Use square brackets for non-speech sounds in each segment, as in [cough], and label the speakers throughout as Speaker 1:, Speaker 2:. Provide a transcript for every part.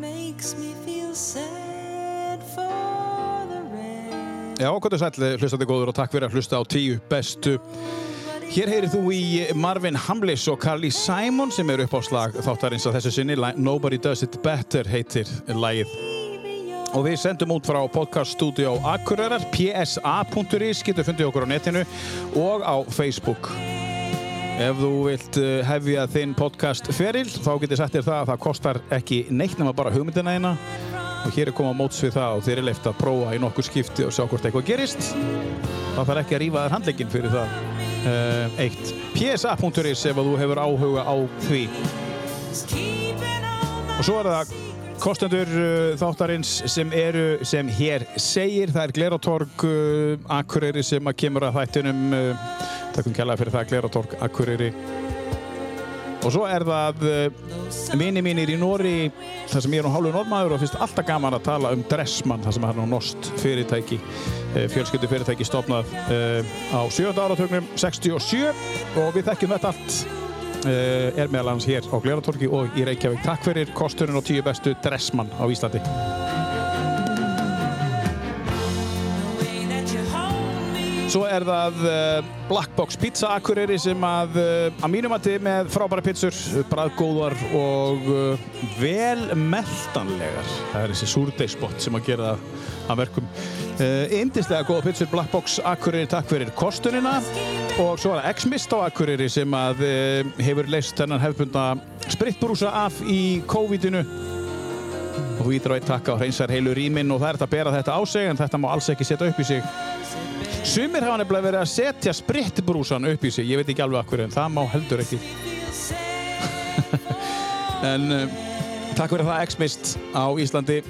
Speaker 1: makes me feel sad for the rest.
Speaker 2: Já, gott og sæll, hlustandi góður og takk fyrir að hlusta á tíu bestu. Hér heyrir þú í Marvin Hamlis og Carly Simon sem eru upp á slag þáttarins að þessu sinni. Li- Nobody Does It Better heitir lagið.
Speaker 1: Baby, you're
Speaker 2: Og við sendum út frá podcaststudio Akureyrar, psa.is, getur fundið okkur á netinu og á Facebook. Ef þú vilt eh, hefja þinn podcast feril, þá getur sett þér það að það kostar ekki neitt nema bara hugmyndina eina. Og hér er komað móts við það og þér er leift að prófa í nokkur skipti og sjá hvort eitthvað gerist. Það þarf ekki að rífa þér handlegginn fyrir það. Uh, eitt. psa.is ef að þú hefur áhuga á því.
Speaker 1: just keeping on my
Speaker 2: Og svo er það kostendur uh, þáttarins sem eru sem hér segir. Það er Gleratorg uh, Akureyri sem að kemur að þættinum. Uh, Takkum kærlega fyrir það, Gleratorg Akureyri. Og svo er það uh, vini mínir í Nóri, þar sem ég er nú hálfu normaður og finnst alltaf gaman að tala um Dressmann, þar sem hann er nú nost fyrirtæki, uh, fjölskyldu fyrirtæki stofnað uh, á 7. áratögnum 67 og við þekkjum þetta allt uh, er meðal hans hér á Gleratorki og í Reykjavík. Takk fyrir kosturinn og tíu bestu dressmann á Íslandi.
Speaker 1: way that you hold me.
Speaker 2: Svo er það uh, Black Box Pizza Akureyri sem að uh, að mínum að þið með frábæra pizzur, bræðgóðar og uh, vel meltanlegar. Það er þessi súrdeispott sem að gera það að verkum. Uh, Indislega góða pizzur Black Box Akureyri, takk fyrir kostunina og svo er það X-Mist á Akureyri sem að uh, hefur leist þennan hefbunda spritbrúsa af í COVID-inu og ídra á eitt takka og hreinsar heilu rýmin og það er þetta að bera þetta á sig en þetta má alls ekki setja upp í sig Sumir hafa nefnilega verið að setja spritbrúsan upp í sig, ég veit ekki alveg akkur en það má heldur ekki. en uh, takk fyrir það X-Mist á Íslandi.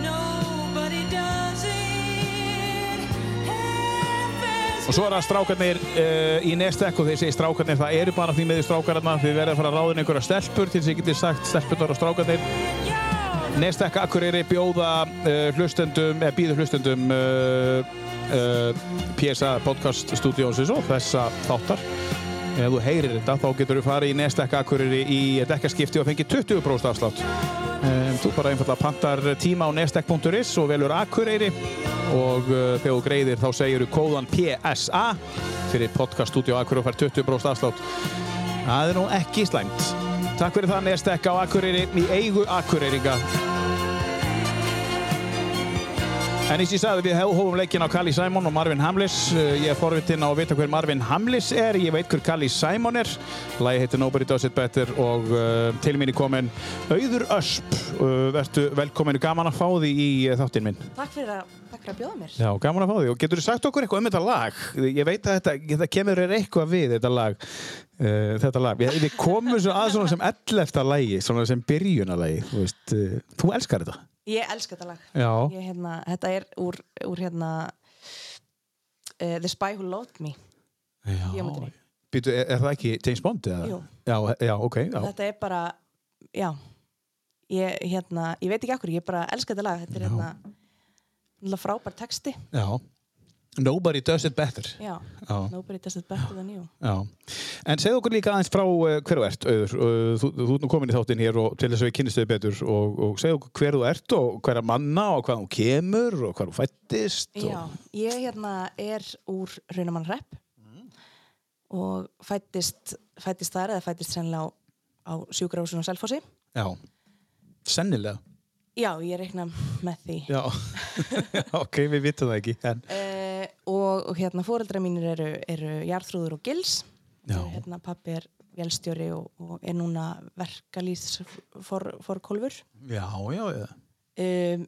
Speaker 1: Nobody does it.
Speaker 2: Og svo er það strákarnir uh, í Nestek og þeir segir strákarnir, það eru bara því með því strákarna, þið verðið að fara að ráðin einhverja stelpur til þess að ég geti sagt stelpunar og strákarnir. Nestek Akureyri bjóða uh, hlustendum, eða býður hlustendum uh, uh, PSA podcast stúdíónsins og þessa þáttar. Ef þú heyrir þetta, þá getur þú farið í Nestek Akureyri í dekkaskipti og fengið 20% afslátt. Um, þú bara einfallega pantar tíma á nestek.is og velur Akureyri og uh, þegar þú greiðir þá segir þú kóðan PSA fyrir podcast stúdíó Akureyri og fær 20% afslátt. Það er nú ekki slæmt. Takk fyrir það Nestek á Akureyri í eigu Akureyringa. En eins og ég sagði við hófum leikinn á Kalli Sæmon og Marvin Hamlis. Uh, Ég er forvitinn á að vita hver Marvin Hamlis er. Ég veit hver Kalli Sæmon er. Lagi heitir Nobody Does It Better og uh, til mín er komin Auður Ösp. Uh, vertu velkominu gaman að fá því í uh, þáttinn minn.
Speaker 3: Takk fyrir að, takk fyrir að bjóða mér.
Speaker 2: Já, gaman að fá því. Og getur þú sagt okkur eitthvað um þetta lag? Ég veit að þetta, þetta kemur þér eitthvað við, þetta lag. Uh, þetta lag. Við, við komum svo að svona sem 11. lagi, svona sem byrjunalagi. Þú veist, uh, þú elskar þetta.
Speaker 3: Ég elska þetta lag.
Speaker 2: Já.
Speaker 3: Ég, hérna, þetta er úr, úr hérna, uh, The Spy Who Loved Me. bíómyndinni.
Speaker 2: Býtu, er, er það ekki James Bond? Eða?
Speaker 3: Jú.
Speaker 2: Já, já, ok. Já.
Speaker 3: Þetta er bara, já, ég, hérna, ég veit ekki akkur, ég bara elska þetta lag. Þetta er hérna, náttúrulega frábær texti.
Speaker 2: já. Nobody does it better.
Speaker 3: Já,
Speaker 2: Já.
Speaker 3: nobody does it better than you.
Speaker 2: Já. En segð okkur líka aðeins frá uh, hver þú ert, auður. Uh, þú, þú ert nú komin í þáttinn hér og til þess að við kynnist þau betur og, og segð okkur hver þú ert og hverja manna og hvað þú kemur og hvað þú fættist. Og...
Speaker 3: Já, ég hérna er úr Raunumann Repp
Speaker 2: Mm.
Speaker 3: og fættist, fættist þar eða fættist sennilega á, á sjúkrahúsinu á Selfossi.
Speaker 2: Já, sennilega
Speaker 3: Já, ég reikna með því.
Speaker 2: Já, [laughs] ok, við vitum það ekki en...
Speaker 3: Uh, og, og hérna fóreldra mínir eru, eru Jarþrúður og Gils
Speaker 2: Já.
Speaker 3: hérna pappi er velstjóri og, og er núna verkalýs for, forkólfur
Speaker 2: Já, já, já,
Speaker 3: um,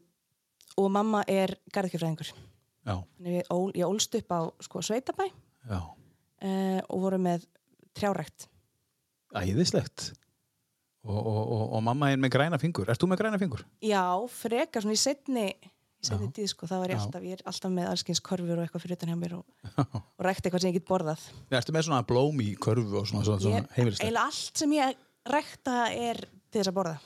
Speaker 3: og mamma er garðkjöfræðingur
Speaker 2: já,
Speaker 3: ég, ól, ég ólst upp á sko, Sveitabæ
Speaker 2: já.
Speaker 3: uh, og voru með trjárækt
Speaker 2: Æðislegt og, og, og, og mamma er með græna fingur Ert þú með græna fingur?
Speaker 3: já, frekar svona í setni í setni
Speaker 2: Já.
Speaker 3: tíð sko, það var ég
Speaker 2: Já.
Speaker 3: alltaf ég er alltaf með allskins korfur og eitthvað fyrir utan hjá
Speaker 2: [laughs]
Speaker 3: mér og, og rækt eitthvað sem ég get borðað
Speaker 2: Ertu með svona blóm í körfu og svona, svona, svona
Speaker 3: Ég-
Speaker 2: heimilistætt?
Speaker 3: eiginlega allt sem ég rækta er til þess að borða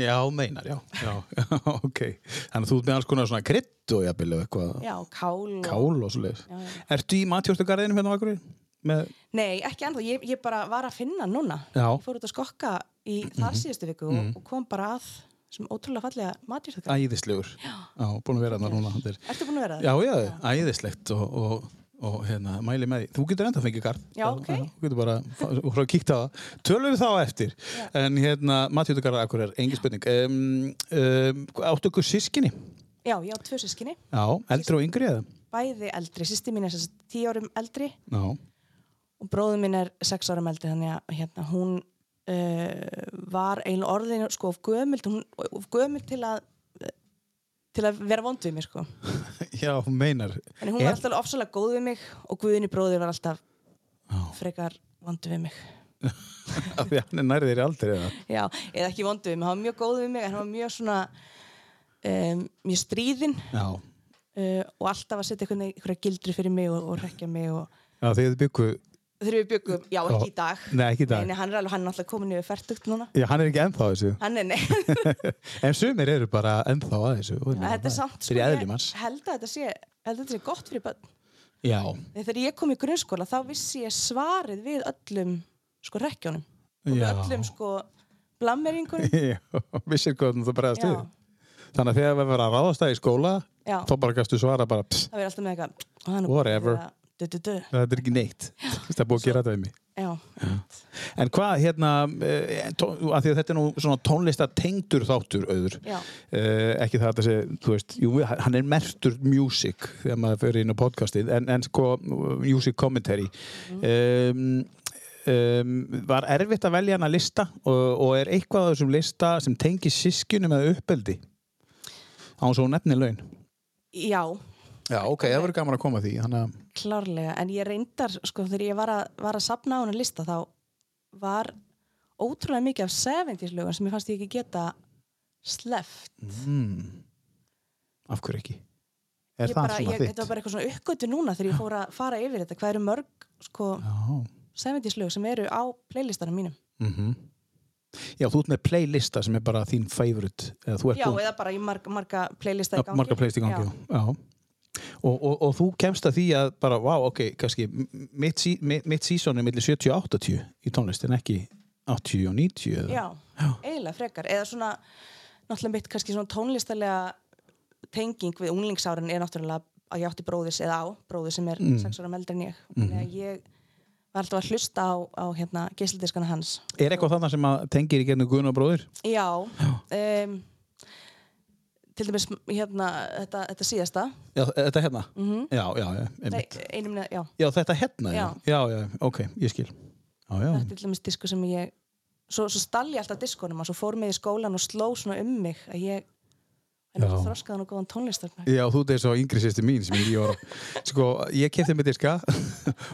Speaker 2: Já, meinar, já, já, [laughs] ok Þannig að þú ert með alls konar svona krydd og jafnvel og eitthvað
Speaker 3: Já, kál. og-
Speaker 2: Kál og svoleiðis
Speaker 3: Já, já.
Speaker 2: Ertu í matjórstugarðinu hérna á Akureyri? Með...
Speaker 3: Nei, ekki ennþá. Ég, ég bara var að finna hann núna.
Speaker 2: Já. Mhm.
Speaker 3: Ég fór út að skokka í þar síðustu viku og, og kom bara að sem ótrúlega fallega matjurþökk
Speaker 2: Æðislegur. Já. búin að vera þarna núna. þetta er-
Speaker 3: Ertu búin að vera
Speaker 2: Já,
Speaker 3: það?
Speaker 2: já, æðislegt og, og, og hérna, mæli með því. Þú getur enda að fengið garð.
Speaker 3: Já, ok.
Speaker 2: Þú getur bara frá að kíkta á það. Tölum við þá á eftir. En hérna, Matjóta Garðar Akureyrar, engin spurning. Um, um, áttu ykkur sískinni?
Speaker 3: Já, ég á tvö sískinni,
Speaker 2: Já, eldri og yngri eða?
Speaker 3: bæði eldri, sýsti mín er sem sagt tíu árum eldri
Speaker 2: Já,
Speaker 3: og bróðum minn er sex árum eldri þannig að hérna, hún uh, var eiginlega orðin sko of gömult, hún, of gömult til að til að vera vond við mig sko
Speaker 2: já hún meinar.
Speaker 3: en hún var alltaf alveg ofsalega góð við mig og Guðinni bróðir var alltaf frekar vondu við mig
Speaker 2: Af því að hann er nærðir þér aldrei eða?
Speaker 3: já, eða ekki vondu við mig, hann var mjög góð við mig en hann var mjög svona um, mjög stríðinn
Speaker 2: Já.
Speaker 3: uh, og alltaf að setja einhvern- einhverja gildri fyrir mig og, og rekja mig og
Speaker 2: Já, þegar þið byggu,
Speaker 3: þegar við byggum, já ekki í dag
Speaker 2: Nei, ekki í dag.
Speaker 3: Nei, nei, hann er alveg, hann er alltaf komin yfir fertugt núna
Speaker 2: já, hann er ekki ennþá að þessu.
Speaker 3: hann er, nei,
Speaker 2: [laughs]
Speaker 3: [laughs]
Speaker 2: en sumir eru bara ennþá að þessu.
Speaker 3: þetta er samt sko,
Speaker 2: Þetta er
Speaker 3: ég
Speaker 2: eðli manns.
Speaker 3: held að þetta sé, held að þetta sé gott fyrir börn
Speaker 2: Já,
Speaker 3: þegar ég kom í grunnskóla þá vissi ég svarið við öllum sko rekkjónum og við
Speaker 2: Já.
Speaker 3: öllum sko blammeringunum
Speaker 2: [laughs] Já, vissir hvernig það bregðast
Speaker 3: Já.
Speaker 2: við þannig að þegar við verðum að ráðast það í skóla
Speaker 3: Já.
Speaker 2: þá bara gæstu svara bara pss,
Speaker 3: það verður alltaf með eitthvað hann er
Speaker 2: Whatever.
Speaker 3: búinn að vera- du, du, du.
Speaker 2: þetta er ekki neitt það er búið að gera þetta við mig
Speaker 3: Já,
Speaker 2: en hvað hérna eh, tó- af því að þetta er nú svona tónlista tengdur þáttur auður
Speaker 3: Já.
Speaker 2: Eh, ekki það að þetta sé, þú veist jú, hann er mertur music þegar maður fyrir inn á podcastið en, en sko music commentary
Speaker 3: Mm.
Speaker 2: um, um, var erfitt að velja hana lista og, og er eitthvað á þessum lista sem tengi sískjunum eða uppeldi án svo nefni laun
Speaker 3: já,
Speaker 2: Já, ok, það verður gaman að koma að því þannig að,
Speaker 3: klárlega en ég reyndar, sko, þegar ég var að, var að sapna á hennar lista þá var ótrúlega mikið af 70s lögum sem ég fannst ég ekki geta sleft
Speaker 2: mm, af hverju ekki Er
Speaker 3: ég
Speaker 2: það
Speaker 3: bara,
Speaker 2: svona
Speaker 3: ég,
Speaker 2: þitt?
Speaker 3: þetta var bara eitthvað svona uppgötu núna þegar ég fór að fara yfir þetta hvað eru mörg sko,
Speaker 2: Já. mhm.
Speaker 3: 70s lög sem eru á playlistanum mínum
Speaker 2: Já, þú ert með playlista sem er bara þín favorite eða þú ert
Speaker 3: já,
Speaker 2: búin-
Speaker 3: eða bara í marga, marga playlista í gangi
Speaker 2: marga playlist í gangi já. Já. Og, og, og þú kemst að því að bara, vá, ok, kannski m- mitt, sí- mi- mitt sísón er millir 70 og 80 í tónlist en ekki 80 og 90 eða.
Speaker 3: já, eiginlega frekar eða svona, náttúrulega mitt kannski svona tónlistalega tenging við unglingsárin er náttúrulega að ég átti bróðis eða á bróði sem er
Speaker 2: Mm.
Speaker 3: sex ára meldri en ég þannig
Speaker 2: Mhm.
Speaker 3: að ég var alltaf að hlusta á, á hérna, geisladiskana hans
Speaker 2: Er eitthvað þannig sem að tengir í gennum Guðn og bróðir?
Speaker 3: já um, til dæmis hérna, þetta, þetta síðasta Mhm.
Speaker 2: Já, þetta hérna? Já, já, já,
Speaker 3: Nei,
Speaker 2: einmitt.
Speaker 3: einum, neð- já,
Speaker 2: Já, þetta hérna, já.
Speaker 3: Já.
Speaker 2: já, já, ok, ég skil. Já, já,
Speaker 3: þetta er til dæmis disku sem ég svo, svo stall ég alltaf diskunum og svo fór mig í skólan og sló svona um mig að ég er
Speaker 2: Já.
Speaker 3: þroskaðan og góðan tónlistar
Speaker 2: Já, þú deyr svo yngri sýsti mín sem ég var Sko, ég kefti með diska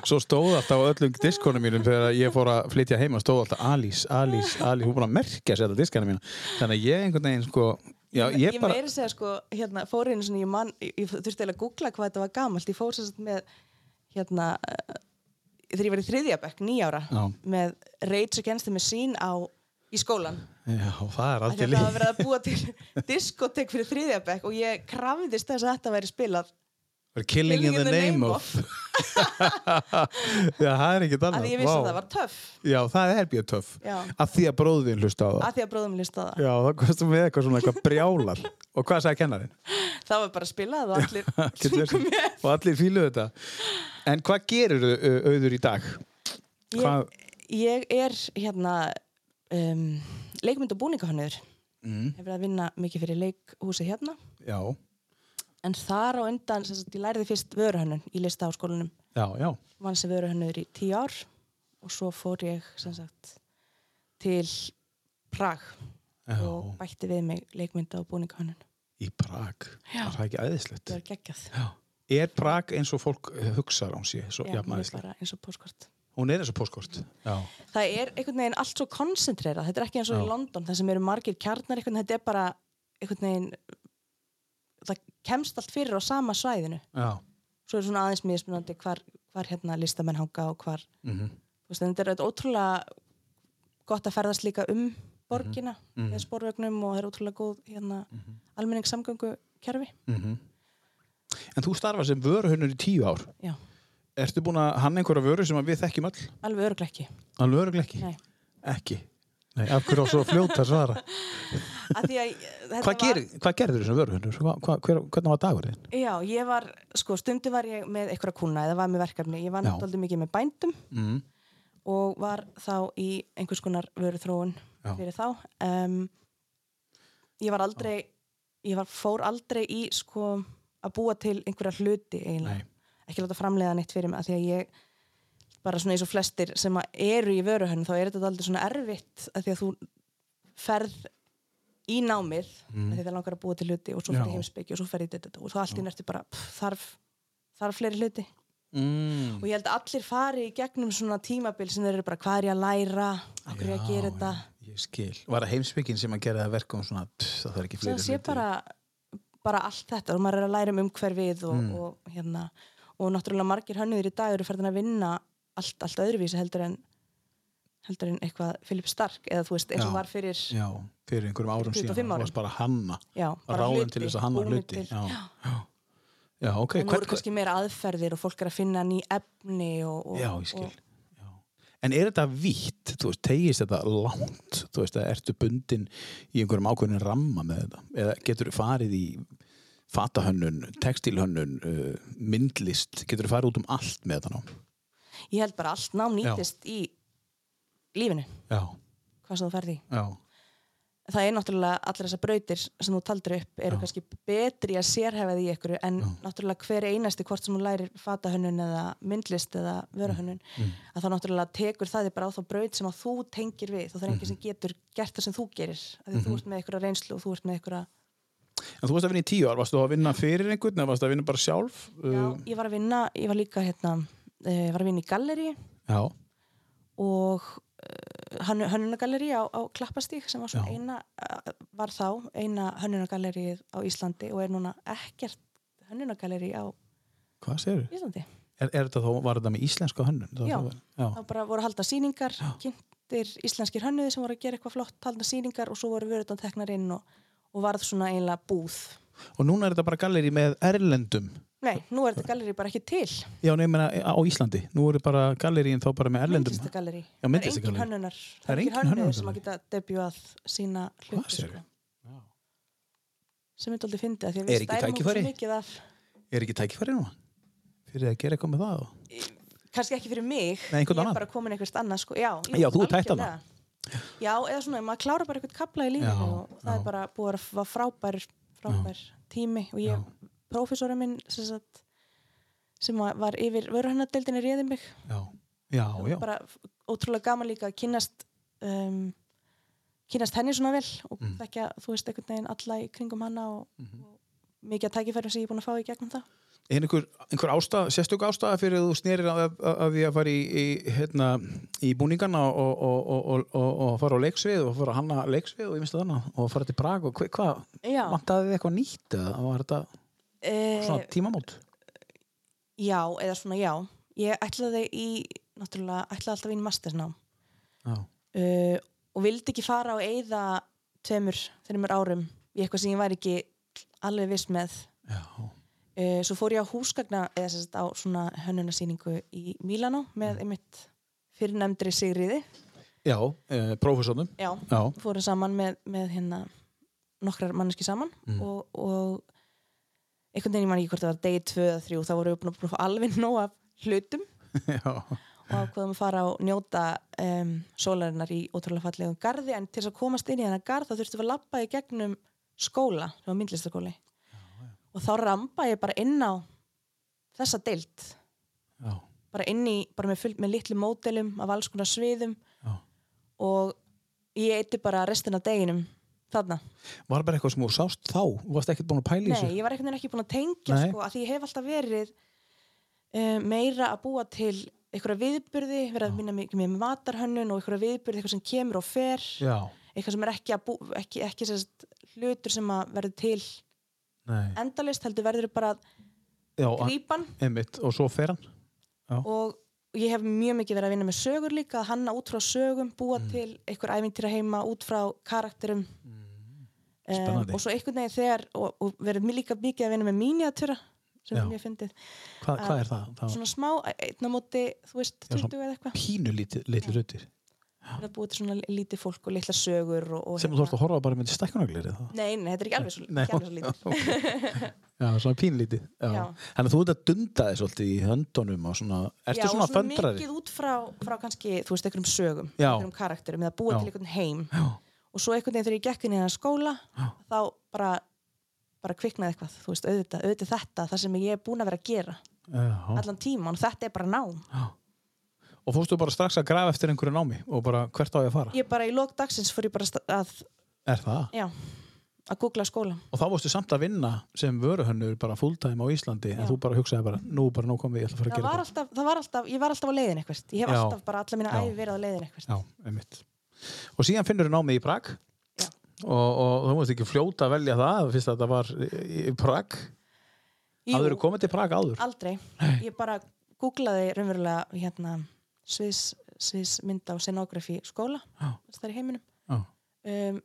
Speaker 2: Svo stóð alltaf á öllum diskonum mínum Þegar ég fór að flytja heima Stóð alltaf Alice, Alice, Alice Hún búin að merkja sér þetta diskana mína Þannig að ég einhvern veginn sko Já,
Speaker 3: ég,
Speaker 2: ég bara
Speaker 3: meiri segja sko, hérna, fór einu svona, ég, man, ég, ég þurfti eiginlega að googla hvað þetta var gamalt, ég fór sérst með hérna eh, þegar ég var í þriðja bekk, nýjára
Speaker 2: Já.
Speaker 3: með Rage Against the Machine á í skólan,
Speaker 2: Já, það er
Speaker 3: af því
Speaker 2: aldrei
Speaker 3: að það var
Speaker 2: líf
Speaker 3: verið að búa til [laughs] diskotek fyrir þriðja bekk og ég krafðist þess að þetta væri spilað
Speaker 2: Killing in the name of [laughs] Já, það er [laughs] ekkert
Speaker 3: af
Speaker 2: annað
Speaker 3: því ég vissi
Speaker 2: vá.
Speaker 3: að það var töff
Speaker 2: Já, það er bjöð töff
Speaker 3: Já.
Speaker 2: Af því að bróðvin hlusta á það
Speaker 3: af því að bróðum lísta það
Speaker 2: Já, þá komstu með eitthvað svona eitthvað brjálar Og hvað sagði
Speaker 3: [laughs]
Speaker 2: kennarinn?
Speaker 3: það var bara spilað og allir
Speaker 2: Get
Speaker 3: sungu
Speaker 2: verið.
Speaker 3: með
Speaker 2: og allir fíluðu þetta en hvað gerur auður í dag? [laughs] Hvað-
Speaker 3: ég, ég er hérna um, leikmynd og búningahönnur mm. hef verið að vinna mikið fyrir leikhúsi hérna
Speaker 2: já,
Speaker 3: en þar á undan, sem sagt, ég læriði fyrst vöruhönnun í lista á skólanum
Speaker 2: já, já
Speaker 3: vann sem vöruhönnur í tíu ár og svo fór ég sem sagt til Prag og bætti við mig leikmynda og búningahönnun
Speaker 2: í Prag, já. það er ekki æðislegt
Speaker 3: það var geggjað
Speaker 2: já. er Prag eins og fólk hugsaður á hún sé, svo
Speaker 3: Já, hún er
Speaker 2: jafnæðislega
Speaker 3: bara eins og póskort
Speaker 2: hún er eins og póskort já,
Speaker 3: það er einhvern veginn allt svo koncentrerað þetta er ekki eins og
Speaker 2: Já.
Speaker 3: í London, það sem eru margir kjarnar einhvern veginn, þetta er bara einhvern veginn það kemst allt fyrir á sama svæðinu,
Speaker 2: já,
Speaker 3: svo er svona aðeins mismunandi hvar, hvar hérna listamenn hanga og hvar
Speaker 2: Mhm.
Speaker 3: þú veist, en þetta er þetta ótrúlega gott að ferðast líka um borgina
Speaker 2: Mhm.
Speaker 3: með spórvögnum og það er ótrúlega góð hérna, mm -hmm. almenningssamgöngu kerfi
Speaker 2: Mhm. en þú starfa sem vöruhönnur í tíu ár
Speaker 3: já,
Speaker 2: ertu búin að hanna einhverja vöru sem að við þekkjum all
Speaker 3: alveg örgleikki
Speaker 2: alveg örugglega ekki
Speaker 3: Nei.
Speaker 2: ekki, Nei, af hverju á svo fljóta svara
Speaker 3: Af því að þetta
Speaker 2: [laughs] Hvað,
Speaker 3: var-
Speaker 2: gerir, hvað gerður þessum vöruhundum? Hva, hva, hver, hvernig var dagur þinn?
Speaker 3: Já, ég var, sko, stundu var ég með einhverja kúna eða var með verkefni. Ég var
Speaker 2: Já.
Speaker 3: náttúrulega mikið með bændum
Speaker 2: Mm.
Speaker 3: og var þá í einhvers konar vöruþróun
Speaker 2: Já.
Speaker 3: fyrir þá. Um, ég var aldrei, ég var, fór aldrei í, sko, að búa til einhverja hluti eiginlega.
Speaker 2: Nei.
Speaker 3: Ekki láta framleiða neitt fyrir mig af því að ég bara svona eins og flestir sem að eru í vöruhönn þá er þetta aldrei svona erfitt af því að þú ferð í námið mm. því það langar að búa til hluti og svo
Speaker 2: Já.
Speaker 3: fyrir heimsbyggi og svo ferði þetta og þá allt í nerti bara pff, þarf, þarf fleiri hluti
Speaker 2: Mm.
Speaker 3: og ég held að allir fari í gegnum svona tímabil sem þeir eru bara hvað er ég að læra okkur er ég að gera þetta
Speaker 2: Ég skil. Var það heimsbyggin sem að gera það verkum svona, pff, það þarf ekki
Speaker 3: sem
Speaker 2: fleiri
Speaker 3: sé
Speaker 2: hluti.
Speaker 3: bara, bara allt þetta og maður er að læra um umhverfið og,
Speaker 2: Mm.
Speaker 3: og hérna og náttúrulega margir hönnuðir í dag eru færðin að vinna allt, allt öðruvísi heldur en heldur en eitthvað Philip Stark eða þú veist eins og
Speaker 2: Já.
Speaker 3: var fyrir já,
Speaker 2: Já, fyrir einhverjum árum síðan.
Speaker 3: 25
Speaker 2: Það
Speaker 3: árum.
Speaker 2: varst bara að hanna.
Speaker 3: bara
Speaker 2: Ráðum
Speaker 3: hluti,
Speaker 2: til þess að hanna
Speaker 3: búnir
Speaker 2: hluti.
Speaker 3: til.
Speaker 2: Já. Já. Já, ok.
Speaker 3: En nú eru kannski meira aðferðir og fólk er að finna ný efni og, og,
Speaker 2: Já, ég skil.
Speaker 3: og
Speaker 2: Já. En er þetta vítt, þú veist, tegist þetta langt, þú veist, eða ertu bundin í einhverjum ákveðnin ramma með þetta? Eða getur þú farið í fatahönnun, textílhönnun, uh, myndlist, getur þú farið út um allt með þetta nám?
Speaker 3: ég held bara allt nám nýtist í lífinu,
Speaker 2: Já,
Speaker 3: hvað sem þú ferði í.
Speaker 2: já,
Speaker 3: Það er náttúrulega allar þessar brautir sem þú taldir upp eru kannski betri að sérhefað í ykkur en náttúrulega hver einasti hvort sem þú lærir fatahönnun eða myndlist eða vöruhönnun að þá náttúrulega tekur það þig bara á þá braut sem að þú tengir við og það er enginn sem getur gert það sem þú gerir af því þú ert með ykkur reynslu og þú ert með ykkur
Speaker 2: En þú varst að vinna í tíu ár, varst þú að vinna fyrir einhvern, eða varst að vinna bara sjálf? Uh,
Speaker 3: Já, ég var að vinna, ég var líka hérna, eh, var að vinna í galleri
Speaker 2: já,
Speaker 3: og uh, hönnunagalleri á, á Klappastík sem var svona
Speaker 2: Já.
Speaker 3: eina uh, var þá eina hönnunagalleri á Íslandi og er núna ekkert hönnunagalleri á
Speaker 2: hvað segir þú?
Speaker 3: Íslandi
Speaker 2: Er, er þetta þá, var þetta með íslenska hönnun? Það
Speaker 3: Já.
Speaker 2: var- já.
Speaker 3: þá bara voru haldna sýningar kynntir íslenskir hönnuði sem voru að gera eitthvað flott haldna sýningar og svo voru vörutan teknar inn og, og varð svona einlega búð
Speaker 2: Og núna er þetta bara galleri með erlendum,
Speaker 3: Nei, nú er þetta galleri bara ekki til
Speaker 2: já, nefnir e, á Íslandi. Nú eru bara galleríin þá bara með erlendum.
Speaker 3: myndlistagalleri
Speaker 2: Já,
Speaker 3: það er engin
Speaker 2: myndlistagallerí.
Speaker 3: hönnunar
Speaker 2: Það er engin
Speaker 3: hönnuður sem að
Speaker 2: hönnunagallerí.
Speaker 3: geta debjúað sína hluti sko.
Speaker 2: sérðu? Já.
Speaker 3: sem ég aldrei fyndi að því að
Speaker 2: Er
Speaker 3: við
Speaker 2: ekki
Speaker 3: stærum okkur
Speaker 2: tækifæri?
Speaker 3: svo mikið af
Speaker 2: er ekki tækifæri núna fyrir að gera eitthvað með það og-
Speaker 3: kannski ekki fyrir mig
Speaker 2: Nei,
Speaker 3: ég
Speaker 2: einhvern
Speaker 3: er
Speaker 2: annan.
Speaker 3: bara komin einhvers annað sko. já, jú,
Speaker 2: Já, þú ert hætt
Speaker 3: algjörlega. já, eða svona, maður klára bara eitthvað kapla í lífinu
Speaker 2: Já,
Speaker 3: og það
Speaker 2: já.
Speaker 3: er bara búið að vera frábær frábær tími og ég, prófessorinn minn sem, sagt, sem að var yfir vöruhennadeildinni réði mig
Speaker 2: já, já, já,
Speaker 3: bara ótrúlega gaman líka að kynnast um, kynnast henni svona vel og mm. þekkja, þú veist, einhvern veginn alla í kringum hana og,
Speaker 2: Mhm.
Speaker 3: og mikið að tækifærum sem ég er búin að fá í gegnum það
Speaker 2: er einhver, einhver ástæð, sérstök ástæða fyrir að þú snerir að, að, að því að fara í, í, hérna, í búningana og, og, og, og, og, og fara á leiksvið og fara að hanna leiksvið og ég minnst þannig og fara til Prag og hve- hvað,
Speaker 3: Já.
Speaker 2: vantaði þið eitthvað nýtt eða var þetta
Speaker 3: eh,
Speaker 2: svona tímamót?
Speaker 3: Já, eða svona já. Ég ætlaði í, náttúrulega, ætlaði alltaf í mastersnám
Speaker 2: Já,
Speaker 3: uh, og vildi ekki fara og eyða tveimur, tveimur árum í eitthvað sem ég væri ekki alveg viss með.
Speaker 2: já,
Speaker 3: Uh, svo fór ég á húsgagna, eða sem sagt á svona hönnunarsýningu í Mílanó með einmitt fyrirnefndri Sigriði.
Speaker 2: já, eh, prófessornum
Speaker 3: Já,
Speaker 2: já, [laughs]
Speaker 3: fórum saman með, með hérna nokkrar manneski saman og, og einhvern veginn ég man ekki hvort það var degi tvö eða þrjú, þá vorum við búin að búin að fá alveg nóg af hlutum
Speaker 2: já,
Speaker 3: og ákveðum að fara og njóta um, sólarinnar í ótrúlega fallegum garði en til þess að komast inn í þennan garð þá þurftum við að labba í gegnum skóla sem var myndlistaskóli og þá ramba ég bara inn á þessa deilt
Speaker 2: já,
Speaker 3: bara inn í, bara með, full, með litlu módelum af alls konar sviðum
Speaker 2: já.
Speaker 3: og ég eitti bara restina af deginum þarna
Speaker 2: Var bara eitthvað sem þú sást þá? Þú varst ekkert búin að pæla í þessu?
Speaker 3: Nei, ég var einhvern veginn ekki búin að tengja
Speaker 2: Nei.
Speaker 3: sko, að því ég hef alltaf verið uh, meira að búa til einhverja viðburði, verið að minna mikið með matarhönnun og einhverja viðburði, eitthvað sem kemur og fer
Speaker 2: Já,
Speaker 3: eitthvað sem er ekki, að bú, ekki, ekki sérst, hlutur sem að verður til
Speaker 2: nei.
Speaker 3: endalist, heldur verður bara að
Speaker 2: Já,
Speaker 3: grípa hann
Speaker 2: einmitt, og svo fer hann?
Speaker 3: og ég hef mjög mikið verið að vinna með sögur líka að hanna út frá sögum, búa
Speaker 2: Mm.
Speaker 3: til einhver ævintýra heima út frá karakterum mm.
Speaker 2: Spennandi.
Speaker 3: og svo einhvern veginn þegar og, og verið mér líka mikið að vinna með míniatura sem
Speaker 2: Já.
Speaker 3: er mjög fyndið
Speaker 2: Hva, hvað er það? það var
Speaker 3: svona smá, e, einn á móti þú veist,
Speaker 2: Já, svona
Speaker 3: 20 eða eitthvað
Speaker 2: pínu litli, litli hlutir.
Speaker 3: að búa til svona lítið fólk og litla sögur og, og hérna.
Speaker 2: sem þú þarfst að horfa bara með stækkunaglir eða?
Speaker 3: Nei, nei, þetta er ekki alveg svo,
Speaker 2: Nei,
Speaker 3: ekki alveg svo lítið
Speaker 2: [laughs] ok. Já, svona pínlítið já.
Speaker 3: Já.
Speaker 2: Þannig að þú ert að dunda þér svolítið í höndunum og svona, ertu
Speaker 3: Já,
Speaker 2: svona
Speaker 3: og
Speaker 2: föndrari?
Speaker 3: mikið út frá, frá kannski, þú veist, einhverjum sögum
Speaker 2: Já.
Speaker 3: einhverjum karakterum, eða búa
Speaker 2: Já.
Speaker 3: til einhvern heim
Speaker 2: Já,
Speaker 3: og svo einhvern veginn þegar ég gekk inn í þennan skóla þá bara, bara kviknaði eitthvað þú veist, auðvitað, auðvitað þetta, það sem ég er búin að vera að gera
Speaker 2: já.
Speaker 3: allan tíman, þetta er bara nám
Speaker 2: Og fórstu bara strax að grafa eftir einhverju námi og bara hvert á ég að fara?
Speaker 3: ég bara í lok dagsins fór ég bara sta- að
Speaker 2: Er það?
Speaker 3: já, að googla skóla
Speaker 2: Og þá fórstu samt að vinna sem vöruhönnur bara fulltime á Íslandi en
Speaker 3: Já.
Speaker 2: þú bara hugsaði bara, nú bara nóg komið, ég ætla að fara að
Speaker 3: það var,
Speaker 2: gera
Speaker 3: alltaf, það var alltaf, ég var alltaf á leiðin eitthvað ég hef
Speaker 2: Já.
Speaker 3: alltaf bara alla mína
Speaker 2: Já.
Speaker 3: æfi verið á leiðin eitthvað
Speaker 2: Já, einmitt. Og síðan finnur þú námið í Prag
Speaker 3: Já.
Speaker 2: og, og þú múst ekki fljóta að velja það fyrst að þetta var í- í Prag. Hafðu þú komið til Prag áður?
Speaker 3: aldrei, ég bara googlaði raunverulega hérna sviðs, sviðsmynda og scenografi skóla,
Speaker 2: Já.
Speaker 3: það er í heiminum
Speaker 2: Já.
Speaker 3: um,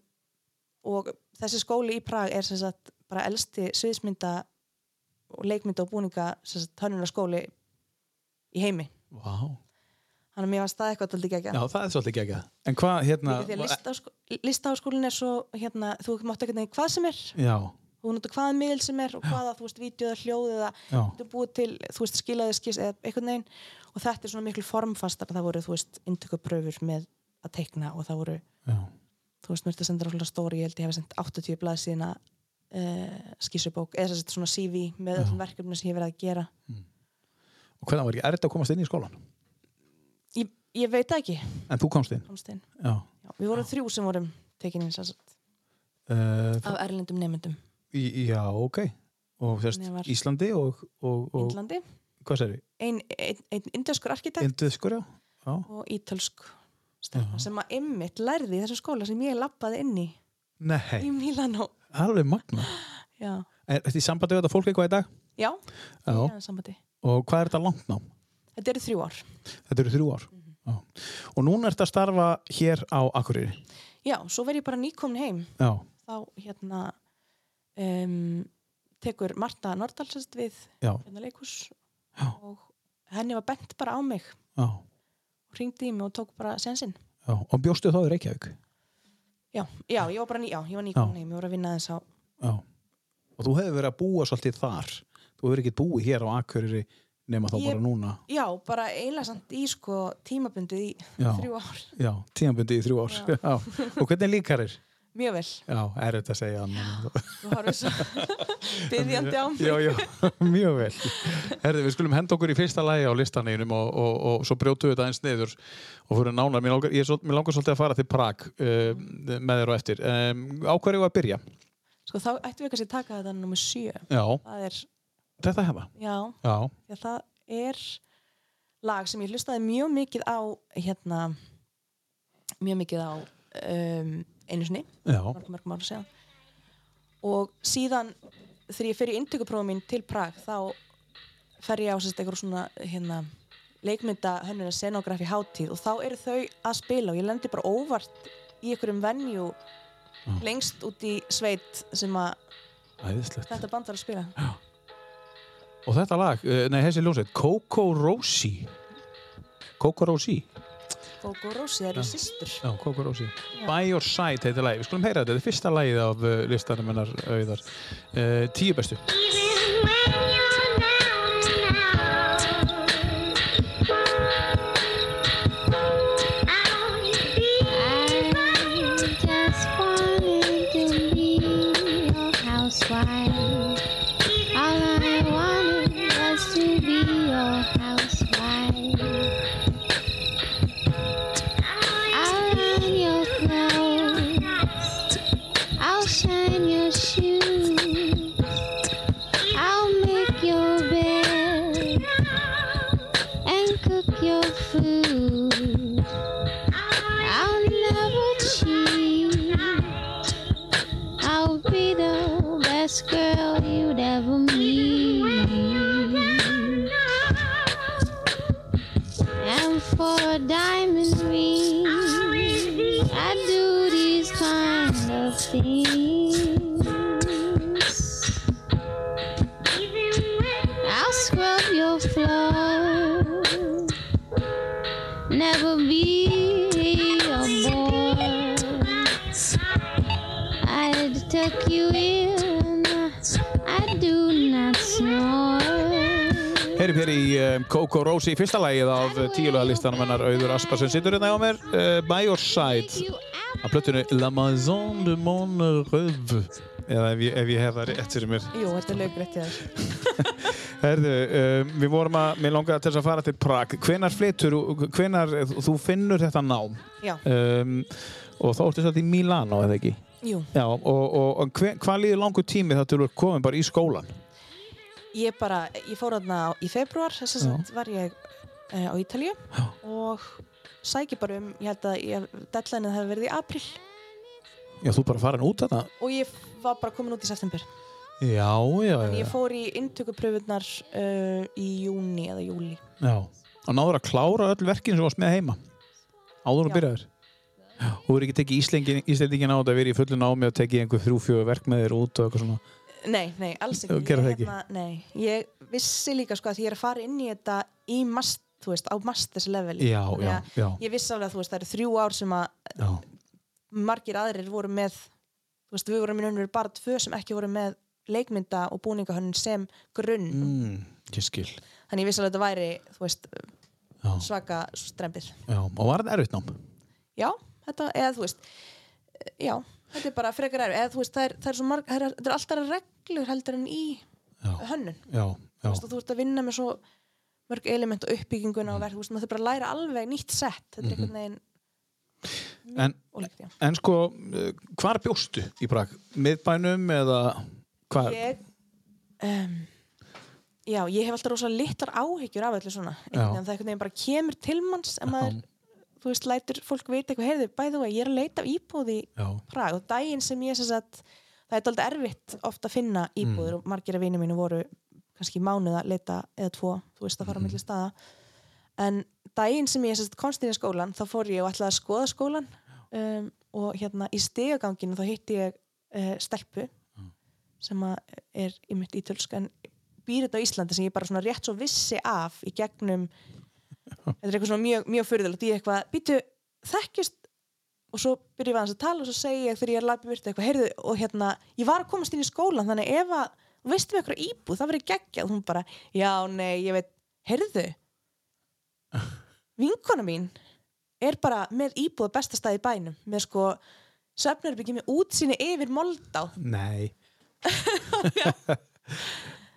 Speaker 3: og þessi skóli í Prag er sem sagt bara elsti sviðsmynda og leikmynda og búninga sem sagt hönnunarskóli í heimi
Speaker 2: Vá.
Speaker 3: þannig að mér var stað eitthvað aldrei gegja
Speaker 2: Já, það er svolítið geggjað. En hvað hérna...
Speaker 3: því að listaháskó- listaháskólinn er svo hérna, þú mátt ekkert neginn hvað sem er
Speaker 2: Já,
Speaker 3: þú notur hvaða miðil sem er og hvaða, þú veist, vídeo eða hljóð eða
Speaker 2: já,
Speaker 3: þú búið til, þú veist, skilaði skis eða einhvern veginn og þetta er svona miklu formfast það voru, þú veist, inntökupröfur með að teikna og það voru,
Speaker 2: já.
Speaker 3: þú veist, mér ertu að senda ráðslega stóri, ég held ég hefði sendt 80 blað síðan að uh, skísubók eða þess að svona CV með öllum verkefnum sem ég hef verið að gera
Speaker 2: Og hvernig var ekki erfitt að komast inn í skólan?
Speaker 3: ég, ég veit það ekki,
Speaker 2: En þú komst inn?
Speaker 3: komst inn
Speaker 2: Já.
Speaker 3: Já, við vorum þrjú sem vorum tekin inn sem sagt,
Speaker 2: Uh,
Speaker 3: af erlendum nefndum
Speaker 2: í, já, ok. Og sérst,
Speaker 3: Þannig var-
Speaker 2: Íslandi og, og, og
Speaker 3: Índlandi,
Speaker 2: hvað sér við?
Speaker 3: ein, ein, ein indöskur arkitekt
Speaker 2: Induskur, já. Já,
Speaker 3: og ítölsk stelpa sem að ymmit lærði í þessum skóla sem ég lappaði inn í,
Speaker 2: nei,
Speaker 3: í Milano
Speaker 2: alveg magna.
Speaker 3: Já,
Speaker 2: Er þetta í sambandi við þetta fólk eitthvað í dag?
Speaker 3: já,
Speaker 2: Já.
Speaker 3: já. sambandi
Speaker 2: Og hvað er þetta langt nám?
Speaker 3: Þetta eru þrjú ár.
Speaker 2: Þetta eru þrjú ár.
Speaker 3: Mhm.
Speaker 2: Já. Og núna ertu að starfa hér á Akureyri.
Speaker 3: Já, svo verð ég bara nýkomin heim.
Speaker 2: Já,
Speaker 3: Þá hérna um, tekur Marta Nordalsest við
Speaker 2: já,
Speaker 3: hérna leikus
Speaker 2: Já.
Speaker 3: og henni var bent bara á mig
Speaker 2: já.
Speaker 3: og ringdi í mig og tók bara sensinn.
Speaker 2: já. Og bjóstu þá í Reykjavík?
Speaker 3: Já, já, ég var bara ný, já, ég var nýkomin heim, ég voru að vinna þess á
Speaker 2: Já. Og þú hefur verið að búa svolítið þar. Þú hefur ekki búið hér á Akureyri nema þá
Speaker 3: Ég-
Speaker 2: bara núna.
Speaker 3: Já, bara einlega samt í sko tímabundið í
Speaker 2: Já.
Speaker 3: þrjú ár.
Speaker 2: Já, tímanbundi í þrjú ár. Já. Og hvernig líkar þér?
Speaker 3: Mjög vel.
Speaker 2: Já, er þetta að segja annan.
Speaker 3: Þú horfum
Speaker 2: [laughs]
Speaker 3: svo byrjandi á mig.
Speaker 2: Já, já, mjög vel. Herði, við skulum henda okkur í fyrsta lagi á listaneginum og, og, og svo brjótu við þetta eins niður og fyrir nánar. Mér langar, ég, er svol- mér langar svolítið að fara til Prag uh, með þér og eftir. Um, á hverju að byrja?
Speaker 3: Sko þá ættum við kannski að taka þetta nummer sjö.
Speaker 2: Já,
Speaker 3: Það er,
Speaker 2: þetta hérna. hefa.
Speaker 3: já,
Speaker 2: Já,
Speaker 3: því að það er lag sem ég hlustaði mjög mikið á hérna mjög mikið á um, einu sinni,
Speaker 2: já,
Speaker 3: mörgum mörgum ára séðan og síðan þegar ég fer í inntökuprófum mín til Prag þá fer ég á sérst einhver svona hérna leikmynda hönnuna scenografi hátíð og þá eru þau að spila og ég lendi bara óvart í einhverjum venju lengst út í sveit sem að
Speaker 2: æðislegt.
Speaker 3: þetta band var að spila
Speaker 2: Og þetta lag, uh, nei, þessi ljónsveit, Coco Rosie. Coco Rosie.
Speaker 3: Gók og Rósi, það eru systur
Speaker 2: Já, Coco Rosie. By Your Side heitir lagi. Við skulum heyra þetta. Þetta er fyrsta lagið af uh, listanum hennar auðar. Uh, tíu bestu.
Speaker 4: Even when you're down and out, out you feel.
Speaker 5: just wanted to be your housewife. All I wanted was to be your housewife. I'll iron your clothes. I'll shine your shoes. I'll make your bed and cook your food. I'll never cheat. I'll be the best girl you'd ever meet. And for a diamond ring, I do these kind of things. I'll scrub your floor. Never be your tuck you in. I do not snore.
Speaker 2: Heyrjum hér í um, Coco Rose í fyrsta lagið af tíulega listanum hennar Auður Aspa sem situr hérna hjá mér uh, By Your Side af plötunni La Maison de Mon Rêve eða ef ég, ef ég hef það rétt fyrir mér
Speaker 3: Jú, þetta er löggrétt í þér.
Speaker 2: Herðu, um, við vorum að, mér langaði til þess að fara til Prag hvenar flytur, hvenar þú finnur þetta nám
Speaker 3: Já,
Speaker 2: um, og þá ertu satt í Milano eða ekki
Speaker 3: jú.
Speaker 2: Já, og, og, og hve, hvað líður langur tími þá til þú ert komin bara í skólan
Speaker 3: Ég bara, ég fór aðna í februar, þess að sagt var ég eh, á Ítalíu og sæki bara um, ég held að ég, deadlineið hefði verið í april
Speaker 2: Já, þú bara farin út þarna
Speaker 3: og ég var bara komin út í september.
Speaker 2: Já, já, já,
Speaker 3: Ég fór í inntökupröfunnar uh, í júni eða júli.
Speaker 2: já og náður að klára öll verkin sem þú varst með heima áður
Speaker 3: Já.
Speaker 2: og byrjaður og þú er ekki tekið íslendingin, íslendingin á þetta að vera í fullu námi og tekið einhver þrjú-fjögur verk með þér út og eitthvað svona
Speaker 3: Nei, nei, alls ekki.
Speaker 2: Þú gerir það
Speaker 3: Ég, hérna, nei, ég vissi líka sko að því ég er að fara inn í þetta í mast, þú veist, á masters level.
Speaker 2: Já,
Speaker 3: Þannig
Speaker 2: já,
Speaker 3: að
Speaker 2: já,
Speaker 3: Ég vissi alveg að þú veist, það eru þrjú ár sem að
Speaker 2: já,
Speaker 3: margir aðrir voru með, þú veist, við vorum í raun og veru bara tvö sem ekki voru með leikmynda og búningahönnun sem grunn.
Speaker 2: Mm, ég skil
Speaker 3: Þannig ég vissi alveg að þetta væri, þú veist,
Speaker 2: Já,
Speaker 3: svaka strempið.
Speaker 2: já, og var þetta erfitt nám?
Speaker 3: Já, þetta, eða þú veist, já, þetta er bara frekar erfið. Eða þú veist, það er, það er svo marg, það er, það er alltaf reglur heldur en í
Speaker 2: Já,
Speaker 3: hönnun.
Speaker 2: já, já, Mm.
Speaker 3: Þú veist, og þú ert að vinna með svo mörg element og uppbygginguna og verð, þú veist, maður þarf bara að læra alveg nýtt sett, þetta
Speaker 2: Mhm.
Speaker 3: er einhvern veginn
Speaker 2: en,
Speaker 3: ólíkt, já.
Speaker 2: en sko, eh, hvar bjóstu í Prag? Miðbænum eða hvað?
Speaker 3: Ég, um, já, ég hef alltaf rosa litlar áhyggjur af öllu svona, einhvern veginn, það einhvern veginn bara kemur til manns en maður, þú veist, lætur fólk vita eitthvað, heyrðu, bæðu vegi, ég er að leita af íbúð í
Speaker 2: Já,
Speaker 3: Prag og daginn sem ég sem sagt, það er alltaf erfitt oft að finna íbúður og margir af vinið mínu voru kannski mánuð að leita eða tvo, þú veist að fara á milli staða en daginn sem ég sem sagt, komst inn í skólan þá fór ég og ætlaði að skoða skólan um, og hérna í stegaganginu þá hitti ég uh, stelpu sem að er í mitt ítölsk en býr þetta á Íslandi sem ég bara svona rétt svo vissi af í gegnum þetta er eitthvað svona mjög, mjög fyrirðilegt ég eitthvað, býtu, þekkjust og svo byrjum við aðeins að tala og svo segi ég þegar ég er lapið virtu eitthvað, heyrðu, og hérna ég var að komast inn í skólan, þannig ef að þú veistum eitthvað íbúð, það verið geggjað hún bara, já, nei, ég veit, heyrðu vinkona mín er bara með íbúð á besta stað í bænum, með sko svefnarbyggi með útsýni yfir Moldá
Speaker 2: nei [laughs]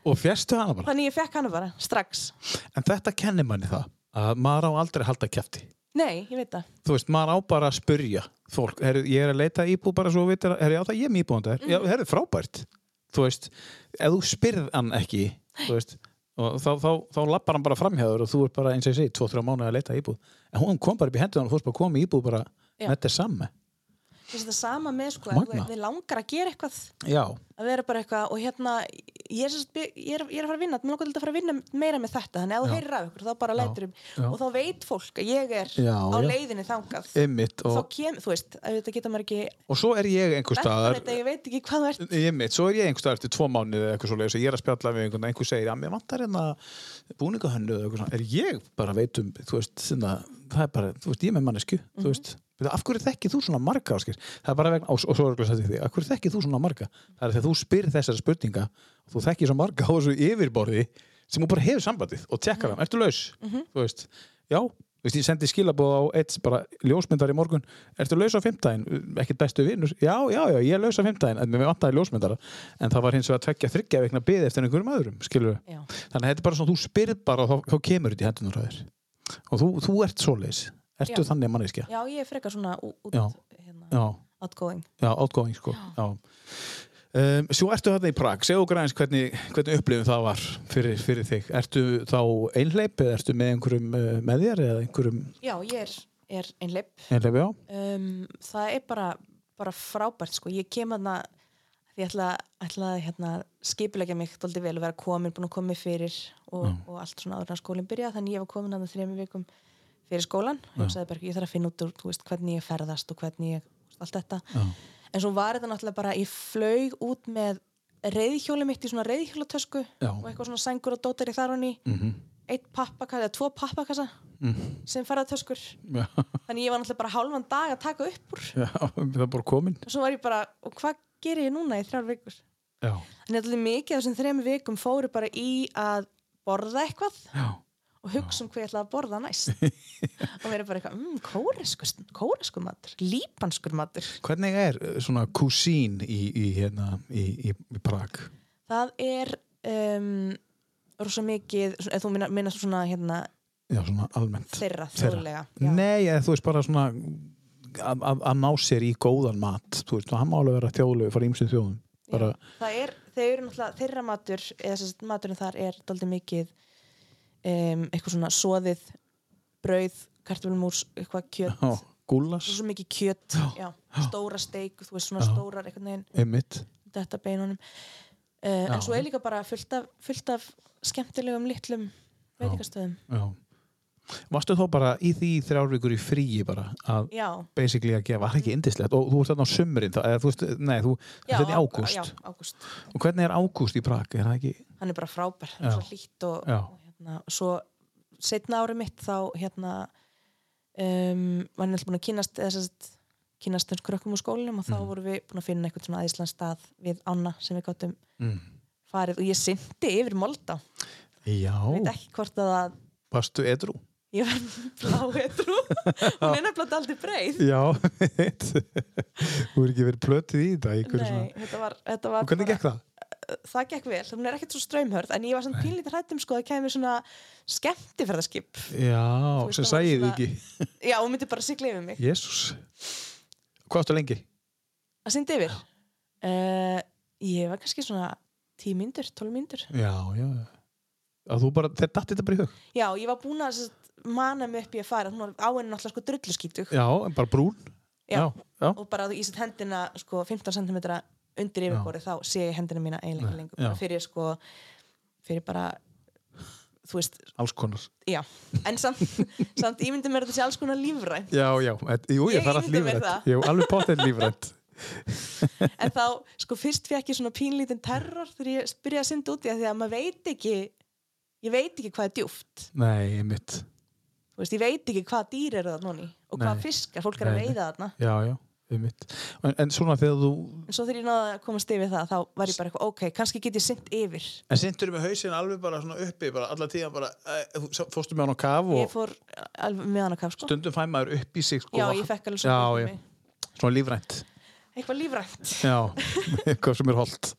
Speaker 2: Og fjastu hana bara?
Speaker 3: þannig ég fekk hana bara, strax
Speaker 2: En þetta kennir manni það að maður á aldrei að halda kæfti
Speaker 3: nei, ég veit það,
Speaker 2: þú veist, maður á bara að spurja fólk, herru, ég er að leita að íbúð bara svo við herru, já það ég er með íbúðan þær, já,
Speaker 3: Mhm.
Speaker 2: herru, frábært þú veist, ef þú spyrð hann ekki, þú veist og þá, þá, þá lappar hann bara framhjáður og þú er bara eins og ég segi, 2-3 mánuði að leita að íbúð en hún kom bara upp í hendur hann og fórst bara að koma í íbúð bara,
Speaker 3: Já.
Speaker 2: þetta er samme
Speaker 3: ég veist það sama með sko,
Speaker 2: Magnað.
Speaker 3: ef þið langar að gera eitthvað
Speaker 2: já,
Speaker 3: að vera bara eitthvað og hérna ég er, sem sagt- ég er, ég er að fara að vinna, mér langar til að fara að vinna meira með þetta, þannig að ef þú
Speaker 2: Já.
Speaker 3: heyrir af ykkur þá bara
Speaker 2: Já,
Speaker 3: lætur um
Speaker 2: já.
Speaker 3: og þá veit fólk að ég er
Speaker 2: Já,
Speaker 3: á
Speaker 2: já.
Speaker 3: leiðinni þangað
Speaker 2: ymmit
Speaker 3: þá
Speaker 2: og,
Speaker 3: kem, þú veist, að þetta geta maður ekki
Speaker 2: og svo er ég einhver
Speaker 3: Staðar,
Speaker 2: staðar
Speaker 3: þetta, ég veit ekki hvað þú ert
Speaker 2: Einmitt, svo er ég einhvers staðar eftir tvo mánuði eða eitthvað svo leiðis og ég er að spjalla við einhvern einhver segir að mér vantar hérna búningahönnu eða eitthvað svona, er ég bara veit um þú veist, sinna, það er bara, þú veist, ég er með mannesku þú veist, Veitu, af hverju þekkið þú svona marga áskir, það er bara vegna, og, og svo er ekki að setja því af hverju þekkið þú svona marga, það er þegar þú spyr þessara spurninga, og þú þekkið svo marga á þessu yfirborði sem þú bara hefur sambandið og tekkar mm ertu laus, þú veist já, þú veist, ég sendi skilabóð á eitt bara ljósmyndar í morgun, ertu laus á fimmtæðin, ekkert bestu vinnur, já, já, já ég er laus á fimmtæðin, en mér vantaði ljósmyndara en það var hins vegar tveggja þryggja vegna bið eftir einhverjum öðrum, skilur
Speaker 3: Já.
Speaker 2: þannig að þetta er bara svona, þú spyrð bara og þá, þá kemur þetta í hendunar á þér og þú, þú ert svoleiðis, ertu
Speaker 3: Já.
Speaker 2: þannig manneskja
Speaker 3: já, ég er frekar svona ú- út
Speaker 2: Já.
Speaker 3: hérna,
Speaker 2: já.
Speaker 3: outgoing
Speaker 2: Já, outgoing sko Já. Um, svo ertu þarna í Prag, segðu okkur aðeins hvernig, hvernig upplifun það var fyrir, fyrir þig Ertu þá einhleip eða ertu með einhverjum uh, með þér eða einhverjum
Speaker 3: já, ég er, er einleip
Speaker 2: einhleip, já,
Speaker 3: um, það er bara, bara frábært sko. ég kem aðna ég ætla, ætla að hérna, skipulegja mig dóldi vel og vera komin, búin að koma mig fyrir og, og allt svona áður en að skólinn byrja þannig ég var komin aðna þrejum vikum fyrir skólan og ég sagði bara, ég þarf að finna út úr þú veist, hvernig ég ferðast og hvernig ég þú veist, allt þetta, en svo var þetta náttúrulega bara ég flaug út með reyðhjóli mitt í svona reyðhjólatösku
Speaker 2: Já. Mhm.
Speaker 3: og eitthvað svona sængur og dótar í þar honni mm -hmm. eitt pappakassa, eða tvo pappakassa sem ferðartöskur
Speaker 2: [laughs] já,
Speaker 3: þannig ég var náttúrulega bara hálfan dag að taka upp úr
Speaker 2: já, það er bara komin
Speaker 3: og svo var ég bara, og hvað geri ég núna í þrjár vikur
Speaker 2: já,
Speaker 3: en þetta er mikið af þessum þrejum vikum fóru bara í að borða eitthvað
Speaker 2: já,
Speaker 3: og hugsa um hvað ég ætla að borða
Speaker 2: [laughs]
Speaker 3: næst og verið bara eitthvað, mmm, kóresku, kóresku matur líbanskur matur
Speaker 2: Hvernig er eh, svona kúsín í, í hérna, í, í, í Prag?
Speaker 3: það er um, rosa mikið, svona- ef þú minna- minnast svona hérna,
Speaker 2: Já, svona almennt.
Speaker 3: þeirra
Speaker 2: Þeirra.
Speaker 3: þjóðlega já.
Speaker 2: Nei, eða, þú veist bara svona að- að að ná sér í góðan mat, þú veist, og hann má alveg vera þjóðlegu fyrir ímsum þjóðum. Bara,
Speaker 3: það er, þeir eru náttúrulega, þeirra matur eða þess að maturinn þar er daldið mikið um, eitthvað svona soðið brauð, kartaflumús eitthvað kjöt,
Speaker 2: já,
Speaker 3: oh.
Speaker 2: gúlas,
Speaker 3: svo mikið kjöt já, stóra steik, þú veist svona stórar eitthvað neginn,
Speaker 2: einmitt.
Speaker 3: þetta beinunum uh, en svo er líka bara fullt af, fullt af skemmtilegum litlum veitingastöðum
Speaker 2: Já. Varstu þá bara í því þrjárvíkur í fríi bara að
Speaker 3: já,
Speaker 2: basically að gefa, var ekki indislegt og þú ert þarna á sumrin, þá, eða þú veist, nei, þú
Speaker 3: já,
Speaker 2: þetta er í
Speaker 3: á-
Speaker 2: ágúst.
Speaker 3: já, ágúst,
Speaker 2: Og hvernig er ágúst í Prag, er það ekki?
Speaker 3: hann er bara frábær hann er
Speaker 2: Já.
Speaker 3: svo hlýtt og,
Speaker 2: Já.
Speaker 3: og hérna, svo setna ári mitt þá hérna um, var hann alltaf búin að kynast eða sérst kynast þess krökkum úr skólinum og þá
Speaker 2: Mhm.
Speaker 3: vorum við búin að finna eitthvað svona æðislan stað við Anna sem við gáttum
Speaker 2: Mm.
Speaker 3: farið og ég syndi yfir Moldá veit
Speaker 2: Já,
Speaker 3: ekki hvort að það
Speaker 2: varstu edru?
Speaker 3: ég var [laughs] blá
Speaker 2: [laughs]
Speaker 3: hetrú hún er nefnilega aldrei breið
Speaker 2: Já, [laughs] veit. Þú er ekki verið plötið í þetta,
Speaker 3: Nei, þetta var, þetta var
Speaker 2: Og hvernig
Speaker 3: bara-
Speaker 2: gekk það?
Speaker 3: það gekk vel, hún er ekkert svo straumhörð en ég var svona pínlítið hrættum sko að kemur svona skemmtifærðarskip
Speaker 2: Já,
Speaker 3: veist,
Speaker 2: sem
Speaker 3: það var
Speaker 2: sæði þið
Speaker 3: svona-
Speaker 2: ekki.
Speaker 3: já, hún myndi bara sigla yfir mig
Speaker 2: Jésús. Hvað áttu lengi?
Speaker 3: að syndi yfir uh, ég var kannski svona 10 myndur, 12 myndur
Speaker 2: Já, já. Að þú bara, þeir datti þetta bara í hug.
Speaker 3: já, ég var búin að sem sagt, mana mig upp í að fara hún var á henni náttúrulega sko drulluskítug
Speaker 2: Já, en bara brún.
Speaker 3: Já.
Speaker 2: já.
Speaker 3: og bara í sitt hendina sko 15 cm undir yfirborið þá sé ég hendina mína eiginlega ekki lengur
Speaker 2: já.
Speaker 3: bara fyrir sko fyrir bara þú veist,
Speaker 2: Alls konar.
Speaker 3: já en samt, [laughs] samt ímyndum mér að þetta sé alls konar lífræn
Speaker 2: Já, já. Et, jú, ég,
Speaker 3: Ég
Speaker 2: það er allt
Speaker 3: ímynda mér
Speaker 2: lífrænt.
Speaker 3: það.
Speaker 2: Jú, alveg potið lífrænt.
Speaker 3: en þá, sko, fyrst fekk ég svona pínlítinn terror þegar ég byrjaði að synda út í það því að maður veit ekki ég veit ekki hvað er djúft
Speaker 2: Nei, mitt.
Speaker 3: Þú veist, ég veit ekki hvað dýr eru það núni og hvað
Speaker 2: Nei.
Speaker 3: fiskar, fólk er að
Speaker 2: Nei, nei.
Speaker 3: veiða þarna
Speaker 2: Já, já, mitt. En, en svona þegar þú,
Speaker 3: en svo þegar ég náði að komast yfir það þá var ég bara eitthvað, ok, kannski get ég synd yfir
Speaker 2: en sindur með hausin alveg bara svona uppi, bara alla tíðan bara, uh, fórstu með hann á kaf
Speaker 3: ég
Speaker 2: og
Speaker 3: fór alveg með hana kaf, sko
Speaker 2: stundum fæ maður upp í sig. Sko,
Speaker 3: já, ég fekk alveg
Speaker 2: Já,
Speaker 3: fyrir
Speaker 2: já.
Speaker 3: mig.
Speaker 2: Svona lífrænt.
Speaker 3: eitthvað lífrænt
Speaker 2: Já,
Speaker 3: [laughs]
Speaker 2: eitthvað sem er holdt.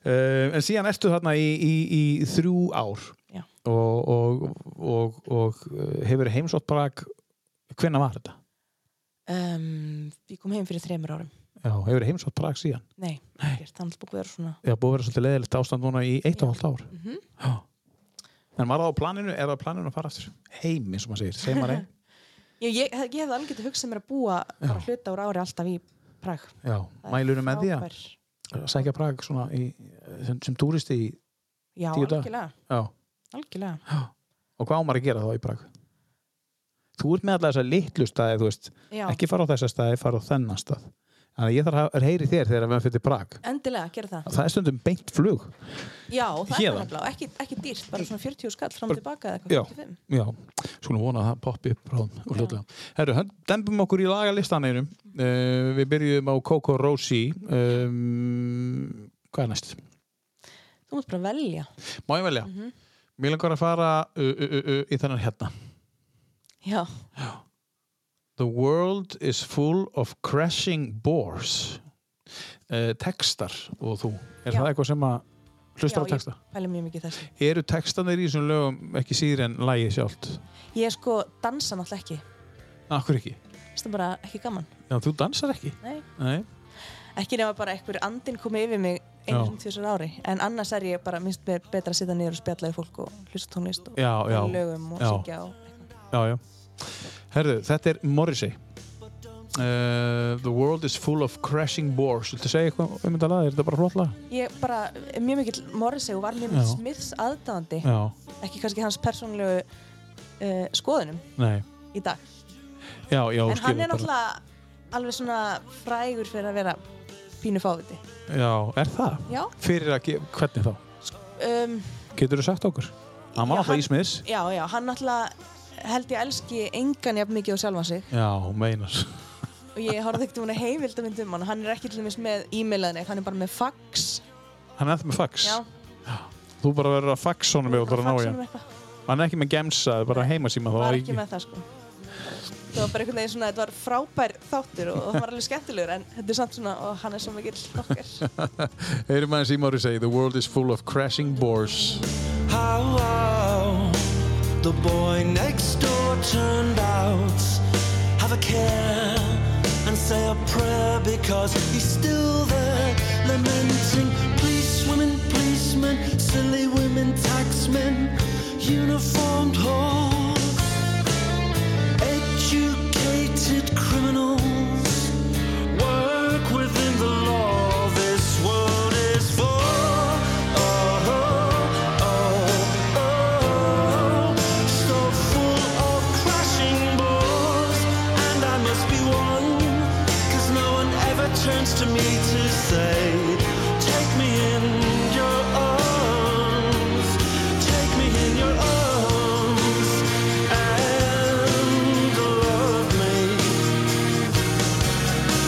Speaker 2: Uh, en síðan ertu þarna í, í, í þrjú ár
Speaker 3: Já.
Speaker 2: og, og, og, og uh, hefur heimsótt Prag, hvenna var þetta?
Speaker 3: um, ég kom heim fyrir þremur árum
Speaker 2: Já, hefur heimsótt Prag síðan.
Speaker 3: nei, ekkert, þannig búið að vera svona
Speaker 2: Já, búið að vera svolítið leðilegt ástand núna í eitt og halvt ár. Mm
Speaker 3: Mhm.
Speaker 2: -hmm. En var það á planinu, er það á planinu að fara aftur heim, eins og maður segir, segir
Speaker 3: [laughs]
Speaker 2: maður heim?
Speaker 3: ég, ég, ég hefði alveg getið hugsað mér að búa bara hluta úr ári alltaf í Prag
Speaker 2: Já, mælunum með því að
Speaker 3: Frábær-
Speaker 2: sækja Prag svona í, sem, sem túristi í,
Speaker 3: Já,
Speaker 2: Tíu daga.
Speaker 3: algjörlega,
Speaker 2: já,
Speaker 3: algjörlega.
Speaker 2: og hvað á maður að gera þá í Prag? Þú ert með alltaf þessa litlu staði, þú veist,
Speaker 3: Já,
Speaker 2: ekki fara á þessa staði, fara á þennan stað þannig að ég þarf að heyri þér þegar við fyrir Prag
Speaker 3: endilega, gera það.
Speaker 2: það er stundum beint flug
Speaker 3: Já, það er
Speaker 2: Héðan?
Speaker 3: það nefnilega, og ekki, ekki dýrt, bara svona 40 skall fram
Speaker 2: Bara-
Speaker 3: tilbaka eða
Speaker 2: Já.
Speaker 3: eitthvað, 45.
Speaker 2: já, skulum vona að það poppi upp ráðum og hlutlega herru, hönd- dembum okkur í lagalistan einum uh, við byrjum á Coco Rosie um, hvað er næst?
Speaker 3: Þú mátt bara velja.
Speaker 2: má ég velja? mér langar að fara uh, uh, uh, uh, í þennan hérna
Speaker 3: Já,
Speaker 2: The world is full of crashing bores uh, textar og þú er
Speaker 3: Já.
Speaker 2: það eitthvað sem að hlusta
Speaker 3: Já,
Speaker 2: á
Speaker 3: ég-
Speaker 2: texta?
Speaker 3: pæli mjög mikið þessi.
Speaker 2: eru textanir í þessum lögum ekki síður en lagið sjálft
Speaker 3: Ég sko dansa náttúrulega ekki,
Speaker 2: Akkur ekki?
Speaker 3: finnst það bara ekki gaman.
Speaker 2: Já, þú dansar ekki?
Speaker 3: Nei.
Speaker 2: Nei,
Speaker 3: Ekki nema bara einhver andinn komi yfir mig einu
Speaker 2: Já.
Speaker 3: sem tvisar ári, en annars er ég bara minnst mér betra að sitja niður og spjalla við fólk og hlusta á tónlist og
Speaker 2: já, já,
Speaker 3: og lögum og
Speaker 2: Já.
Speaker 3: syngja og eitthvað.
Speaker 2: já, já Herðu, þetta er Morrissey uh, The world is full of crashing bores Viltu segja eitthvað um þetta lag? Er þetta bara flott lag?
Speaker 3: Ég bara, mjög mikill Morrissey og var mjög mikill
Speaker 2: Já.
Speaker 3: Smiths aðdáðandi,
Speaker 2: Já,
Speaker 3: ekki kannski hans persónlegu uh, skoðunum
Speaker 2: nei
Speaker 3: í dag.
Speaker 2: Já, já,
Speaker 3: en hann
Speaker 2: skilur
Speaker 3: er náttúrulega alveg svona frægur fyrir að vera pínu fáviti
Speaker 2: bara Já, er það?
Speaker 3: já,
Speaker 2: Fyrir að, ge- hvernig þá?
Speaker 3: um,
Speaker 2: Getur þú sagt okkur? Hann var
Speaker 3: Já, hann-
Speaker 2: náttúrulega ísmiðis
Speaker 3: já, já, hann náttúrulega held ég elski engan jafn mikið og sjálfan sig
Speaker 2: Já, hún meinar
Speaker 3: og ég horfði ekkert hún að heimilda mynd um hann hann er ekki til dæmis með e-mailaðinni, hann er bara með fax
Speaker 2: Hann er eftir með fax.
Speaker 3: já,
Speaker 2: Þú bara verður að fax honum við og bara ná í
Speaker 3: faxinum
Speaker 2: hann.
Speaker 3: eitthvað
Speaker 2: Hann er ekki með gemsa, það er bara heimasíma.
Speaker 3: var
Speaker 2: Það
Speaker 3: ekki með það sko það var bara einhvern veginn svona, þetta var frábær þáttur og það var alveg skemmtilegur en þetta er samt svona, og hann er svo mikill okkar
Speaker 2: Heyrum aðeins í Mári segi, the world is full of crashing bores.
Speaker 1: How the boy next door turned out. Have a care and say a prayer because he's still there lamenting. Police women, policemen, silly women, taxmen, uniformed whores, educated criminals. Work within the law. This world is for. Oh, oh, oh, oh. So full of crashing balls. And I must be one. Cause no one ever turns to me to say, Take me in your arms. Take me in your arms. And love me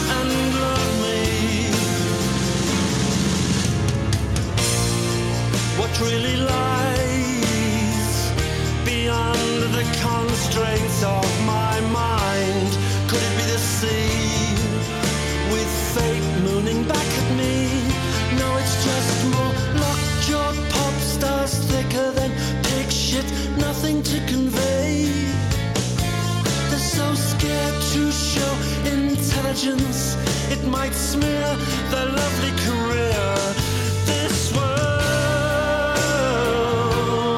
Speaker 1: and love me. What really lies beyond the constraints of my mind? Could it be the sea with fate mooning back at me? No, it's just more lockjaw pop stars thicker than pig shit, nothing to convey. They're so scared to show intelligence. It might smear their lovely career. This world,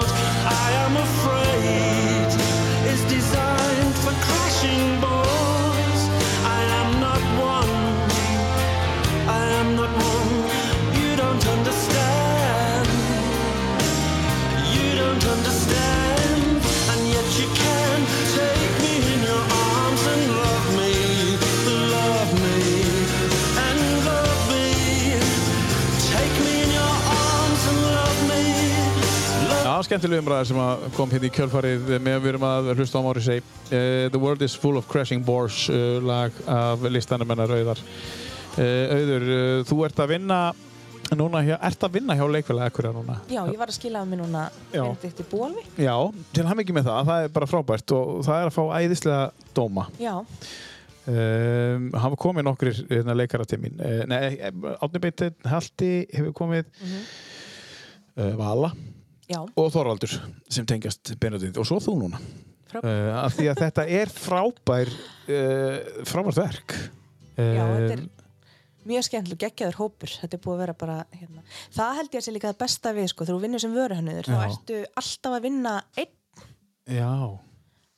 Speaker 1: I am afraid, is designed for crashing balls. I am not one. I am not one. You don't understand. You don't understand, and yet you can take me in your arms and love me, love me, and love me. Take me in your arms and love me, love
Speaker 2: Já, skemmtileg umræða sem að kom hérna í kjölfarið með að við erum að hlusta á Mári segi. Uh, the world is full of crashing bores, uh, lag af listanum hennar Auðar. Uh, Auður, uh, þú ert að vinna núna hjá, ert að vinna hjá leikfélag Akureyrar núna?
Speaker 3: [laughs] já, ég var að skila af mér núna
Speaker 2: Já.
Speaker 3: Benedikt í Bólvi
Speaker 2: Já, til hann ekki með það, það er bara frábært og það er að fá æðislega dóma.
Speaker 3: já,
Speaker 2: Um, hafa komið nokkrir hérna, leikara til mín. Uh, nei, Átni Beitin Halti hefur komið,
Speaker 3: Mhm.
Speaker 2: uh, Vala
Speaker 3: já,
Speaker 2: og Þorvaldur sem tengjast Benedikt og svo þú núna.
Speaker 3: frábær
Speaker 2: Uh, af því að þetta er frábær, uh, frábært verk.
Speaker 3: Já, þetta
Speaker 2: Um,
Speaker 3: er mjög skemmtileg, geggjaður hópur þetta er búið að vera bara hérna. það held ég að sé líka það besta við sko, þegar þú vinnur sem vöruhönnuður þá
Speaker 2: Já.
Speaker 3: ertu alltaf að vinna einn
Speaker 2: Eh, Já,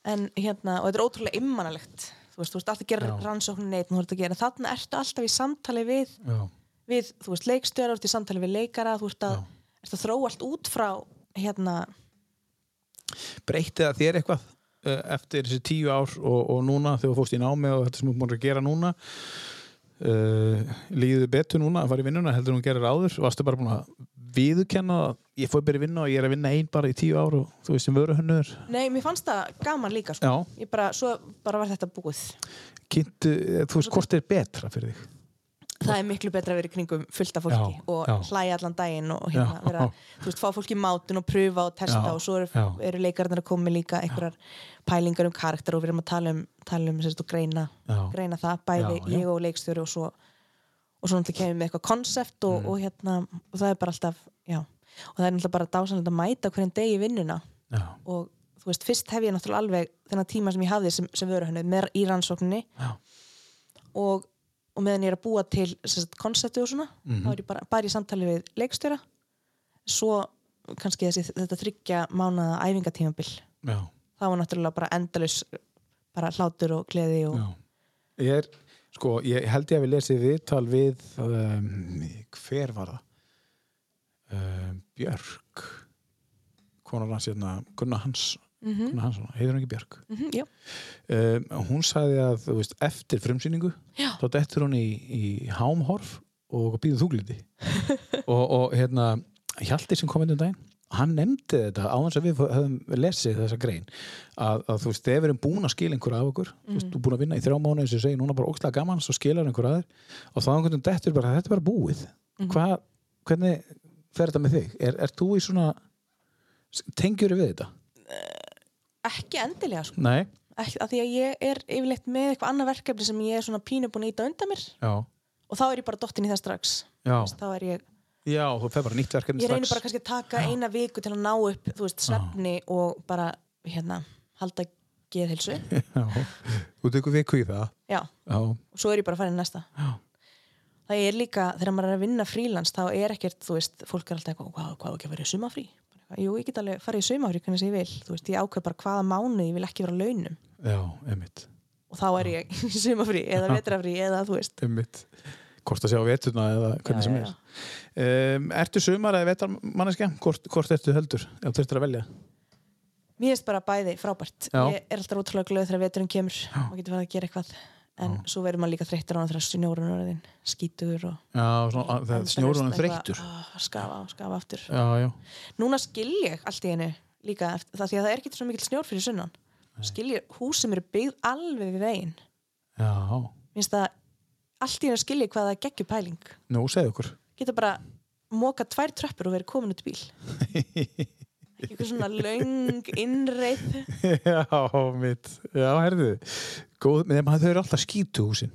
Speaker 3: en, hérna, og þetta er ótrúlega immanalegt þú veist, þú veist alltaf að gera
Speaker 2: Já.
Speaker 3: rannsóknin einn þú ert að gera, þannig ertu alltaf í samtali við,
Speaker 2: já,
Speaker 3: við þú veist, leikstöra þú ert í samtali við leikara, þú ert að,
Speaker 2: Já.
Speaker 3: ert að þróa allt út frá hérna,
Speaker 2: breytti það þér eitthvað uh, eftir þessi tíu ár og, og núna þegar þú fórst í námi og þetta sem þú múin að gera núna uh, líðið betur núna að fara í vinnuna heldur hún gerir áður varstu bara búin að viðurkenna að ég fór bara í vinna og ég er að vinna einn bara í tíu ár og þú veist sem vöru hönnur
Speaker 3: nei, mér fannst það gaman líka sko.
Speaker 2: já,
Speaker 3: ég bara, svo bara var þetta búið
Speaker 2: kynntu, eh, þú veist hvort er betra fyrir þig
Speaker 3: það er miklu betra að vera í kringum fullta fólki
Speaker 2: Já,
Speaker 3: og
Speaker 2: já.
Speaker 3: hlæja allan daginn og hérna,
Speaker 2: Já.
Speaker 3: vera, þú veist, fá fólki í mátun og pröfa og testa
Speaker 2: Já,
Speaker 3: og svo eru,
Speaker 2: já.
Speaker 3: eru leikarnar að koma með líka einhverjar pælingar um karakter og við erum að tala um, tala um sérst, og greina,
Speaker 2: Já.
Speaker 3: greina það, bæði
Speaker 2: Já, já.
Speaker 3: ég og leikstjóri og svo og svo náttúrulega kemur við með eitthvað konsept
Speaker 2: Mm.
Speaker 3: og, og hérna, og það er bara alltaf já, og það er náttúrulega bara dásanlega að mæta hverjum degi í vinnuna
Speaker 2: já,
Speaker 3: og þú veist, fyrst hef ég náttúrulega alveg þennan tíma sem ég hafði sem, sem vöru henni með í rannsókninni
Speaker 2: Já.
Speaker 3: og, og meðan ég er að búa til sem sagt, konseptu og svona
Speaker 2: Mhm.
Speaker 3: þá er ég bara, bara í samtali við leikstjóra svo kannski þessi, þetta þryggja mánaða æfingatímabil
Speaker 2: já,
Speaker 3: það var náttúrulega bara endalaus bara hlátur og gleði og
Speaker 2: já ég er, sko, ég held ég að við lesið viðtal við um, hver var það um, Björk konar hans hérna Gunnar Hans
Speaker 3: mm
Speaker 2: Gunnar Hansson, heitir hún ekki Björk
Speaker 3: já,
Speaker 2: um, hún sagði að þú veist, eftir frumsýningu
Speaker 3: Já.
Speaker 2: þá dettur hún í, í hámhorf og býður þúglindi og, og hérna Hjalti sem kom inn um daginn hann nefndi þetta á þess að við höfum lesið þessa grein að, að þú veist, þegar við erum búin að skila einhverja af okkur þú veist, þú er búin að vinna í þrjá mánu eins og ég segi, núna bara ókslega gaman, svo skilar einhverja að þér og þá einhvern veginn dettur bara, þetta er bara búið Hvað, hvernig fer þetta með þig? Er, er þú í svona tengjur við þetta?
Speaker 3: ekki endilega sko.
Speaker 2: Nei,
Speaker 3: ekki, að því að ég er yfirleitt með eitthvað annað verkefni sem ég er svona pínu búin að íta undan mér
Speaker 2: já,
Speaker 3: og þá er ég bara dottin í það strax
Speaker 2: já,
Speaker 3: Þú veist, þá er ég,
Speaker 2: já þú fer bara nýtt verkefni
Speaker 3: ég reynir bara
Speaker 2: strax
Speaker 3: kannski að taka eina viku til að ná upp, þú veist, svefni og bara, hérna, halda
Speaker 2: [laughs]
Speaker 3: geðhilsu,
Speaker 2: Já, þú tekur viku í það
Speaker 3: já
Speaker 2: Já,
Speaker 3: og svo er ég bara að fara í næsta
Speaker 2: Já.
Speaker 3: það er líka, þegar maður er að vinna frílans þá er ekkert, þú veist, fólk er alltaf eitthvað, hvað, hvað á ekki að vera í sumafrí Bara eitthvað, jú, ég get alveg farið í sumafrí hvernig sem ég vil þú veist, ég ákveð bara hvaða mánu ég vil ekki vera á launum
Speaker 2: já, einmitt
Speaker 3: og þá er ég í [laughs] sumafrí
Speaker 2: [laughs]
Speaker 3: eða vetrafrí eða þú veist
Speaker 2: einmitt hvort að sjá vetuna eða hvernig
Speaker 3: Já,
Speaker 2: sem
Speaker 3: já,
Speaker 2: er um, Ertu sumar eða vetarmanneskja? Hvort, hvort ertu heldur? Ef þú ertur að velja
Speaker 3: mér finnst bara bæði frábært
Speaker 2: Já.
Speaker 3: ég er alltaf ótrúlega glöð þegar veturinn kemur maður getur farið að gera eitthvað en svo verður maður líka þreyttur á hann þegar snjórun er orðinn skítugur og
Speaker 2: Já, svona, að- það snjór honum þreyttur
Speaker 3: Eitthvað, "Ah, skafa, skafa aftur
Speaker 2: Já, já,
Speaker 3: núna skil ég allt í hennu líka eftir, það því að það er ekki svo mikill snjór fyrir sunnan skil ég hús sem eru byggð alveg við veginn
Speaker 2: já
Speaker 3: minnst það allt í hennu skil ég hvað það geggjur pæling
Speaker 2: Nú, segðu okkur [laughs]
Speaker 3: geta bara móka tvær tröppur og verið komin út í bíl
Speaker 2: [laughs]
Speaker 3: eitthvað svona löng innreið
Speaker 2: Já, mitt Já, herðu Góð, menn þau eru alltaf skítu húsin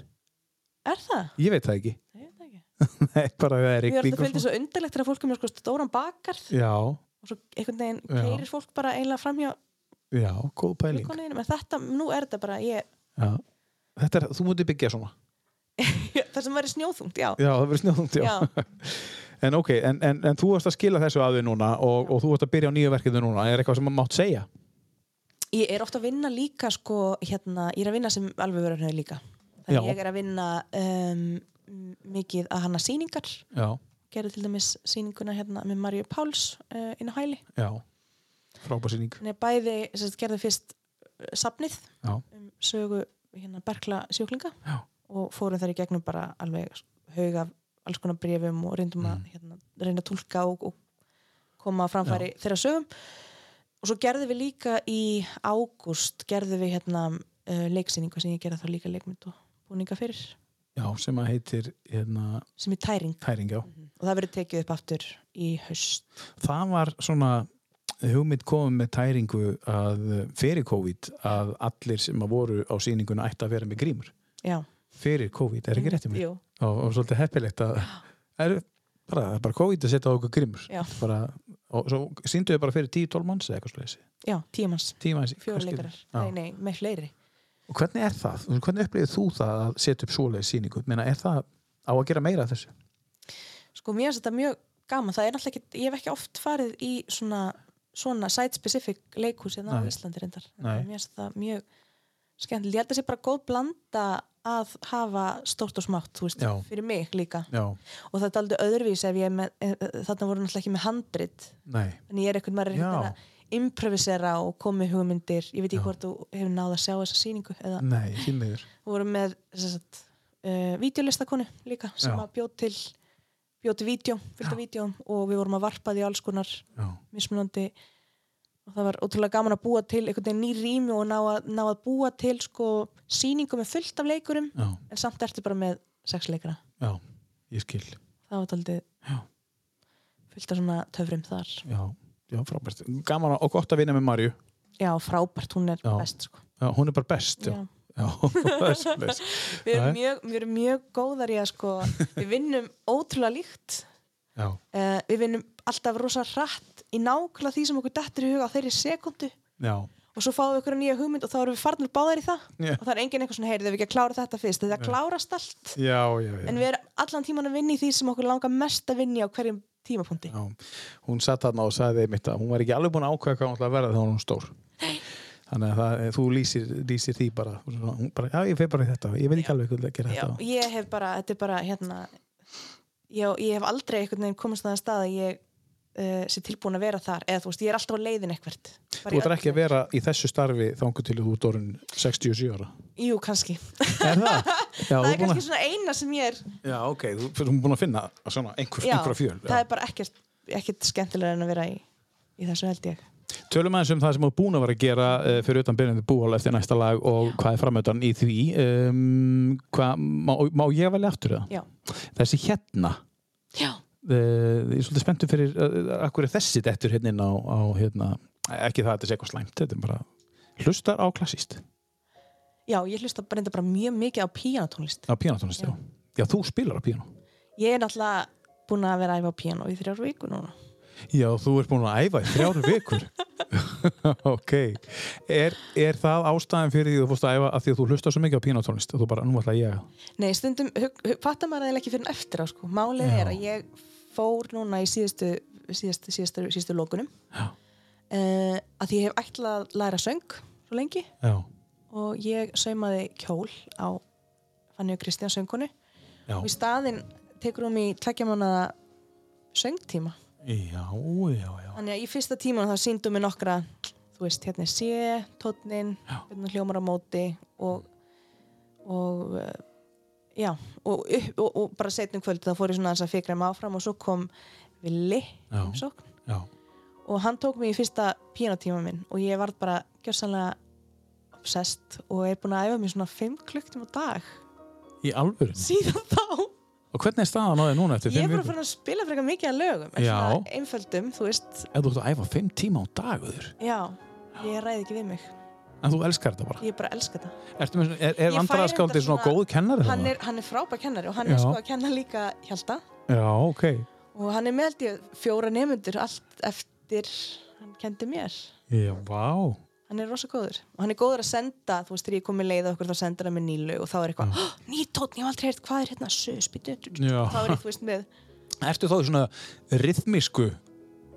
Speaker 3: er það?
Speaker 2: Ég veit það ekki [laughs]
Speaker 3: Ég veit það ekki.
Speaker 2: Nei, bara það er
Speaker 3: Mér er
Speaker 2: rigning
Speaker 3: þetta
Speaker 2: og
Speaker 3: fyndið
Speaker 2: svona.
Speaker 3: svo undarlegt þegar fólk er með sko stóran bakarð
Speaker 2: Já,
Speaker 3: og svo einhvern veginn
Speaker 2: Já.
Speaker 3: keirir fólk bara eiginlega framhjá
Speaker 2: já, góð pæling
Speaker 3: glukkonin en þetta, nú er þetta bara ég, [laughs]
Speaker 2: já. Þetta er, þú mútið byggja svona
Speaker 3: það sem verið snjóþungt, já,
Speaker 2: Já, það verður snjóðumt, já. En ok, en, en, en þú varst að skila þessu að þig núna og, og þú varst að byrja á nýju verkefni núna. Er eitthvað sem maður mátt segja?
Speaker 3: Ég er ofta að vinna líka sko, hérna, ég er að vinna sem alveg verður líka.
Speaker 2: Já.
Speaker 3: Þannig ég er að vinna um, m- mikið að hanna sýningar,
Speaker 2: Já,
Speaker 3: gerði til dæmis sýninguna hérna með Marju Páls uh, inn á hæli.
Speaker 2: já. Frábærsýning.
Speaker 3: Þannig að bæði, sem sagt, gerði fyrst eh, safnið
Speaker 2: Já,
Speaker 3: um sögu hérna berkla sjúklinga
Speaker 2: já,
Speaker 3: og fórum þar í gegnum bara alveg haug af alls konar brefum og reyndum
Speaker 2: Mm.
Speaker 3: að hérna, reyna að tólka og, og koma á framfæri þeirra sögum og svo gerðum við líka í ágúst gerðum við hérna uh, leiksýningu sem ég gerði þá líka leikmynd og búninga fyrir
Speaker 2: já, sem að heitir hérna,
Speaker 3: sem er tæring
Speaker 2: tæring, já.
Speaker 3: og það verður tekið upp aftur í haust
Speaker 2: Það var svona hugmynd komið með tæringu að eh, fyrir COVID að allir sem að voru á sýninguna ætti að vera með grímur.
Speaker 3: Já,
Speaker 2: Fyrir COVID, er ekki rétt um mig?
Speaker 3: Mhm, jú,
Speaker 2: og, og svolítið heppilegt að er bara, það er bara COVID að setja á okkur grimmur
Speaker 3: Já.
Speaker 2: bara, og svo síndu við bara fyrir 10-12 manns eða eitthvað slúðis
Speaker 3: já, tímans
Speaker 2: tíma þessi
Speaker 3: fjóra leikarar, nei, nei, með fleiri
Speaker 2: og hvernig er það, hvernig upplifir þú það að setja upp svoleiðis sýningu, meina er það á að gera meira af þessu
Speaker 3: Sko mér finnst þetta mjög gaman, það er náttúrulega ekki, ég hef ekki oft farið í svona, svona site-specific leikhús hérna á
Speaker 2: Nei.
Speaker 3: Íslandi reyndar.
Speaker 2: Nei.
Speaker 3: Mér finnst þetta mjög skemmtilega, ég held að sé bara góð blanda að hafa stórt og smátt, þú veist,
Speaker 2: Já.
Speaker 3: fyrir mig líka.
Speaker 2: já,
Speaker 3: Og það er aldrei öðruvísi ef ég er með, eh, eh, þarna voru náttúrulega ekki með handrit,
Speaker 2: nei,
Speaker 3: þannig ég er eitthvað maður er
Speaker 2: Já.
Speaker 3: eitthvað að improvisera og koma með hugmyndir, ég veit
Speaker 2: Já.
Speaker 3: ekki hvort þú hefur náð að sjá þessa sýningu eða
Speaker 2: nei, þínmiður
Speaker 3: við vorum með sagt, uh, vídeolistakonu líka sem
Speaker 2: Já.
Speaker 3: að bjóð til bjóð til vídeo, fylgta vídeoum og við vorum að varpa því alls konar
Speaker 2: já,
Speaker 3: mismunandi og það var ótrúlega gaman að búa til einhvern veginn ný rými og ná að, ná að búa til sko sýningu með fullt af leikurum
Speaker 2: já,
Speaker 3: en samt ertu bara með sex leikara
Speaker 2: já, ég skil
Speaker 3: það var taldið
Speaker 2: Já.
Speaker 3: fullt af svona töfrum þar
Speaker 2: já, já, frábært, gaman og gott að vinna með Marju
Speaker 3: já, frábært, hún er
Speaker 2: Já.
Speaker 3: best sko.
Speaker 2: já, hún er bara best já,
Speaker 3: Já.
Speaker 2: já, það er svoleiðis.
Speaker 3: við, erum
Speaker 2: Nei.
Speaker 3: mjög, við erum mjög góðar í að sko við vinnum ótrúlega líkt
Speaker 2: já,
Speaker 3: uh, við vinnum alltaf rosa hratt í nákvæmlega því sem okkur dettur í huga á þeirri sekundu
Speaker 2: já,
Speaker 3: og svo fáum við okkur nýja hugmynd og þá erum við farnir báðar í það
Speaker 2: Já.
Speaker 3: og það er enginn eitthvað svona heyrið við ekki að klára þetta fyrst þetta klárast allt
Speaker 2: já, já, já.
Speaker 3: en við erum allan tíman að vinna í því sem okkur langar mest að vinna í á hverjum tímapunkti
Speaker 2: Já, hún satt þarna og sagði einmitt að hún var ekki alveg búin að ákveða hvað hún ætlaði að verða þegar hún var stór. Þannig að það, þú lýsir, lýsir því bara, Þú svona, hún bara, já ég feg bara í þetta, ég veit ekki alveg hvað það gera
Speaker 3: Já,
Speaker 2: þetta.
Speaker 3: ég hef bara, þetta er bara hérna, já, ég hef aldrei einhvern veginn komast að það stað að ég uh, sé tilbúin að vera þar eða þú veist, ég er alltaf á leiðin eitthvert
Speaker 2: Þú ætlar ekki að vera í þessu starfi þangu til þú dórun 67
Speaker 3: [laughs]
Speaker 2: ára.
Speaker 3: Jú, kannski
Speaker 2: Er það? Já,
Speaker 3: [laughs] Það
Speaker 2: þú
Speaker 3: er
Speaker 2: er búin
Speaker 3: kannski
Speaker 2: að,
Speaker 3: svona eina sem ég er
Speaker 2: já ok, þú þú er búin að finna svona einhver,
Speaker 3: já,
Speaker 2: einhverja fjöl.
Speaker 3: það er bara ekkert, ekkert skemmtilega en að vera í í þessu held ég
Speaker 2: Tölum aðeins um það sem þú er búin að vera að gera uh, fyrir utan byrjandi búhóla eftir næsta lag og hvað er framöndan í því um, hvað, má, má ég velja aftur það?
Speaker 3: Já,
Speaker 2: Þessi hérna
Speaker 3: já.
Speaker 2: uh, ég er svolítið spenntur fyrir uh, akkur er þessi dettur hérna inn á, á hérna, ekki það að þetta sé eitthvað slæmt þetta er bara hlustar á klassíst
Speaker 3: já ég hlusta bara, reyndar bara mjög mikið á píanotónlist
Speaker 2: á píanotónlist, já. já, þú spilar á píano
Speaker 3: Ég er náttúrulega búin að vera að æfa á píano í þrjár viku núna
Speaker 2: já, þú ert búin að æfa í þrjáru vikur [laughs] ok er, er það ástæðan fyrir því að þú fórst að æfa af því að þú hlustar svo mikið á píanotónlist og þú bara, nú ætla ég að
Speaker 3: Nei, stundum, hug, hug, fattar maður það ekki fyrir en eftir á sko. Málið
Speaker 2: Já.
Speaker 3: er að ég fór núna í síðustu, síðustu, síðustu, síðustu lókunum
Speaker 2: Já.
Speaker 3: uh, að ég hef ætlað að læra söng svo lengi
Speaker 2: já,
Speaker 3: og ég saumaði kjól á Fanny og Kristján söngunu
Speaker 2: já,
Speaker 3: og í staðinn tekur hún í tveggja mánada söngtíma
Speaker 2: já, já, já.
Speaker 3: þannig að í fyrsta tíman þá síndum við nokkra þú veist, hérna er sé, tónnin hérna hljómar á móti og og eh, já, og, upp- og, og bara setnum kvöld þá fór ég svona aðeins að fikra mig áfram og svo kom Villi
Speaker 2: Já.
Speaker 3: umsókn
Speaker 2: já.
Speaker 3: og hann tók mig í fyrsta píanotíma minn og ég varð bara gjörsanlega obsessed og er búin að æfa mér svona 5 klukktum á dag
Speaker 2: í alvöru
Speaker 3: síðan þá
Speaker 2: og hvernig er staðan á þig núna eftir
Speaker 3: ég er
Speaker 2: fimm
Speaker 3: bara
Speaker 2: vikur
Speaker 3: fyrir að spila frekar mikið að lögum en
Speaker 2: Já.
Speaker 3: svona einföldum, þú veist
Speaker 2: ef þú ert að æfa fimm tíma á daguður
Speaker 3: já, ég ræði ekki við mig
Speaker 2: en þú elskar þetta bara
Speaker 3: ég bara elska það
Speaker 2: Ertu með, er, er
Speaker 3: Ég fæ
Speaker 2: vandræðaskáldið
Speaker 3: reyndar
Speaker 2: svona
Speaker 3: svona-
Speaker 2: góð kennari?
Speaker 3: hann
Speaker 2: þarna?
Speaker 3: er, hann er frábær kennari og
Speaker 2: Já.
Speaker 3: hann er sko að kenna líka Hjalta
Speaker 2: Já, ok.
Speaker 3: og hann er með held ég fjóra nefnundur allt eftir hann kendi mér
Speaker 2: Já, vá.
Speaker 3: hann er rosa góður og hann er góður að senda þú veist þegar ég kom í leið á okkur þá sendur hann með nýlu og þá er eitthvað,
Speaker 2: Ah.
Speaker 3: oh, ný tótt, ég hef aldrei heyrt hvað er hérna, sus, býtu
Speaker 2: Já.
Speaker 3: þá er ég þú veist með,
Speaker 2: Ertu þá í svona rithmísku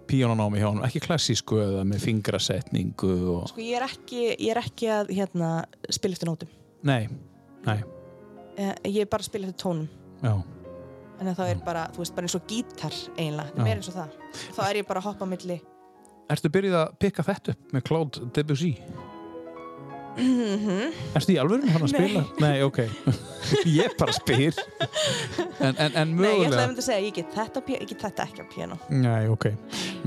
Speaker 2: píónanámi hjá hann, ekki klassísku eða með fingrasetningu og...
Speaker 3: sko ég er ekki ég er ekki að hérna spila eftir nótum
Speaker 2: Nei, nei,
Speaker 3: Eh, ég er bara að spila eftir tónum
Speaker 2: já.
Speaker 3: en þá er bara, þú veist, bara eins og gítar eiginlega,
Speaker 2: Já.
Speaker 3: þetta er meira eins og það þá er ég bara að hoppa á milli
Speaker 2: Ertu byrjuð að pikka þetta upp með Claude Debussy? Ertu í alvöru hann að
Speaker 3: Nei.
Speaker 2: spila? Nei, ok.
Speaker 3: [laughs]
Speaker 2: ég bara spyr. En, en, en
Speaker 3: Nei, ég ætlaði
Speaker 2: mögulega...
Speaker 3: einmitt að segja, ég get þetta, á pí- ég get þetta ekki á piano
Speaker 2: Nei, ok.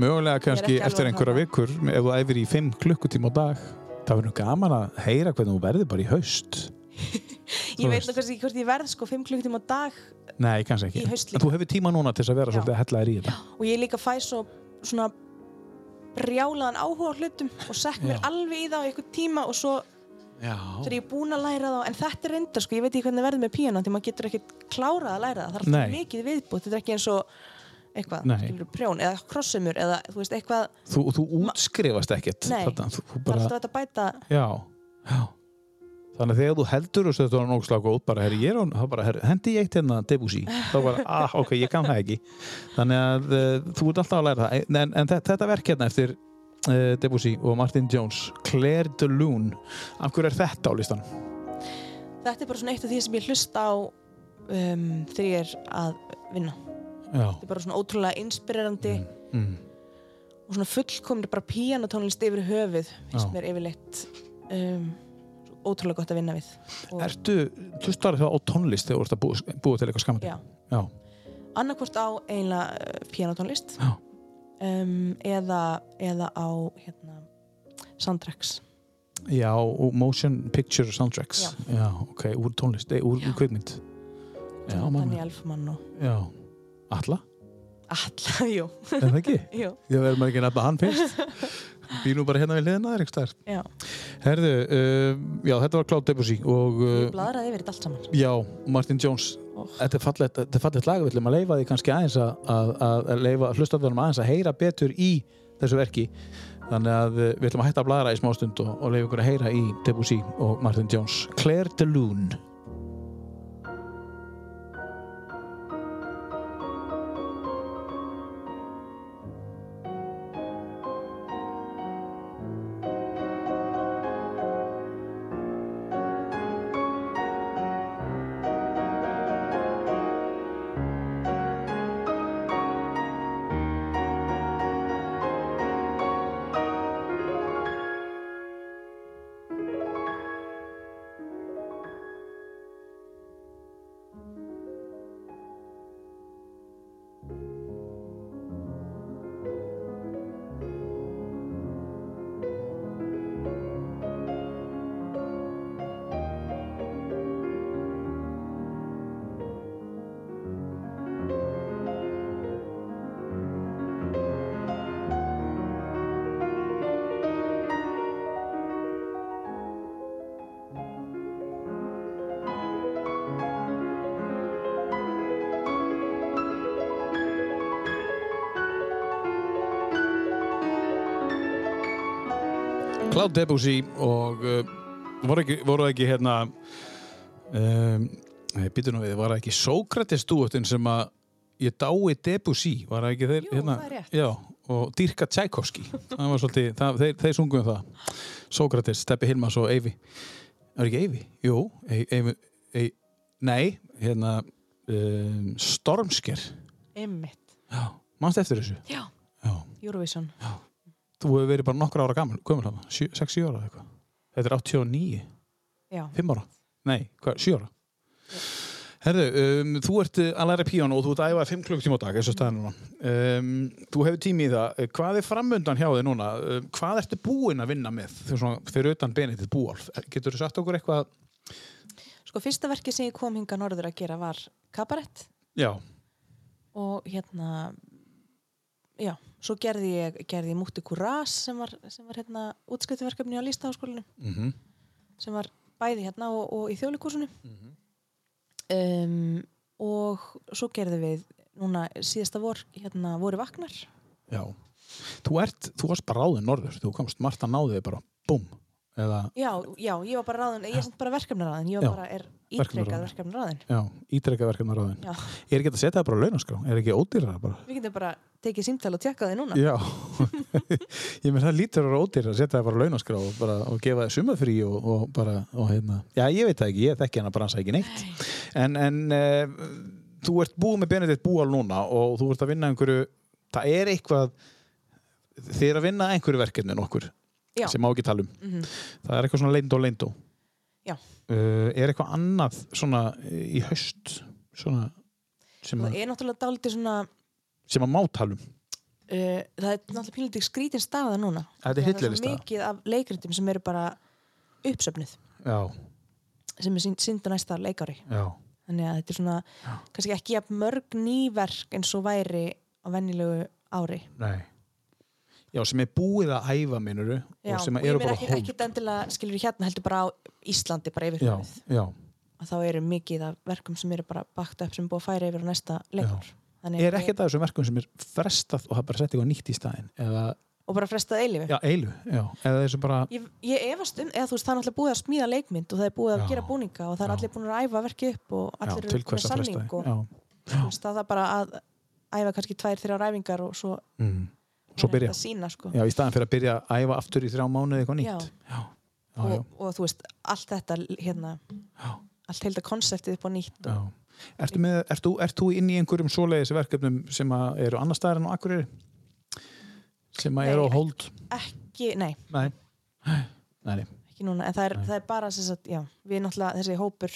Speaker 2: Mögulega kannski
Speaker 3: ekki alveg
Speaker 2: eftir einhverja
Speaker 3: þarna.
Speaker 2: vikur, ef þú æfir í 5 klukkutíma á dag, það verður nú gaman að heyra hvernig þú verður bara í haust.
Speaker 3: Ég veit
Speaker 2: veist.
Speaker 3: nú kannski ekki hvort ég verð sko 5 klukkutíma á dag
Speaker 2: Nei, kannski ekki.
Speaker 3: Í haust líka.
Speaker 2: En þú hefur tíma núna til þess að vera
Speaker 3: Já.
Speaker 2: svolítið að hella þér í þetta.
Speaker 3: og ég líka fæ svo svona brjálaðan áhuga á hlutum og sekk mér
Speaker 2: Já.
Speaker 3: alveg í það á einhvern tíma og svo
Speaker 2: Já.
Speaker 3: þegar ég er búin að læra það en þetta er reyndar sko, ég veit ekki hvernig verður með píano því maður getur ekkert klárað að læra það, það er alltaf
Speaker 2: Nei.
Speaker 3: mikið viðbútt þetta er ekki eins og eitthvað,
Speaker 2: Nei.
Speaker 3: skilur prjón eða krossumur eða þú veist eitthvað
Speaker 2: Þú, þú útskrifast ekkert.
Speaker 3: Nei.
Speaker 2: Þarna, þú, þú
Speaker 3: það er
Speaker 2: bara...
Speaker 3: alltaf hægt að bæta
Speaker 2: Já. Já. Þannig að þegar þú heldur og þetta var nógslega góð, bara herri, ég er hún, þá bara herri, hendi ég eitt hérna Debussy, þá bara, ah, ok, ég kann það ekki. Þannig að uh, þú ert alltaf að læra það. En, en, en þe- þetta verk hérna eftir uh, Debussy og Martin Jones, Claire de Lune, af hverju er þetta á listan?
Speaker 3: þetta er bara svona eitt af því sem ég hlusta á um, þegar ég er að vinna þetta
Speaker 2: Já.
Speaker 3: er bara svona ótrúlega inspirerandi
Speaker 2: Mm.
Speaker 3: og svona fullkomni bara píanotónlist yfir höfuð
Speaker 2: Já.
Speaker 3: finnst mér yfirleitt um, ótrúlega gott að vinna við og,
Speaker 2: Ertu, þú starf það á tónlist þegar þú ert að búa, búa til eitthvað skamandi?
Speaker 3: já,
Speaker 2: Já.
Speaker 3: annarkvort á eiginlega uh, píanotónlist
Speaker 2: Já.
Speaker 3: um, eða, eða á hérna, soundtracks
Speaker 2: Já, og motion picture soundtracks. Já, ok, úr tónlist, eh, úr, úr kveikmynd. Já, mamma.
Speaker 3: Daniel Elfman og
Speaker 2: Já. Alla?
Speaker 3: alla, [laughs] jú,
Speaker 2: Er það ekki?
Speaker 3: jú
Speaker 2: Ég verður maður ekki að nefna hann fyrst. Býr nú bara hérna við hliðina þér, ekki stær.
Speaker 3: já.
Speaker 2: Herðu, uh, já, þetta var Cloud Debussy og
Speaker 3: ég
Speaker 2: uh,
Speaker 3: bladraði yfir þetta allt saman
Speaker 2: já, Martin Jones.
Speaker 3: Oh.
Speaker 2: Þetta er fallegt, þetta er fallegt lag, við ætlum að leifa því kannski aðeins að, að, að leifa hlustafjörnum aðeins að heyra betur í þessu verki. Þannig að uh, við ætlum að hætta að blara í smástund og, og leifa ykkur að heyra í Debussy og Martin Jones. Claire de Lune. Cloud Debussy og uh, voru, ekki, voru ekki hérna um, býtur nú við, var það ekki Sókrates dúotin sem að ég dái Debussy, var það ekki þeir
Speaker 6: Jú,
Speaker 2: hérna,
Speaker 6: það er rétt.
Speaker 2: já, og Dyrka Tchaikovsky það var svolítið, það, þeir, þeir sungum það Sókrates, Steppi Hilmas og Eyvi er ekki Eyvi? Jú, Eyvi Eyvi- Eyvi- nei, hérna um, Stormsker
Speaker 6: Einmitt.
Speaker 2: já, manst eftir þessu?
Speaker 6: Já.
Speaker 2: Já,
Speaker 3: Eurovision
Speaker 2: þú hefur verið bara nokkra ára gammal, gömul hann, 6-7 ára eða eitthvað þetta er 89
Speaker 3: Já,
Speaker 2: Fimm ára? Nei, hvað, sjö ára? Herðu, um, þú ert uh, að læra píano og þú ert að æfa fimm klukktíma á dag, eins og staðan núna. Um, þú hefur tími í það. Uh, Hvað er framöndan hjá þig núna? Um, hvað ertu búinn að vinna með Þú svona, fyrir utan Benedikt Búolf? Getur þú sagt okkur eitthvað?
Speaker 3: sko fyrsta verkið sem ég kom hinga norður að gera var kabarett
Speaker 2: Já,
Speaker 3: og hérna já, svo gerði ég, gerði ég Mútti Kurás sem var, sem var hérna útskriftuverkefni á Lýstaháskólinu
Speaker 2: mm -hmm.
Speaker 3: sem var bæði hérna og, og í þjóðlikúsinu um, og svo gerðum við núna síðasta vor hérna voru vaknar
Speaker 2: já. Þú ert, þú varst bara ráðin norður. Þú komst, Marta náði þig bara, búm. Eða,
Speaker 3: já, já, ég var bara ráðin, ég er samt bara verkefnaráðin ég var
Speaker 2: Já,
Speaker 3: bara, er
Speaker 2: verkefnaráðin.
Speaker 3: ítrekkað verkefnaráðin
Speaker 2: já, ítrekka verkefnaráðin.
Speaker 3: já, [laughs]
Speaker 2: Ég er ekki að setja það bara á launaskrá. Er ekki ódýrara bara?
Speaker 3: við getum bara tekið símtæl og tjekka þið núna
Speaker 2: Já, [laughs] ég með það lítur og ódýr að setja það bara á launaskrá og, bara, og gefa það sumafrí og, og bara, og hérna, já ég veit það ekki, ég þekki hana bransa ekki neitt en, en uh, þú ert búið með Benedikt Búal núna og þú ert að vinna einhverju, það er eitthvað þið er að vinna að einhverju verkefni nokkur,
Speaker 3: Já.
Speaker 2: sem má ekki tala um
Speaker 3: Mhm.
Speaker 2: það er eitthvað svona leindó leindó
Speaker 3: Já.
Speaker 2: uh, er eitthvað annað svona í haust svona sem,
Speaker 3: það
Speaker 2: að,
Speaker 3: er náttúrulega dálítið svona
Speaker 2: sem að má tala um
Speaker 3: uh, það er náttúrulega pínlítið skrítin staða núna
Speaker 2: þetta er
Speaker 3: Því að það
Speaker 2: hillileg
Speaker 3: er svo
Speaker 2: stað
Speaker 3: mikið af leikritum sem eru bara uppsöfnuð
Speaker 2: já,
Speaker 3: sem er sýnd á næsta leikári
Speaker 2: já,
Speaker 3: þannig að þetta er svona kannski ekki jafn mörg nýverk eins og væri á venjulegu ári
Speaker 2: nei já, sem er búið að æfa minnuru
Speaker 3: Já,
Speaker 2: og sem
Speaker 3: ég
Speaker 2: eru
Speaker 3: meina
Speaker 2: bara
Speaker 3: ekki,
Speaker 2: hóp
Speaker 3: ekki endilega skilur hérna heldur bara á Íslandi bara yfir
Speaker 2: já,
Speaker 3: höfuð.
Speaker 2: já.
Speaker 3: að þá eru mikið af verkum sem eru bara bakt upp sem er búið að færa yfir á næsta leikár Þannig
Speaker 2: er
Speaker 3: að-
Speaker 2: ekkert af þessum verkum sem er frestað og það bara sett eitthvað nýtt í staðin eða,
Speaker 3: og bara frestað eilifu
Speaker 2: já, eilu, já, eða þessu bara
Speaker 3: Ég, ég efast um, eða þú veist, það er náttúrulega búið að smíða leikmynd og það er búið að
Speaker 2: Já.
Speaker 3: gera búninga og það er
Speaker 2: Já.
Speaker 3: allir búin að æfa verkið upp og
Speaker 2: já,
Speaker 3: allir
Speaker 2: til
Speaker 3: með
Speaker 2: hvers að fresta
Speaker 3: samning og
Speaker 2: já,
Speaker 3: þú veist, það er bara að æfa kannski tvær, þrjá ræfingar og svo
Speaker 2: mm. svo
Speaker 3: er hægt
Speaker 2: byrja,
Speaker 3: að sína sko.
Speaker 2: já, í staðin fyrir að byrja að æfa aftur í þrjá mánuði eitthvað
Speaker 3: Já.
Speaker 2: nýtt já, já, já,
Speaker 3: og, og þú veist, allt þetta hérna,
Speaker 2: Já.
Speaker 3: allt heilta konseptið upp á nýtt
Speaker 2: já. Ertu, með, ert, þú, ert þú inn í einhverjum svoleiðis verkefnum sem að eru annar staðar en á Akureyri sem að
Speaker 3: Nei,
Speaker 2: eru á
Speaker 3: ekki.
Speaker 2: hold
Speaker 3: ekki, nei,
Speaker 2: nei, nei, nei.
Speaker 3: ekki núna en það er, það er bara sem sagt, já, við náttúrulega þessi hópur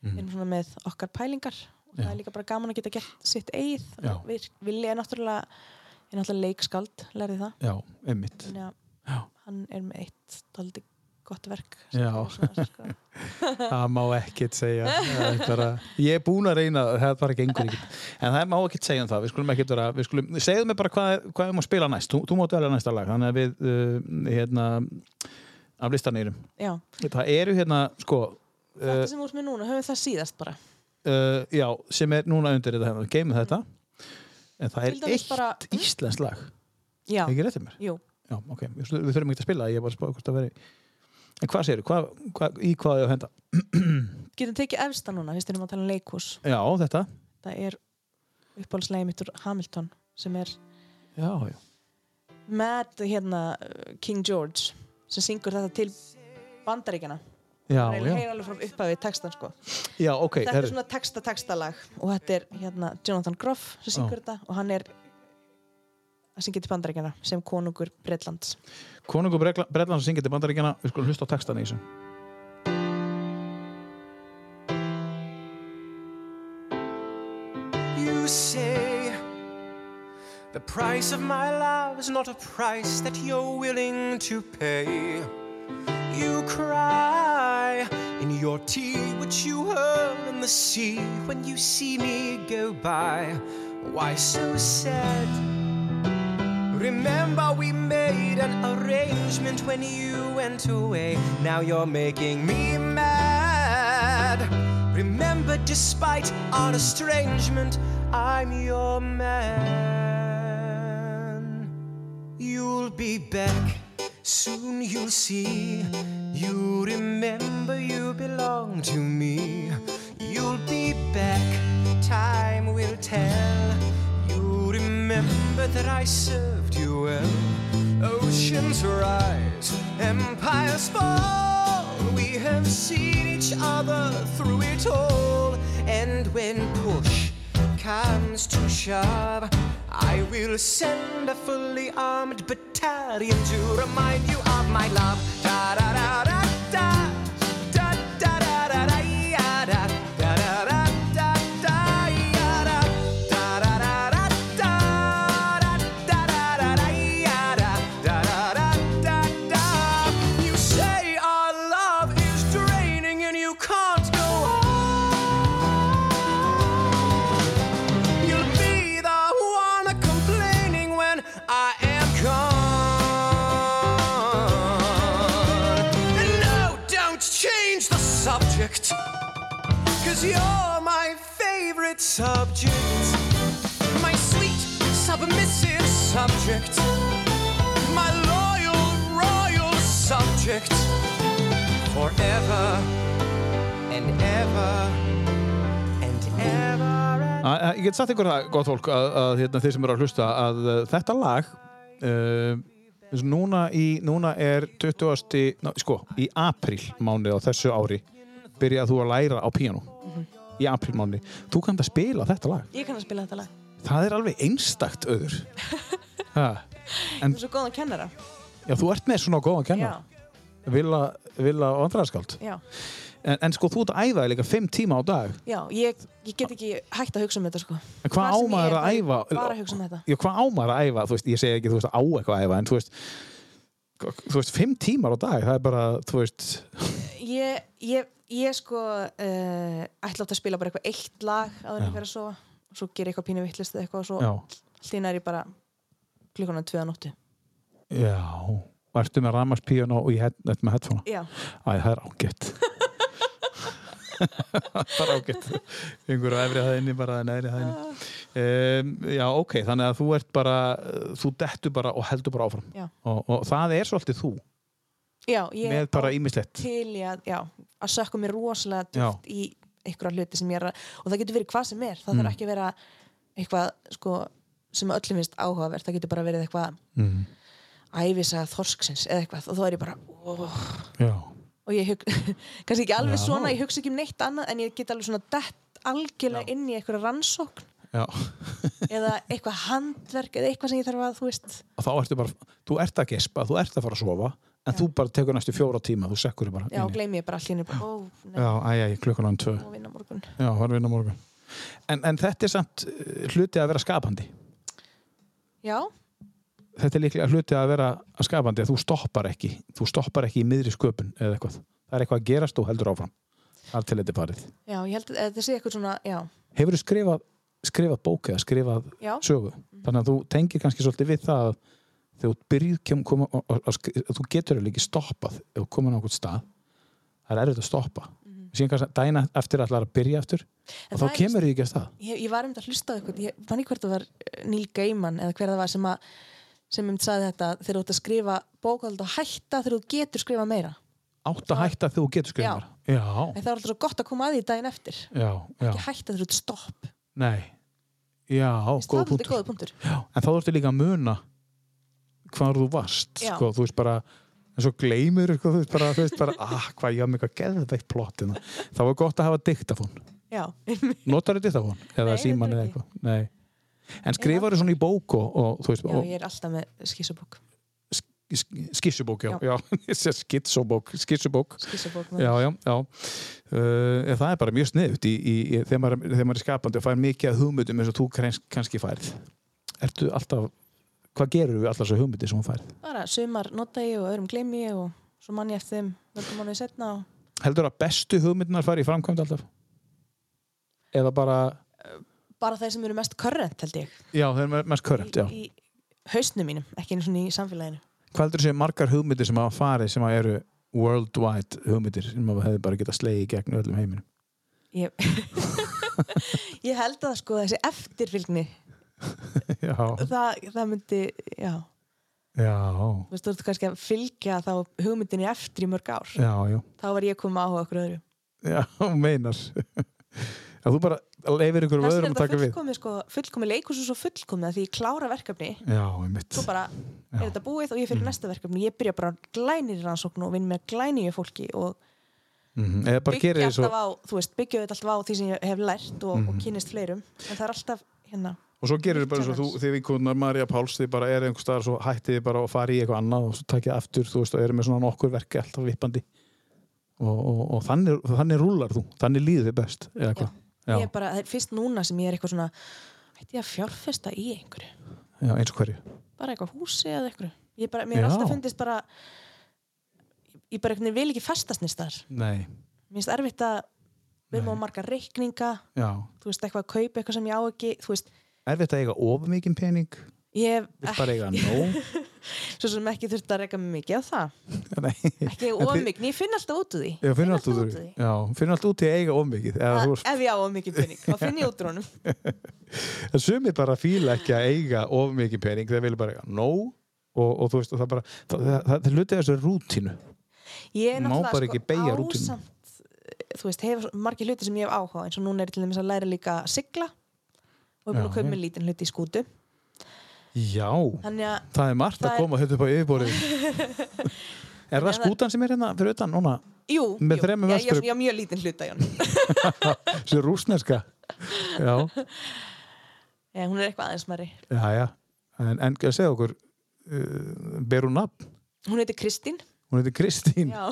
Speaker 2: Mm.
Speaker 3: erum svona með okkar pælingar og það
Speaker 2: Já.
Speaker 3: er líka bara gaman að geta gert sitt eigið
Speaker 2: Já.
Speaker 3: við vilja náttúrulega ég er náttúrulega leikskáld, lærði það
Speaker 2: já, einmitt
Speaker 3: þannig að
Speaker 2: Já.
Speaker 3: hann er með eitt daldi gott verk sem
Speaker 2: Já.
Speaker 3: er svona,
Speaker 2: [laughs]
Speaker 3: sko,
Speaker 2: Það má ekkert segja
Speaker 3: [laughs]
Speaker 2: Það er bara, Ég er búin að reyna, það bara gengur ekkert En það má ekkert segja um það Við skulum ekkert vera, við skulum, segðu mér bara hvað, er- hvað er maður að spila næst Þú, þú mátt velja næsta lag Þannig að við, uh, hérna Af listan erum
Speaker 3: já,
Speaker 2: Það eru hérna, sko uh,
Speaker 3: þetta sem úr með núna höfum við það síðast bara
Speaker 2: uh, Já, sem er núna undir þetta hérna, Geimum þetta En það
Speaker 3: Til
Speaker 2: er
Speaker 3: dæmis
Speaker 2: eitt
Speaker 3: bara-
Speaker 2: íslensk lag
Speaker 3: já,
Speaker 2: Ekki rétt um mér
Speaker 3: jú,
Speaker 2: Já, ok, við, skulum- við þurfum ekki að spila það, Ég er bara að spá hvort það veri En hvað segirðu, hvað, hvað, í hvað er að henda?
Speaker 3: getum tekið efsta núna fyrst erum að tala um leikhús
Speaker 2: Já, þetta
Speaker 3: það er uppáhaldslegið mitt úr Hamilton sem er
Speaker 2: Já, já
Speaker 3: Mad hérna, uh, King George sem syngur þetta til bandaríkjana
Speaker 2: Já,
Speaker 3: það
Speaker 2: já.
Speaker 3: er alveg frá upphafi textan sko.
Speaker 2: Já, ok,
Speaker 3: þetta
Speaker 2: herru.
Speaker 3: er svona texta textalag og þetta er hérna, Jonathan Groff sem syngur þetta og hann er að syngja til bandaríkjana sem konungur Bretlands
Speaker 2: Konungur Bregla- Bretlands syngið til bandaríkjana Við skulum hlusta á textan í þessu
Speaker 1: You say the price of my love is not a price that you're willing to pay. You cry in your tea, which you hurl in the sea when you see me go by. Why so sad? Remember, we made an arrangement when you went away. Now you're making me mad. Remember, despite our estrangement, I'm your man. You'll be back Soon you'll see, you remember you belong to me. You'll be back, time will tell. You remember that I served you well. Oceans rise, empires fall. We have seen each other through it all. And when push comes to shove, I will send a fully armed battalion to remind you of my love. Da da da da da. Da da da da da ya da. Da da da da da ya da. Da da da da da. Da da da da da ya da. Da da da da da. You say our love is draining and you can't go on. You'll be the one complaining when I am gone. And no, don't change the subject, cause you're my favorite subject. My sweet, submissive subject. My loyal, royal subject. Forever and ever and ever. And
Speaker 2: Að- að- Ég get sagt ykkur það, gott fólk, að, að hérna, þeir sem eru að hlusta, að uh, þetta lag, uh, eins og núna, í, núna er 20. Ná, sko, í apríl mánuði á þessu ári byrjað þú að læra á píanó.
Speaker 3: Mhm.
Speaker 2: Í apríl mánuði. Þú kannt að spila þetta lag.
Speaker 3: Ég kann að spila þetta lag.
Speaker 2: Það er alveg einstakt
Speaker 3: [laughs]
Speaker 2: öður. ha.
Speaker 3: Þú er svo góðan kennara.
Speaker 2: Já, þú ert með svona góðan kennar.
Speaker 3: Já,
Speaker 2: Vila, Vila og andraðaskáld.
Speaker 3: já.
Speaker 2: En, en sko, þú ert að æfa þig líka fimm tíma á dag.
Speaker 3: Já, ég, ég get ekki hægt að hugsa um þetta sko.
Speaker 2: En hvað
Speaker 3: Hvar
Speaker 2: á
Speaker 3: sem ég
Speaker 2: maður
Speaker 3: er,
Speaker 2: að
Speaker 3: þá er ég
Speaker 2: æfa?
Speaker 3: Bara að hugsa um þetta.
Speaker 2: Já, hvað á maður að æfa? Þú veist, ég segi ekki, þú veist, á eitthvað að æfa, en þú veist, þú veist, fimm tímar á dag, það er bara, þú veist,
Speaker 3: Ég, ég, ég sko uh, ætla átt að spila bara eitthvað eitt lag áður en
Speaker 2: Já.
Speaker 3: fyrir að sofa. Svo ger ég eitthvað pínu vittlist eða eitthvað og svo
Speaker 2: já,
Speaker 3: hlýna er ég bara klukkan á tvöða nóttu.
Speaker 2: já, og ertu með rammarspíun og í head, ertu með headphone?
Speaker 3: Já,
Speaker 2: Æ, það er
Speaker 3: [laughs]
Speaker 2: ágætt. það er ágætt. Yngur á efri hæðinni, bara neðri hæðinni. Um, já, ok, þannig að þú ert bara, þú dettu bara og heldur bara áfram.
Speaker 3: Já.
Speaker 2: Og, og það er svolítið þú,
Speaker 3: já, ég
Speaker 2: með bara ímislegt.
Speaker 3: til í að, já, að sökka mér rosalega djúpt í einhverja hluti sem ég er að, og það getur verið hvað sem er, það
Speaker 2: Mm.
Speaker 3: þarf ekki að vera eitthvað, sko, sem öllum finnst áhugavert, það getur bara verið eitthvað
Speaker 2: Mm.
Speaker 3: æfisa þorsksins eða eitthvað og þá er ég bara, óh,
Speaker 2: Já,
Speaker 3: og ég hug, [laughs] kannski ekki alveg
Speaker 2: Já.
Speaker 3: svona, ég hugsa ekki um neitt annað en ég get alveg svona dett algjörlega inn í einhverja rannsókn
Speaker 2: já.
Speaker 3: eða eitthvað handverk eða eitthvað sem ég þarf að, þú veist,
Speaker 2: og þá ertu bara, þú ert að gespa, þú ert að fara að sofa en þú bara tekur næstu fjóra tíma, þú sekkur þig bara
Speaker 3: já,
Speaker 2: inn í.
Speaker 3: gleymi ég bara allir bara, ó, nei,
Speaker 2: já, æj, æj, klukkan án tvö
Speaker 3: ég má vinna á morgun
Speaker 2: já, það er vinna morgun en, en þetta er samt eh, hluti að vera skapandi
Speaker 3: Já,
Speaker 2: þetta er líklega hluti að vera að skapandi að þú stoppar ekki, þú stoppar ekki í miðri sköpun eða eitthvað, það er eitthvað að gerast og heldur áfram, þar til þetta er farið
Speaker 3: já, ég held að þetta sé eitthvað svona, já,
Speaker 2: hefur þú skrifað, skrifað bók eða skrifað
Speaker 3: já,
Speaker 2: sögu,
Speaker 3: Mhm.
Speaker 2: þannig að þú tengir kannski svolítið við það að þegar þú byrjir kem, koma, að, að, að, að þú getur alveg ekki stoppað ef þú komur á einhvern stað það er erfitt að stoppa síðan kannski dæna eftir allar að byrja eftir
Speaker 3: Mhm. En
Speaker 2: og þá
Speaker 3: það er-
Speaker 2: kemur þú ekki að stað
Speaker 3: ég, ég var um þetta að hlusta á eitthvað ég man ekki hvert það var eh, Neil Gaiman eða hver það var sem að sem um saði þetta þegar þú ert að skrifa bókald og hætta þegar þú getur skrifa meira
Speaker 2: átt að hætta þegar þú getur
Speaker 3: Já.
Speaker 2: skrifað já,
Speaker 3: en það er alltaf svo gott að koma að því daginn eftir
Speaker 2: já, já,
Speaker 3: ekki hætta þegar þú ert stopp Mér
Speaker 2: nei já,
Speaker 3: finnst
Speaker 2: góð
Speaker 3: það er
Speaker 2: punktur
Speaker 3: góða punktur
Speaker 2: já, en þá ertu líka að muna hvar þú varst
Speaker 3: Já.
Speaker 2: sko, þú veist bara en svo gleymur, sko, þú veist bara, þú veist bara [laughs] ah, hvað ég haf mig að geða þetta eitt plott hérna." þá var gott að hafa diktafón
Speaker 3: já,
Speaker 2: Notar þetta þá hann? Eða
Speaker 3: Nei,
Speaker 2: síman eða
Speaker 3: reyndar
Speaker 2: eitthvað? Nei. En skrifar þetta svona í bók og, og þú veist,
Speaker 3: já,
Speaker 2: og,
Speaker 3: ég er alltaf með skissubók
Speaker 2: sk- skissubók, já. já. [laughs] Ég sé skitsubók, skissubók.
Speaker 3: skissubók
Speaker 2: Já, já, já. Uh, það er bara mjög sniðut í, í, í, þegar, maður, þegar maður er skapandi og fær mikið að hugmyndum eins og þú krens, kannski færð. Ertu alltaf, hvað gerur við alltaf þessu hugmyndi sem hún færð?
Speaker 3: bara sumar nota ég og öðrum gleymi ég og svo mann ég eftir þeim mörgum mánuði setna og
Speaker 2: Heldur að bestu hugmyndunar fari í framkvæmd alltaf? Eða bara,
Speaker 3: bara þeir sem eru mest current held ég
Speaker 2: já, það er mest körrent, já.
Speaker 3: í, í hausnum mínum, ekki einu svona í samfélaginu
Speaker 2: hvað heldur þessi margar hugmyndir sem hafa farið sem að eru worldwide hugmyndir sem að hefði bara getað slegið í gegn öllum heiminum
Speaker 3: ég, [laughs] ég held að sko þessi eftirfylgni
Speaker 2: [laughs] já,
Speaker 3: það, það myndi, já
Speaker 2: já,
Speaker 3: Þú veist, þú ert kannski að fylgja þá hugmyndinni eftir í mörg ár.
Speaker 2: já, já
Speaker 3: Þá var ég komið áhuga okkur öðru.
Speaker 2: Já, þú meinar [laughs] að þú bara leifir ykkur
Speaker 3: Þess
Speaker 2: vöðurum
Speaker 3: er
Speaker 2: að taka
Speaker 3: þetta
Speaker 2: við
Speaker 3: fullkomið, sko, fullkomið leikus og svo fullkomið að því ég klára verkefni,
Speaker 2: Já, einmitt
Speaker 3: svo bara er þetta búið og ég
Speaker 2: Mm.
Speaker 3: fyrir næsta verkefni. Ég byrja bara glænir rannsóknu og vinn með glænir fólki og
Speaker 2: Mhm, Eða bara gerir
Speaker 3: byggja
Speaker 2: þið svo Mhm.
Speaker 3: alltaf á, þú veist, byggja þetta alltaf á því sem ég hef lært og, og kynnist fleirum. En það er alltaf, hérna,
Speaker 2: og svo gerir þið bara eins og þú, þið vinkunar Marja Páls þið bara er einhver staðar svo hættið þið bara og farið í eitthvað annað og svo takið aftur þú veist og eru með svona nokkur verki alltaf vippandi og, og, og þannig, þannig rúlar þú þannig líður þið best eða hvað já,
Speaker 3: ég er bara, það er fyrst núna sem ég er eitthvað svona, ætti ég að fjárfesta í einhverju?
Speaker 2: já, eins og hverju
Speaker 3: bara eitthvað húsi eða eitthvað ég bara, mér
Speaker 2: Já.
Speaker 3: er alltaf fundist bara ég bara eitthvað vil ekki festast nýst þar
Speaker 2: Nei,
Speaker 3: mér finnst erfitt að við erum á marga reikninga
Speaker 2: já,
Speaker 3: þú veist eitthvað að kaupa eitthvað sem ég á ekki þú veist,
Speaker 2: erfitt að eiga of mikinn pening
Speaker 3: ég hef
Speaker 2: vill bara eiga
Speaker 3: ekki-
Speaker 2: nóg
Speaker 3: [laughs] svo sem ekki þurft að reyka mig mikið á það
Speaker 2: Nei,
Speaker 3: ekki
Speaker 2: En þið-
Speaker 3: ómikið, ég finn alltaf út úr því
Speaker 2: já, finnur
Speaker 3: Finn
Speaker 2: allt út úr
Speaker 3: úr
Speaker 2: því. Já, finnur allt út í að eiga of mikið eða þú
Speaker 3: Að-
Speaker 2: veist
Speaker 3: ef ég á ómikið pening, þá finn ég út úr honum
Speaker 2: en sumir bara fíla ekki að eiga of mikið pening, þeir vilja bara eiga nóg og, og þú veist, og það bara það, það, það, það luti þessu rútínu
Speaker 3: ég er
Speaker 2: Má
Speaker 3: náttúrulega sko
Speaker 2: bara ekki beygja rútínu.
Speaker 3: ásamt þú veist, hefur svo- margir hluti sem ég hef áhuga á, eins og núna er ég til dæmis að læra líka að sigla og er búin
Speaker 2: Já,
Speaker 3: að kaupa
Speaker 2: já.
Speaker 3: mér lítinn hluti í skútu
Speaker 2: já,
Speaker 3: þannig að
Speaker 2: það er margt
Speaker 3: Það
Speaker 2: að
Speaker 3: er-
Speaker 2: koma hérna upp á yfirborðið
Speaker 3: [laughs]
Speaker 2: er það
Speaker 3: það-
Speaker 2: skútan sem er hérna fyrir utan núna,
Speaker 3: Jú,
Speaker 2: Með
Speaker 3: jú.
Speaker 2: þremur
Speaker 3: Já, ég,
Speaker 2: vestur-
Speaker 3: ég, ég mjög lítinn hluta í honum
Speaker 2: sem er rúsneska já,
Speaker 3: [laughs] Eh, Hún er eitthvað aðeins mæri
Speaker 2: já, já en, en segja okkur uh, ber hún nafn,
Speaker 3: Hún heitir Kristín
Speaker 2: hún heitir Kristín
Speaker 3: Já,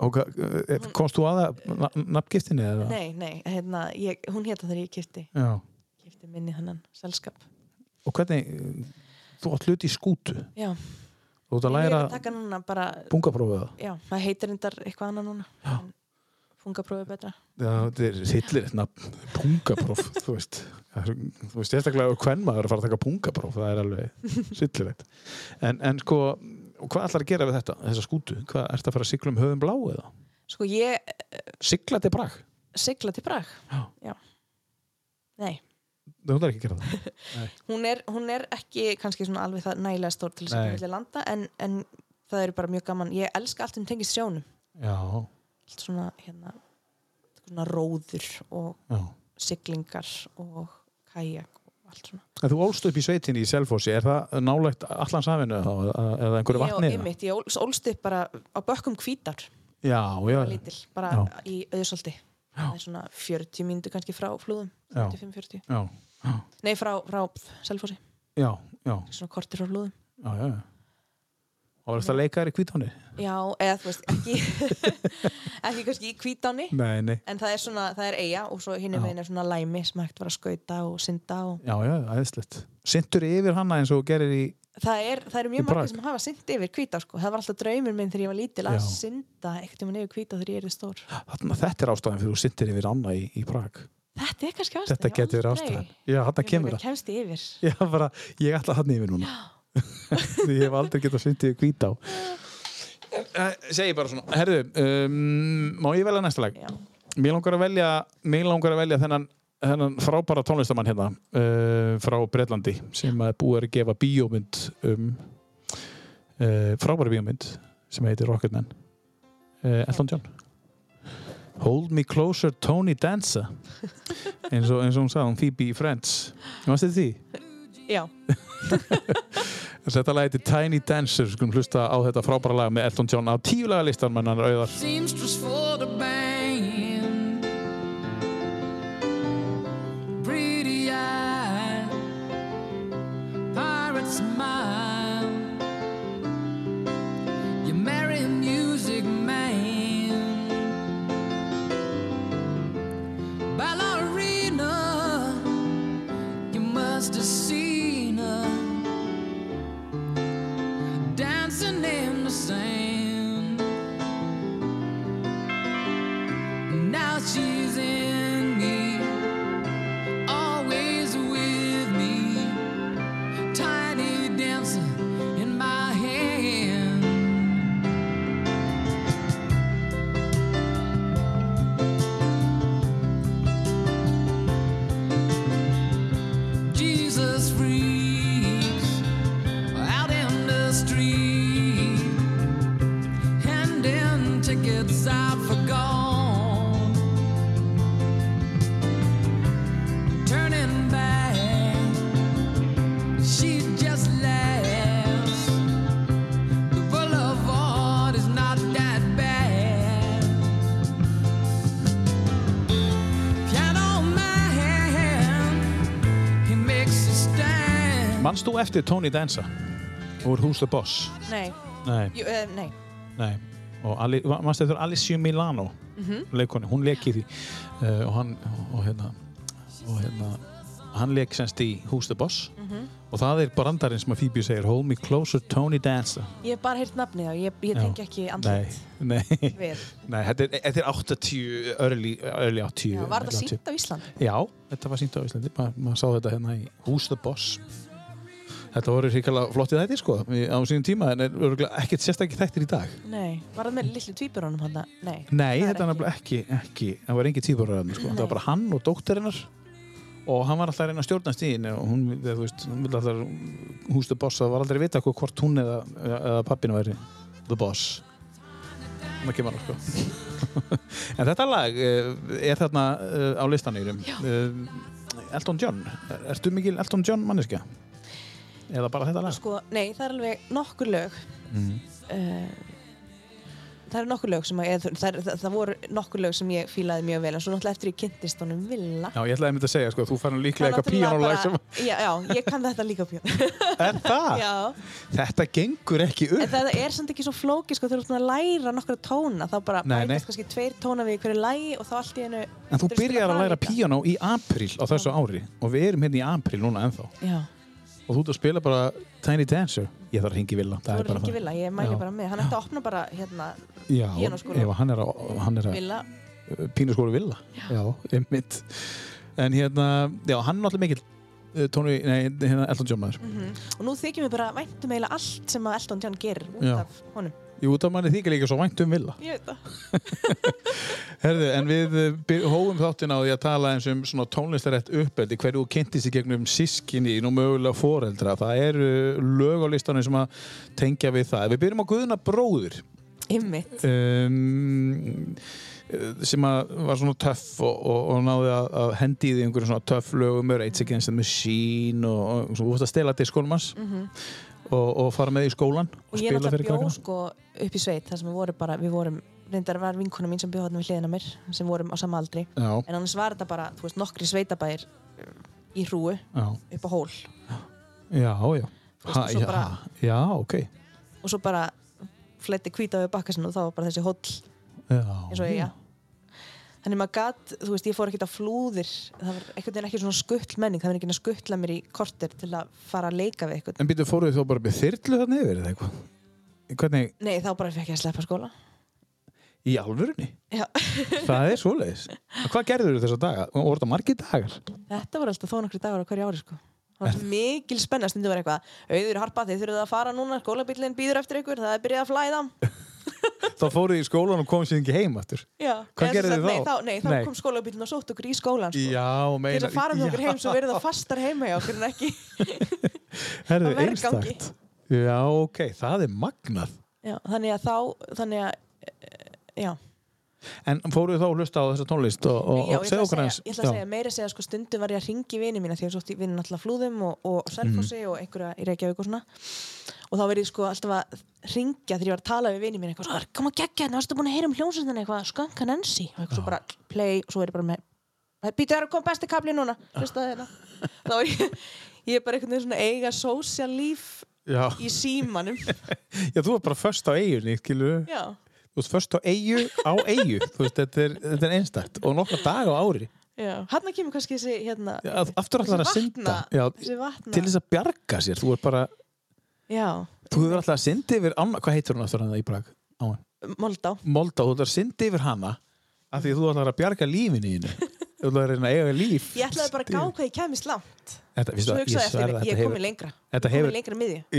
Speaker 2: og hva- eh, komst þú aða nafngiftinni eða?
Speaker 3: Mm. nei, nei, hérna, ég, hún hétta þegar ég kipti
Speaker 2: já,
Speaker 3: kipti minni þannan selskap
Speaker 2: og hvernig eh, þú átt hluti í skútu
Speaker 3: Já,
Speaker 2: þú átt að
Speaker 3: ég
Speaker 2: læra
Speaker 3: er að taka núna bara
Speaker 2: bungaprófið það
Speaker 3: Já, það heitir endar eitthvað annað núna Já Fungaprófið er betra
Speaker 2: Já, þetta er hillir eitt nafn pungapróf, [laughs] þú veist Það er- þú veist, sérstaklega hvern maður er að fara að taka pungapróf það er
Speaker 3: [laughs]
Speaker 2: alveg sillilegt en, en sko, og hvað ætlar að gera við þetta þessa skútu, hvað, ertu að fara að sigla um höfum blá eða?
Speaker 3: Sko, ég eh,
Speaker 2: Sigla til brak?
Speaker 3: sigla til Prag
Speaker 2: Já.
Speaker 3: Nei,
Speaker 2: Þú ætlar ekki að gera
Speaker 3: [laughs]
Speaker 2: það?
Speaker 3: hún er, hún er ekki kannski svona alveg það nægilega stór til þess að
Speaker 2: Nei.
Speaker 3: hún vilja landa en, en það eru bara mjög gaman Ég elska allt sem tengist sjónum
Speaker 2: Já,
Speaker 3: Allt svona, hérna, svona róður og
Speaker 2: já
Speaker 3: siglingar og kajak og allt svona.
Speaker 2: En þú ólst upp í sveitinni í Selfossi, er það nálægt allan safinu eða, eða einhverju
Speaker 3: Ég,
Speaker 2: vatni? eða?
Speaker 3: einmitt, ég ól- ólst upp bara á bökkum hvítar,
Speaker 2: Já, já,
Speaker 3: lítil, bara
Speaker 2: Já.
Speaker 3: í auðsaldi. Það er svona 40 mínútur kannski frá flúðum,
Speaker 2: Já.
Speaker 3: 25-40.
Speaker 2: já,
Speaker 3: Nei, frá, frá Selfossi,
Speaker 2: já, já,
Speaker 3: svona kortir frá flúðum.
Speaker 2: já, já. Og var þetta að leika þér í kvítáni?
Speaker 3: Já, eða þú veist, ekki, [laughs] ekki kannski í hvítáni,
Speaker 2: Nei, nei.
Speaker 3: en það er svona, það er eiga og svo hinn
Speaker 2: Já.
Speaker 3: er meginn er svona læmi sem hægt var að skauta og synda og
Speaker 2: Já, já, aðeinslegt. Sintur yfir hana eins og þú gerir í
Speaker 3: það er, það eru
Speaker 2: Í
Speaker 3: mjög
Speaker 2: Prag.
Speaker 3: margir sem hafa synd yfir hvítá sko, það var alltaf draumur minn þegar ég var lítil að
Speaker 2: Já.
Speaker 3: synda ekkert um að nefnir hvítá þegar ég er stór.
Speaker 2: Þarna, þetta er ástæðan fyrir þú sindir yfir Anna í, í Prag.
Speaker 3: Þetta er kannski ástæðan.
Speaker 2: Þetta
Speaker 3: ég
Speaker 2: getur verið
Speaker 3: aldrei-
Speaker 2: ástæðan. Já, þarna
Speaker 3: Ég
Speaker 2: kemur
Speaker 3: bara
Speaker 2: það.
Speaker 3: kemst ég yfir.
Speaker 2: Ég, bara, ég ætla þarna yfir núna. Því [laughs] ég hef aldrei getað sindið yfir hvítá. Eh, Segi bara svona, herðu, um, má ég velja næsta lag?
Speaker 3: Já.
Speaker 2: Mér langar að velja, mér langar að velja þennan, þennan frábæra tónlistamann hérna uh, frá Breitlandi sem að búið er að gefa bíómynd um uh, frábæra bíómynd sem heitir Rocketman uh, Elton John Hold Me Closer Tony Danza eins og, eins og hún sagði, hún Phoebe í Friends Varst þetta því?
Speaker 3: Já,
Speaker 2: Þetta lag heitir Tiny Dancer, skulum hlusta á þetta frábæra lag með Elton John á tíu laga listan mennan auðar
Speaker 7: seamstress for the band. Pretty eye, pirate smile. You marry a music man, ballerina. You must have seen her dancing in the sand. Now she's in me, always with me. Tiny dancer in my hand. Jesus freaks out in
Speaker 2: Manst þú eftir Tony Danza? Úr Who's the Boss?
Speaker 3: Nei,
Speaker 2: Nei,
Speaker 3: jú, uh, nei.
Speaker 2: nei. Og Ali, manst eftir Alessio Milano?
Speaker 3: Mhm.
Speaker 2: Leikonu, hún leik í því. Uh, og hann, og hérna, og hérna, hann leik semst í Who's the Boss?
Speaker 3: Mhm.
Speaker 2: Og það er brandarinn sem að Phoebe segir, Hold me closer Tony Danza.
Speaker 3: Ég hef bara heyrt nafnið á, ég, ég
Speaker 2: Já.
Speaker 3: tengi ekki andlit
Speaker 2: Nei, nei.
Speaker 3: [laughs] við.
Speaker 2: Nei, þetta er, e, þetta er 80, early, early 80.
Speaker 3: Já, var
Speaker 2: early
Speaker 3: það
Speaker 2: 80.
Speaker 3: sýnt á Ísland?
Speaker 2: Já, þetta var sínt á Íslandi, Ma, maður sá þetta hérna í Who's the Boss. Þetta voru hrikalega flottið þetta, sko, í- á sínum tíma, en er örugglega ekkert sérstakir þættir í dag.
Speaker 3: Nei. Var það með litlu tvíburunum hann? Nei.
Speaker 2: Nei,
Speaker 3: það er
Speaker 2: þetta er nefnilega ekki, ekki, það var engin tíðbúraröðum, sko, það var bara hann og dóttirinnar og hann var alltaf að reyna að stjórna stíðin og hún, eða, þú veist, hún vildi alltaf Who's the Boss, það var aldrei að vita hvað- hvort hún eða, eða pappinu væri the boss. Það kemur hann, sko. [laughs] en þetta lag eh, er þarna eh, á listanýrum. Eh, Elton John, Er- ertu mikil Elton John manneskja? Eða bara þetta lag?
Speaker 3: Sko, nei, það er alveg nokkur lög.
Speaker 2: Mm.
Speaker 3: Uh, það eru nokkur lög sem að, eða, þú- það, er- það, það voru nokkur lög sem ég fílaði mjög vel en svo náttúrulega eftir ég kynntist honum Villa.
Speaker 2: Já, ég ætlaði að mynda að segja, sko, þú færðum líklega eitthvað
Speaker 3: náttúrulega
Speaker 2: píanólag sem...
Speaker 3: bara- Já, já, ég kann þetta líka píanó.
Speaker 2: [laughs] Er það?
Speaker 3: [laughs] já.
Speaker 2: Þetta gengur ekki upp.
Speaker 3: En það er samt ekki svo flókið, sko, þegar þú ert búin að læra nokkra tóna, þá bara
Speaker 2: Nei, nei.
Speaker 3: bætast kannski tveir tóna við í hverju lægi og þá allt í einu...
Speaker 2: En þú
Speaker 3: ertu spila
Speaker 2: byrjar að
Speaker 3: það
Speaker 2: læra
Speaker 3: líka.
Speaker 2: píanó í apríl á þessu ári og við erum hérna í apríl núna ennþá
Speaker 3: Já.
Speaker 2: og þú ert að spila bara Tiny Dancer ég þarf að ringi Villa
Speaker 3: Það
Speaker 2: það er
Speaker 3: voru
Speaker 2: bara
Speaker 3: ekki
Speaker 2: það.
Speaker 3: Villa, ég mæli
Speaker 2: Já.
Speaker 3: bara með. Hann ætti að opna bara hérna
Speaker 2: Já,
Speaker 3: píanóskóla.
Speaker 2: ef hann er að, hann er að
Speaker 3: Villa.
Speaker 2: pínuskóru Villa Já, einmitt En hérna, já, hann er náttúrulega mikill eh, Tony, nei, hérna Elton John maður
Speaker 3: Mhm. Og nú þykjum við bara væntum eiginlega allt sem að Elton John gerir út
Speaker 2: Já.
Speaker 3: af honum.
Speaker 2: Jú, það manni þykir líka svo vænt um Villa
Speaker 3: Ég veit það.
Speaker 2: Herðu, en við eh, byr- hófum þáttina á því að tala eins um svona tónlistarætt uppeldi, hverju þú kynnti sér gegnum sískinni og mögulega foreldra. Það eru lög á listanum sem að tengja við það. Við byrjum á Guðuna bróður
Speaker 3: Ymmit.
Speaker 2: um, eh, sem að var svona töff og, og, og náði að, að hendi í því einhverjum svona töff lögum er It's Against the Machine og, og svona, þú fórst að stela diskónum hans og, og fara með í skólan og,
Speaker 3: Mhm. Og ég
Speaker 2: spila fyrir
Speaker 3: náttúrulega bjó
Speaker 2: krakkana.
Speaker 3: sko upp í sveit þar sem við vorum bara, við vorum, reyndar var vinkona mín sem bjó hérna við hliðina á mér, sem vorum á sama aldri.
Speaker 2: Já,
Speaker 3: En annars var þetta bara, þú veist, nokkri sveitabæir um, í hrúu
Speaker 2: já,
Speaker 3: upp á hól.
Speaker 2: já, já.
Speaker 3: veist,
Speaker 2: Ha,
Speaker 3: og svo
Speaker 2: já,
Speaker 3: bara-
Speaker 2: já, ok.
Speaker 3: Og svo bara flætti hvíta við bakkasinn og þá var bara þessi hóll
Speaker 2: Já,
Speaker 3: eins og eiga. Þannig maður gat, þú veist, ég fór ekkert á flúðir, það var einhvern veginn ekki svona skuttl menning, það var einhvern veginn að skuttla mér í korter til að fara að leika við einhvern.
Speaker 2: En býttu fóruð þó bara með þyrlu þarna yfir eða eitthvað? Hvernig,
Speaker 3: Nei, þá bara fekk ég að sleppa skóla.
Speaker 2: í alvörunni?
Speaker 3: Já,
Speaker 2: Það er svoleiðis. En Hvað gerður þau þessa daga? Og voru það margir dagar?
Speaker 3: þetta voru alltaf þó nokkri dagar á hverju ári, sko. Það var svo mikil spennast, þetta var eitthvað, auður harpa, þið þurfið að fara núna, skólabillin býður eftir ykkur, það er byrjað að flæða.
Speaker 2: Þá fóruð þið í skólan og komið sér ekki heim aftur.
Speaker 3: Já.
Speaker 2: Hvað
Speaker 3: Eða sem
Speaker 2: gerðuð
Speaker 3: sagt,
Speaker 2: þið
Speaker 3: nei,
Speaker 2: þá?
Speaker 3: þá? Nei, þá
Speaker 2: Nei.
Speaker 3: kom skólabillin og sótt okkur í skólan, sko.
Speaker 2: Já,
Speaker 3: Til
Speaker 2: meina.
Speaker 3: þess að fara með okkur heim, svo verið það fastar heima hjá okkur en ekki.
Speaker 2: [laughs] Herðu,
Speaker 3: á vergangi.
Speaker 2: einstakt. Já, ok, það er magnað.
Speaker 3: Já, þannig að þá, þannig að, eh, já.
Speaker 2: En fóruð þá að hlusta á þessa tónlist og, og,
Speaker 3: Já,
Speaker 2: og
Speaker 3: ég
Speaker 2: segja
Speaker 3: ætla
Speaker 2: okkur
Speaker 3: að
Speaker 2: eins?
Speaker 3: segja, ég ætla að segja meira að segja sko stundum var ég að ringi vini mína því að ég sótti vini alltaf flúðum og,
Speaker 2: Mhm.
Speaker 3: og Selfossi og einhverja í Reykjavík og svona og þá verið ég sko alltaf að ringja þegar ég var að tala við vini mína eitthvað svo, koma geggja hérna, varstu búin að heyra um hljónsöndin eitthvað skönka Nancy og eitthvað svo bara play og svo er ég bara með býta það er að koma besti kapli núna hlustaðu
Speaker 2: [laughs]
Speaker 3: hérna. þá er ég, ég er bara einhvern veginn svona að eiga social líf
Speaker 2: Já.
Speaker 3: í
Speaker 2: [laughs]
Speaker 3: símanum
Speaker 2: Já, þú ert bara först á eiginni, skilur
Speaker 3: já,
Speaker 2: Þú ert först á eigu á eigu. Þú veist, þetta er, þetta er einstakt. Og nokkra daga á ári.
Speaker 3: já, hann kemur kannski þessi hérna,
Speaker 2: Já, Aftur
Speaker 3: þessi
Speaker 2: allar að synda.
Speaker 3: vatna,
Speaker 2: Já,
Speaker 3: þessi vatna.
Speaker 2: til þess að bjarga sér. Þú ert bara,
Speaker 3: já,
Speaker 2: Þú hefur alltaf syndi yfir ána, hvað heitir hún aftur hann í Prag? Ána.
Speaker 3: Moldá
Speaker 2: Moldá, þú ætlar að syndi yfir hana af því að þú ætlar að bjarga lífinu í
Speaker 3: [laughs]
Speaker 2: henni. Þú ætlar að reyna að eiga líf.
Speaker 3: Ég ætlaði bara að gá hvað ég kemist langt
Speaker 2: Þetta,
Speaker 3: Svo
Speaker 2: vístu, það,
Speaker 3: hugsaði
Speaker 2: ég
Speaker 3: ég eftir,
Speaker 2: sverða
Speaker 3: ég
Speaker 2: þetta
Speaker 3: er
Speaker 2: hefur.
Speaker 3: komin lengra
Speaker 2: Þetta
Speaker 3: Ég er
Speaker 2: hefur-
Speaker 3: komin lengra miðju Ég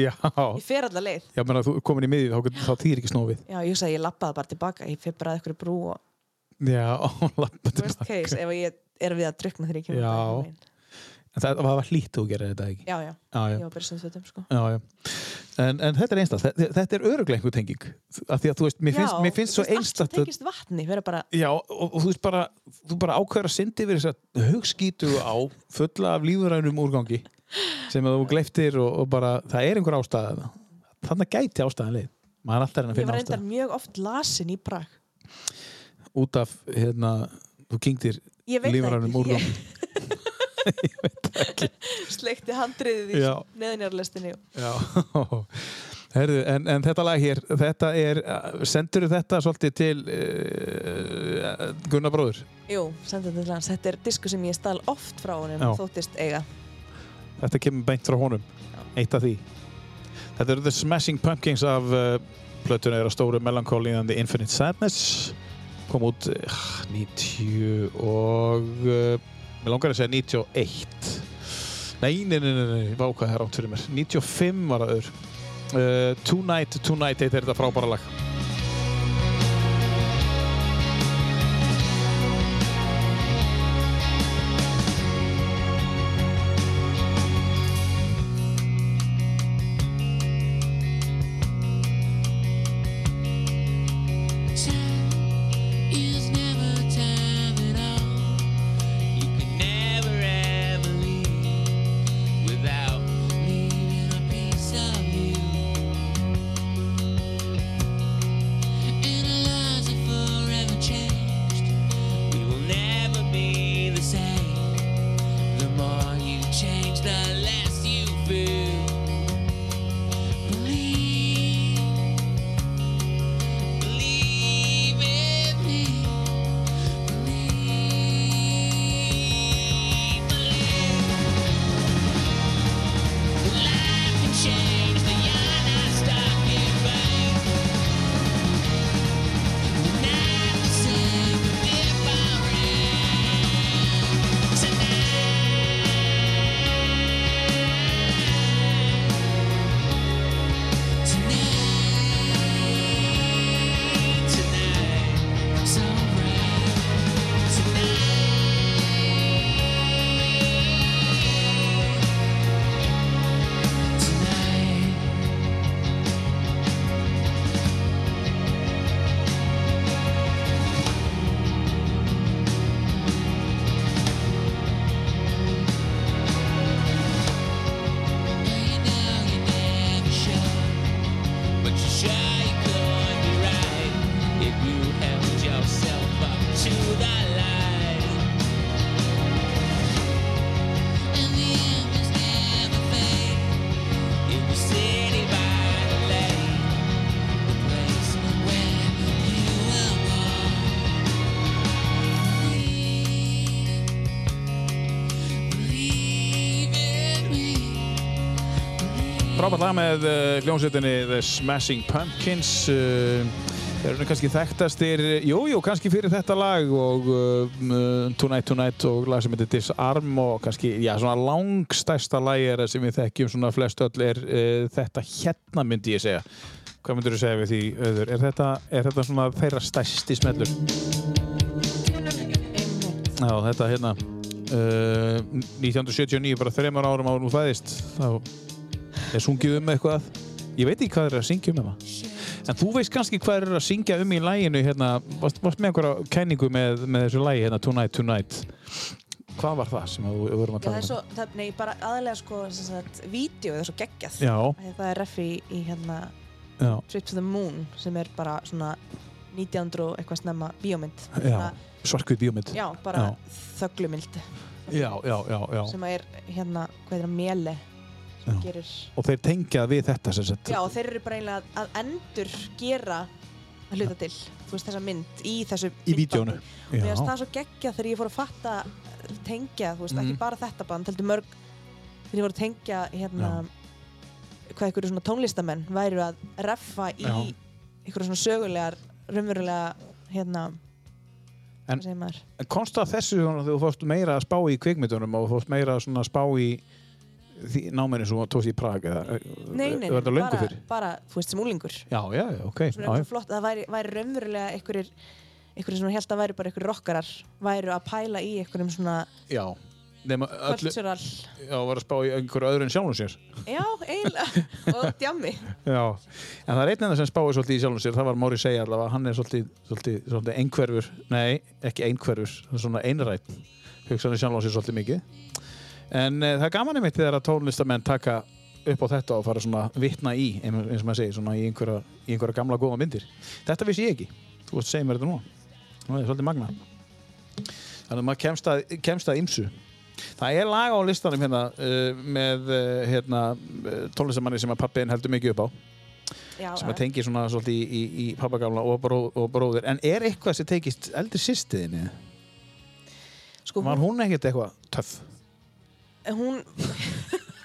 Speaker 2: [laughs] Já,
Speaker 3: fer alla leið
Speaker 2: já, menna þú er komin í miðið, þá, getur- þá þýr ekki snófið.
Speaker 3: Já, ég sagði, ég lappaði bara tilbaka Ég fer bara að ykkur brú
Speaker 2: [laughs]
Speaker 3: og
Speaker 2: Já, og lappa
Speaker 3: worst
Speaker 2: tilbaka.
Speaker 3: case eh. Ef ég er við að drukna þegar ég kemur
Speaker 2: Já.
Speaker 3: baka megin.
Speaker 2: En það það var hlýtt þú gerir þetta ekki.
Speaker 3: já, já,
Speaker 2: Já,
Speaker 3: ég
Speaker 2: já.
Speaker 3: var bara sem þvötum sko
Speaker 2: Já, já. En, en þetta er einstakt, þetta, þetta er öruglega einhver tenging af því að þú veist, mér finnst,
Speaker 3: Já,
Speaker 2: mér finnst
Speaker 3: þú
Speaker 2: svo
Speaker 3: veist,
Speaker 2: einstakt
Speaker 3: Allt sem tengist vatni, vera bara
Speaker 2: Já, og, og þú veist bara, þú bara ákveður að syndi yfir þess að hugskítu á fulla af lífurænum úrgangi sem að þú gleyftir og, og bara það er einhver ástæða þannig gæti ástæðan leið maður er alltaf að reyna að
Speaker 3: Ég
Speaker 2: finna
Speaker 3: var
Speaker 2: ástæðan
Speaker 3: reyndar mjög oft lasin í Prag
Speaker 2: út af, hérna, þú kynktir
Speaker 3: Ég veit það
Speaker 2: lífurænum
Speaker 3: ekki, [laughs]
Speaker 2: úrgangi
Speaker 3: sleikti handriðið í
Speaker 8: Já.
Speaker 3: neðinjarlestinni
Speaker 2: [laughs]
Speaker 8: Já, herðu, en, en þetta lag hér, þetta er, sendur þetta svolítið til uh,
Speaker 2: eh,
Speaker 8: Gunnar bróður?
Speaker 3: Jú, sendið þetta til hans, þetta er disku sem ég stal oft frá honum
Speaker 8: Já.
Speaker 3: og þóttist eiga
Speaker 8: Þetta kemur beint frá honum, eitt af því. Þetta eru The Smashing Pumpkins af uh, plötuna er að stóru Melancholy and the Infinite Sadness kom út uh, 90 og uh, mér langar að segja 91 Nei, nei, nei, nei, nei, vá hvað það er átt fyrir mér 95 var það öður uh, Tonight, Tonight heitir þetta frábæra lag
Speaker 7: Change the less you feel. Believe Believe in me. Believe, believe. Life can change the yarn I start giving. Not the same if I ran tonight.
Speaker 2: Frábært lag með uh, hljómsveitinni The Smashing Pumpkins uh, eru nú kannski þekktastir jú, jú, kannski fyrir þetta lag og uh, um, Tonight Tonight og lag sem heitir Disarm og kannski, já, svona langstæsta lag er sem við þekkjum svona flest öll er uh, þetta hérna myndi ég segja Hvað myndur þú segja við því, Öður? Er þetta, er þetta svona þeirra stæsti smellur? Já, þetta hérna uh, 1979, bara þreymar árum árum þú fæðist, þá er sungið um eitthvað ég veit ekki hvað þeir eru að syngja um það en þú veist kannski hvað þeir eru að syngja um í læginu hérna, varst, varst með einhverja kenningu með, með þessu lægi hérna, Tonight Tonight hvað var það sem að þú vorum að
Speaker 3: Já, það
Speaker 2: tala um?
Speaker 3: er svo, það, nei, bara aðalega sko sem sagt, vídeo, það er svo geggjað
Speaker 2: Já.
Speaker 3: Af því það er reffi í, í hérna
Speaker 2: Já.
Speaker 3: Trip to the Moon sem er bara svona 1900 og eitthvað snemma bíómynd
Speaker 2: já,
Speaker 3: Svona-
Speaker 2: svarkvið bíómynd
Speaker 3: já, bara
Speaker 2: Já.
Speaker 3: þöglumild
Speaker 2: já, já, já, já.
Speaker 3: sem að er hérna, hvað er það, mele sem
Speaker 2: Já.
Speaker 3: gerir
Speaker 2: og þeir tengja við þetta sem sett
Speaker 3: Já, og þeir eru bara einlega að- að endur gera að hluta til, þú veist, þessa mynd í þessu
Speaker 2: í vídjónu
Speaker 3: myndbandi. Mér finnst það svo geggja þegar ég fór að fatta tengja, þú veist,
Speaker 2: Mhm.
Speaker 3: ekki bara þetta band, heldur mörg þegar ég fór að tengja hérna hvað einhverju svona tónlistamenn væri að reffa í
Speaker 2: Já.
Speaker 3: einhverju svona sögulegar, raunverulega hérna,
Speaker 2: En-
Speaker 3: hvað segir maður
Speaker 2: En komst það þessu svona þegar þú fórst meira að spá í kvikmyndunum og þú fórst meira svona að spá í því náminu sem þú tókst í Prag eða
Speaker 3: Nei, nei, nei,
Speaker 2: var þetta löngu
Speaker 3: bara,
Speaker 2: fyrir?
Speaker 3: bara, þú veist, sem úlingur
Speaker 2: Já, já, já, ok.
Speaker 3: Svo
Speaker 2: Já,
Speaker 3: er það
Speaker 2: já.
Speaker 3: svo flott að það væri, væri raunverulega einhverjir einhverjir sem held að væri bara einhverjir rockarar væru að pæla í einhverjum svona
Speaker 2: já. Nefna öllu,
Speaker 3: cultural
Speaker 2: já, var að spá í einhverju öðru en sjálfum sér.
Speaker 3: Já, eiginlega, [laughs] og djammi
Speaker 2: Já, en það er einn enn sem spáði svolítið í sjálfum sér, það var Mári segja allavega, hann er svolítið, svolítið, svolítið einhverfur, nei, ekki einhverfur, svona einrætt, hugsanir sjálfum sér svolítið mikið. En e, það er gaman einmitt þegar að tónlistamenn taka upp á þetta og fara svona vitna í, ein- eins og maður segir, svona í einhverja, í einhverja gamla góða myndir. Þetta vissi ég ekki, þú veist, segir mér þetta núna. Það er svolítið magna. Þannig að maður kemst að, kemst að ymsu. Það er lag á listanum hérna uh, með uh, hérna, tónlistamanni sem að pappiðin heldur mikið upp á
Speaker 3: já,
Speaker 2: sem að tengi svona svolítið í, í, í pappagamla og, bró, og bróðir en er eitthvað sem tekist eldri sýstiðinni?
Speaker 3: sko,
Speaker 2: Var hún ekkert eitthvað töff?
Speaker 3: hún [laughs]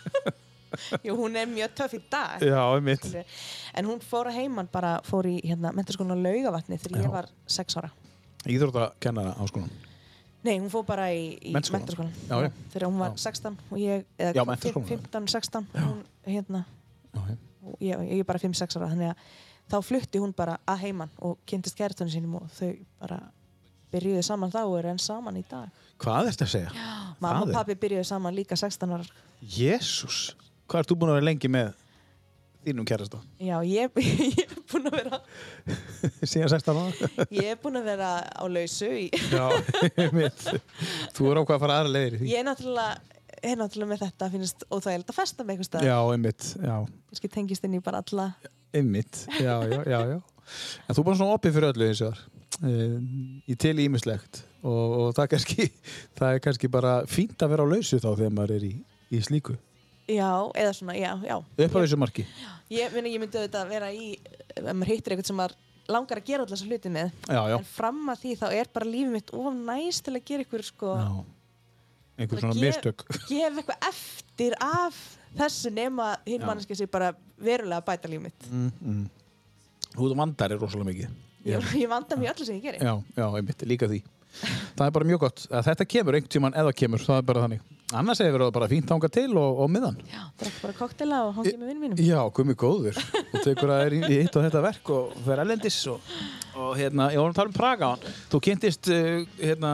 Speaker 3: Jú, hún er mjög töff í dag
Speaker 2: Já, einmitt
Speaker 3: skilurðu. en hún fór að heiman bara fór í hérna, mentaskólan laugavatni þegar
Speaker 2: Já.
Speaker 3: ég var sex ára
Speaker 2: Íþrótta kennara á skólanum
Speaker 3: nei, hún fór bara í, í
Speaker 2: Menntaskólann.
Speaker 3: mentaskólan
Speaker 2: Já, já.
Speaker 3: þegar hún var
Speaker 2: Já.
Speaker 3: 16 og ég,
Speaker 2: Já,
Speaker 3: eða
Speaker 2: menntaskólann.
Speaker 3: 15-16 hún hérna
Speaker 2: okay.
Speaker 3: og ég, ég er bara 5-6 ára þannig að þá flutti hún bara að heiman og kynntist gertunum sínum og þau bara byrjuðu saman þá og eru enn saman í dag
Speaker 2: Hvað ertu að segja?
Speaker 3: mamma
Speaker 2: Það
Speaker 3: og
Speaker 2: er-
Speaker 3: pabbi byrjuðu saman líka 16 ára
Speaker 2: Jésús Hvað ert þú búin að vera lengi með þínum kærasta?
Speaker 3: já, ég, [laughs] ég er búin að vera
Speaker 2: [laughs] Síðan 16 ára?
Speaker 3: ég er búin að vera á lausu í,
Speaker 2: Já, einmitt Þú er ákvað að fara aðra leiðir í því
Speaker 3: ég er náttúrulega er náttúrulega með þetta að finnst óþægilegt að festa með einhverstað,
Speaker 2: Já, einmitt, já
Speaker 3: kannski tengist inn í bara alla
Speaker 2: Einmitt, já, já, já, já. En þú er bara svona opið fyrir öllu eins og þar Ég til ímislegt og, og það, kannski, það er kannski bara fínt að vera á lausu þá þegar maður er í, í slíku
Speaker 3: já, eða svona, já, já
Speaker 2: upp á lausu marki
Speaker 3: ég, meina, ég myndi auðvitað vera í ef maður hittir eitthvað sem maður langar að gera alltaf þessu hluti með
Speaker 2: Já, já,
Speaker 3: en fram að því þá er bara lífið mitt of næst til að gera ykkur sko
Speaker 2: já. einhver svona
Speaker 3: Gef-
Speaker 2: mistök [laughs]
Speaker 3: gefa eitthvað eftir af þessu nema hinn
Speaker 2: Já.
Speaker 3: manneskja sé bara verulega að bæta lífið mitt
Speaker 2: Mm, Þú vandar er rosalega mikið
Speaker 3: ég, ég vanda mér öllu sem ég geri
Speaker 2: Já, já, einmitt, líka því Það er bara mjög gott að þetta kemur einhvern tímann eða kemur, það er bara þannig Annars hefur það bara fínt þangað til og, og miðan
Speaker 3: drekka bara koktela og hangi með vinnum mínum
Speaker 2: Já, gummi góður og tekur að er í í hitt á þetta verk og fer erlendis og, og hérna, ég vorum að tala um Praga áðan. þú kynntist uh, hérna,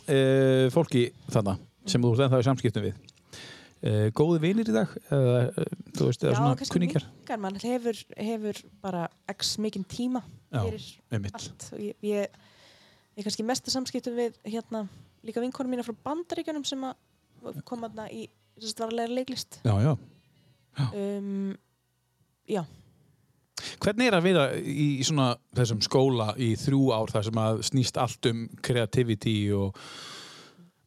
Speaker 2: uh, fólki þarna sem þú stendur það í samskiptum við uh, góði vinir í dag eða, uh, þú veist, eða svona kunningjar
Speaker 3: mingar mann hefur, hefur bara x mikinn tíma
Speaker 2: Já,
Speaker 3: fyrir
Speaker 2: einmitt,
Speaker 3: allt og ég, ég, ég kannski mestu samskiptum við hérna líka vinkonum mína frá bandaríkjunum sem að koma þarna í sem sagt var að læra leiklist
Speaker 2: já, já
Speaker 3: um, já,
Speaker 2: Hvernig er að vera í í svona þessum skóla í þrjú ár þar sem að snýst allt um kreativiti og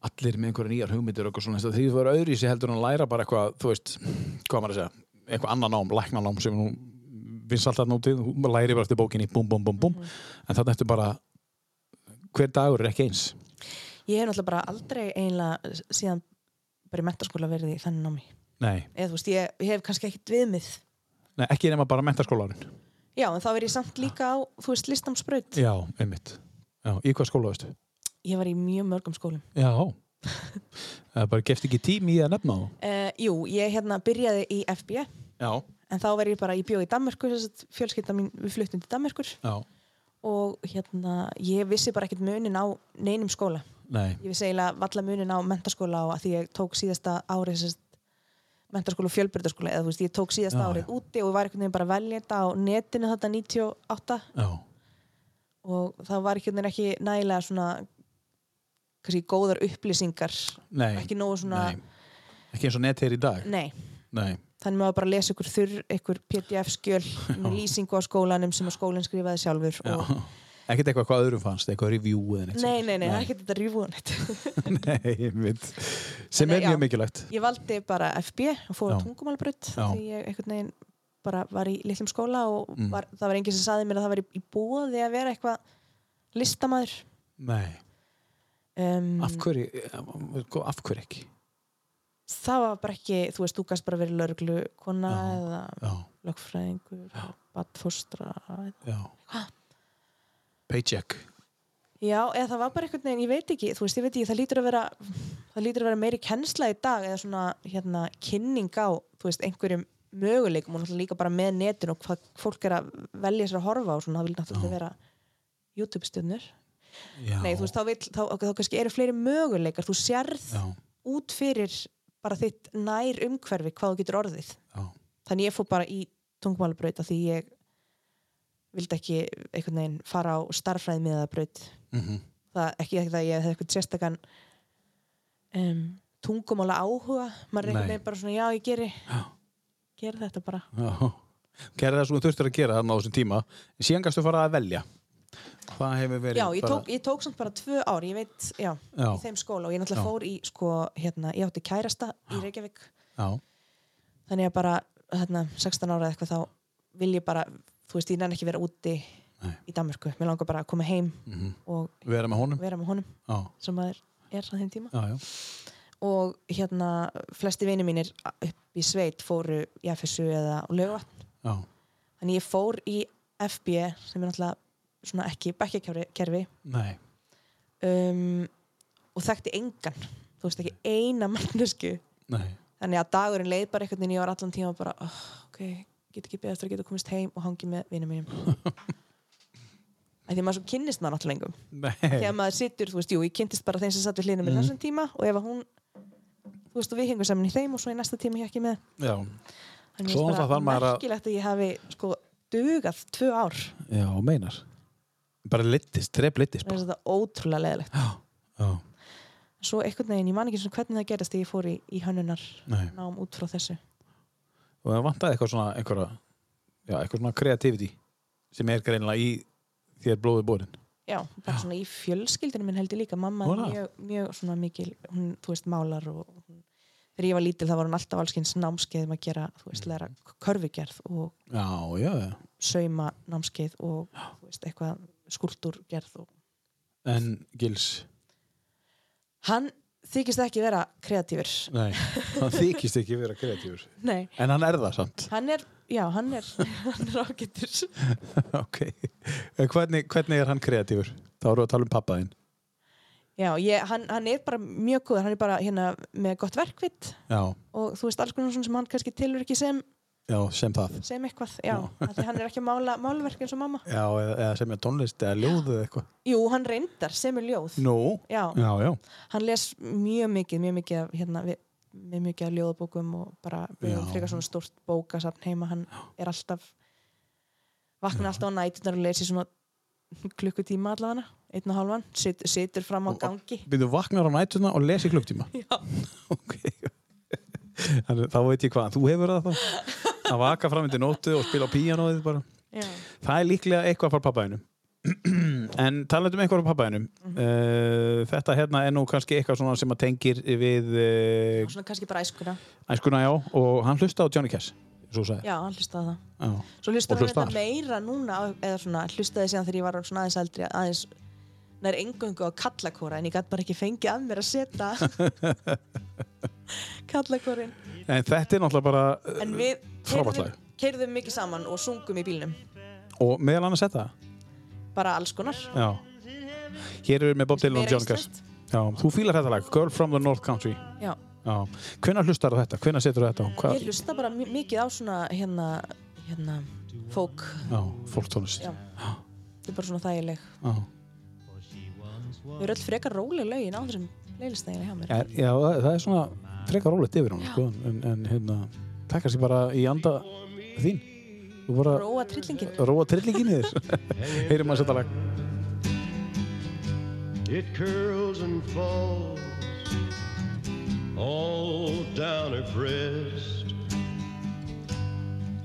Speaker 2: allir með einhverja nýjar hugmyndir og eitthvað svona þess að því þú verður öðru í sig heldur en að læra bara eitthvað, þú veist, hvað á maður að segja eitthvað annan nám, læknanám sem nú finnst alltaf nútið, hún læri bara eftir bókinni búm, búm, búm, búm, en þannig eftir bara hver dagur er ekki eins
Speaker 3: ég hef náttúrulega bara aldrei eiginlega síðan bara í mentaskóla verið í þannig námi
Speaker 2: Nei,
Speaker 3: eða þú veist, ég, ég hef kannski ekkit viðmið
Speaker 2: Nei ekki nema bara mentaskólarin
Speaker 3: já, en þá er ég samt líka á, þú veist, um listamsbraut
Speaker 2: Já, einmitt Já, í hvað skóla veistu?
Speaker 3: ég var í mjög mörgum skólum
Speaker 2: Já [laughs] Það bara gefst ekki tími í að nefna þá
Speaker 3: uh, jú, ég hérna byrjaði í FB
Speaker 2: Já,
Speaker 3: en þá verið ég bara, ég bjóð í Danmörku þess að fjölskylda mín, við fluttum til Danmörkur
Speaker 2: já,
Speaker 3: og hérna, ég vissi bara ekkit munin á neinum skóla
Speaker 2: nei
Speaker 3: ég vissi eiginlega valla munin á mentaskóla og að því ég tók síðasta árið sérst, mentaskóla og fjölbyrðaskóla eða þú veist, ég tók síðasta
Speaker 2: Já,
Speaker 3: árið úti og var einhvern veginn bara að velja þetta á netinu þetta 98
Speaker 2: Já,
Speaker 3: og það var einhvern veginn ekki nægilega svona kannski góðar upplýsingar
Speaker 2: nei
Speaker 3: ekki nógu svona,
Speaker 2: nei. Ekki eins og net er í dag
Speaker 3: nei,
Speaker 2: Nei,
Speaker 3: þannig maður bara að lesa ykkur þurr, ykkur pdf-skjöl
Speaker 2: [laughs]
Speaker 3: með lýsingu á skólanum sem að skólinn skrifaði sjálfur
Speaker 2: já
Speaker 3: og
Speaker 2: [laughs] Ekkert eitthvað hvað öðrum fannst, eitthvað review eða neitt
Speaker 3: Nei, nei, nei, það er
Speaker 2: nei,
Speaker 3: ekki þetta rífúðan
Speaker 2: [laughs] nei mitt Sem
Speaker 3: Nei,
Speaker 2: er
Speaker 3: já.
Speaker 2: mjög mikilvægt
Speaker 3: [laughs] Ég valdi bara FB og fór
Speaker 2: Já.
Speaker 3: á tungumálbrut
Speaker 2: Já.
Speaker 3: því ég einhvern veginn bara var í litlum skóla og
Speaker 2: Mm.
Speaker 3: var, það var enginn sem saði mér að það var í, í bóði að vera eitthvað listamæður
Speaker 2: Nei,
Speaker 3: um,
Speaker 2: af hverju, eh, sko, af hverju ekki
Speaker 3: Það var bara ekki, þú veist, þú gast bara verið lauruglu kona
Speaker 2: Já.
Speaker 3: eða
Speaker 2: Já,
Speaker 3: lögfræðingur badfóstra
Speaker 2: já Paycheck
Speaker 3: Já, eða það var bara einhvern veginn, ég veit ekki þú veist, ég veit ekki, það lítur að vera það lítur að vera meiri kennsla í dag eða svona, hérna, kynning á þú veist, einhverjum möguleikum og náttúrulega líka bara með netin og hvað fólk er að velja sér að horfa á svona, það vil náttúrulega vera YouTube-stjörnur
Speaker 2: já.
Speaker 3: Nei, þú veist, þá, vil, þá, þá kannski eru fleiri möguleikar þú sérð
Speaker 2: Já,
Speaker 3: út fyrir bara þitt nær umhverfi hvað þú getur orðið
Speaker 2: já,
Speaker 3: þannig ég fór bara í tungumálabrauta því ég vildi ekki einhvern veginn fara á starffræðmiðabraut
Speaker 2: mm
Speaker 3: það ekki ekki það að ég hef eitthvað sérstakann um, tungumála áhuga maður
Speaker 2: Nei.
Speaker 3: er einhvern veginn bara svona já ég geri
Speaker 2: Já.
Speaker 3: geri þetta bara
Speaker 2: já. Gerði það sem þú þurftir að gera þarna á þessum tíma Síðan gastu fara að velja það hefur verið
Speaker 3: Já, ég
Speaker 2: bara-
Speaker 3: tók, ég tók samt bara tvö ár, ég veit, já,
Speaker 2: Já.
Speaker 3: í þeim skóla og ég náttúrulega
Speaker 2: Já.
Speaker 3: fór í, sko, hérna, ég átti kærasta í Reykjavík,
Speaker 2: já,
Speaker 3: þannig að bara, hérna, 16 ára eða eitthvað þá vil ég bara, þú veist, ég nenn ekki vera úti
Speaker 2: Nei. Mhm.
Speaker 3: í Danmörku, mér langar bara að koma heim og
Speaker 2: vera með honum
Speaker 3: vera með honum
Speaker 2: já,
Speaker 3: sem maður er á þeim tíma
Speaker 2: já, já,
Speaker 3: og hérna, flesti vinir mínir upp í sveit fóru í FSU eða lögvatn
Speaker 2: já,
Speaker 3: þannig ég fór í FB sem er náttúrulega svona ekki bekkjakerfi
Speaker 2: nei
Speaker 3: um, og þekkti engan þú veist ekki eina mannesku
Speaker 2: nei,
Speaker 3: þannig að dagurinn leið bara einhvern veginn ég var allan tíma bara, oh, ok, get ekki beðast að geta komist heim og hangi með vinum mínum að því maður svo kynnist maður náttúrulega engum
Speaker 2: nei,
Speaker 3: þegar maður situr, þú veist, jú, ég kynntist bara þeim sem satt við hlinum
Speaker 2: Mhm.
Speaker 3: mm. í þessum tíma og ef að hún þú veist, og við hengum saman í þeim og svo í næsta tíma ég ekki með
Speaker 2: já
Speaker 3: þannig
Speaker 2: Svo náttúrulega
Speaker 3: ég bara
Speaker 2: þarf maður að-
Speaker 3: merkilegt að ég hafi sko dugað tvö ár
Speaker 2: já, meinar bara litist, tref litist
Speaker 3: það er þetta ótrúlega leðilegt
Speaker 2: já,
Speaker 3: svo einhvern veginn, ég man ekki svona hvernig það gerist þegar ég fór í, í hönnunar
Speaker 2: nei,
Speaker 3: nám út frá þessu
Speaker 2: og það vantaði eitthvað svona einhverja, já, eitthvað svona kreativiti sem er greinilega í þér blóði bórin
Speaker 3: já, bara svona í fjölskyldinu minn held ég líka mamma
Speaker 2: Ó,
Speaker 3: er
Speaker 2: það.
Speaker 3: mjög, mjög svona mikil hún, þú veist, málar og hún, þegar ég var lítil þá var hún alltaf allskins námskeið um að gera, þú veist, læra körfugerð og
Speaker 2: já, já, já
Speaker 3: sauma námskeið og þú veist, eitthvað skúltúrgerð og
Speaker 2: en gils,
Speaker 3: hann þykist ekki vera kreatífur
Speaker 2: nei hann þykist ekki vera kreatífur
Speaker 3: nei,
Speaker 2: en hann er það samt
Speaker 3: hann er, já, hann er hann er ágættur
Speaker 2: [laughs] ok, en hvernig, hvernig er hann kreatífur? þá eru að tala um pappaðinn
Speaker 3: já, ég, hann, hann er bara mjög góður, hann er bara hérna með gott verkvitt
Speaker 2: já,
Speaker 3: og þú veist alls konar svona sem hann kannski tilur ekki sem,
Speaker 2: já, sem það
Speaker 3: sem eitthvað já, af því hann er ekki að mála málverk eins og mamma
Speaker 2: já, eða, eða semja tónlist eða ljóðu eða eitthvað
Speaker 3: jú, hann reyndar sem er ljóð
Speaker 2: nú,
Speaker 3: já,
Speaker 2: já, já,
Speaker 3: hann les mjög mikið mjög mikið af, hérna, við, mjög mikið af ljóðabókum og bara við
Speaker 2: Já.
Speaker 3: höfum frekar svona stórt bókasafn heima, hann er alltaf vakna alltaf á nætunar og lesi svona [laughs] klukkutíma allavega, einn og hálfan sit, situr fram á
Speaker 2: Og-
Speaker 3: gangi
Speaker 2: byrðu vaknar á nætuna og lesi klukktíma
Speaker 3: já,
Speaker 2: ok [laughs] Þannig, þá veit ég hvað, þú hefur það þá að vaka fram undir nóttu og spila á píanóið bara.
Speaker 3: já,
Speaker 2: það er líklega eitthvað frá pappaðinum [clears throat] en talandi um eitthvað frá pappaðinum
Speaker 3: Mhm.
Speaker 2: uh, þetta hérna er nú kannski eitthvað svona sem að tengir við uh,
Speaker 3: svona kannski bara æskuna
Speaker 2: æskuna já og hann hlusta á Johnny Cash svo sagði
Speaker 3: já, hann hlustaði á það
Speaker 2: Já.
Speaker 3: Svo
Speaker 2: Og
Speaker 3: hlustar hann
Speaker 2: hlustar.
Speaker 3: þetta meira núna á- eða svona hlustaði síðan þegar ég var svona aðeins eldri aðeins nær engöngu á kallakóra en ég gæti bara ekki fengið að mér að setja
Speaker 2: [laughs]
Speaker 3: kallakórin
Speaker 2: en þetta er náttúrulega bara uh,
Speaker 3: en við
Speaker 2: Frábært lag.
Speaker 3: keirðum mikið saman og sungum í bílnum
Speaker 2: eh, og meðal annars þetta
Speaker 3: bara alls konar
Speaker 2: já. hér erum við með Bob Dylan og
Speaker 3: Meira
Speaker 2: Johnny Cash já, þú fílar þetta lag, Girl from the North Country
Speaker 3: Já.
Speaker 2: já. hvenær hlustar þetta, hvenær setur þetta á? Hvað-
Speaker 3: ég hlusta bara mi- mikið á svona hérna, hérna fók
Speaker 2: já, fólktónlist
Speaker 3: Já. þetta er bara svona þægileg
Speaker 2: Já.
Speaker 3: við erum öll frekar róleg lögin á þessum leilistægileg hjá mér
Speaker 2: Er, já, það það er svona frekar rólegt yfir hún, sko, en, en hérna, það er kannski bara í anda þín. Þú bara
Speaker 3: róa trillingin
Speaker 2: róa trillingin [laughs] í þér. Heyrim að setja lag.
Speaker 9: It curls and falls all down her breast.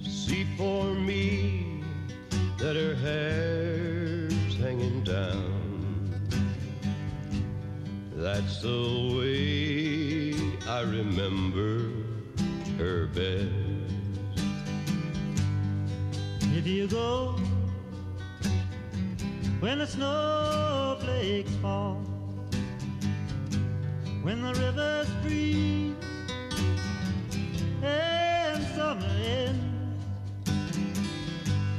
Speaker 9: See for me that her hair's hanging down. That's the way I remember her best. If you go when the snowflakes fall, when the rivers freeze, and summer ends.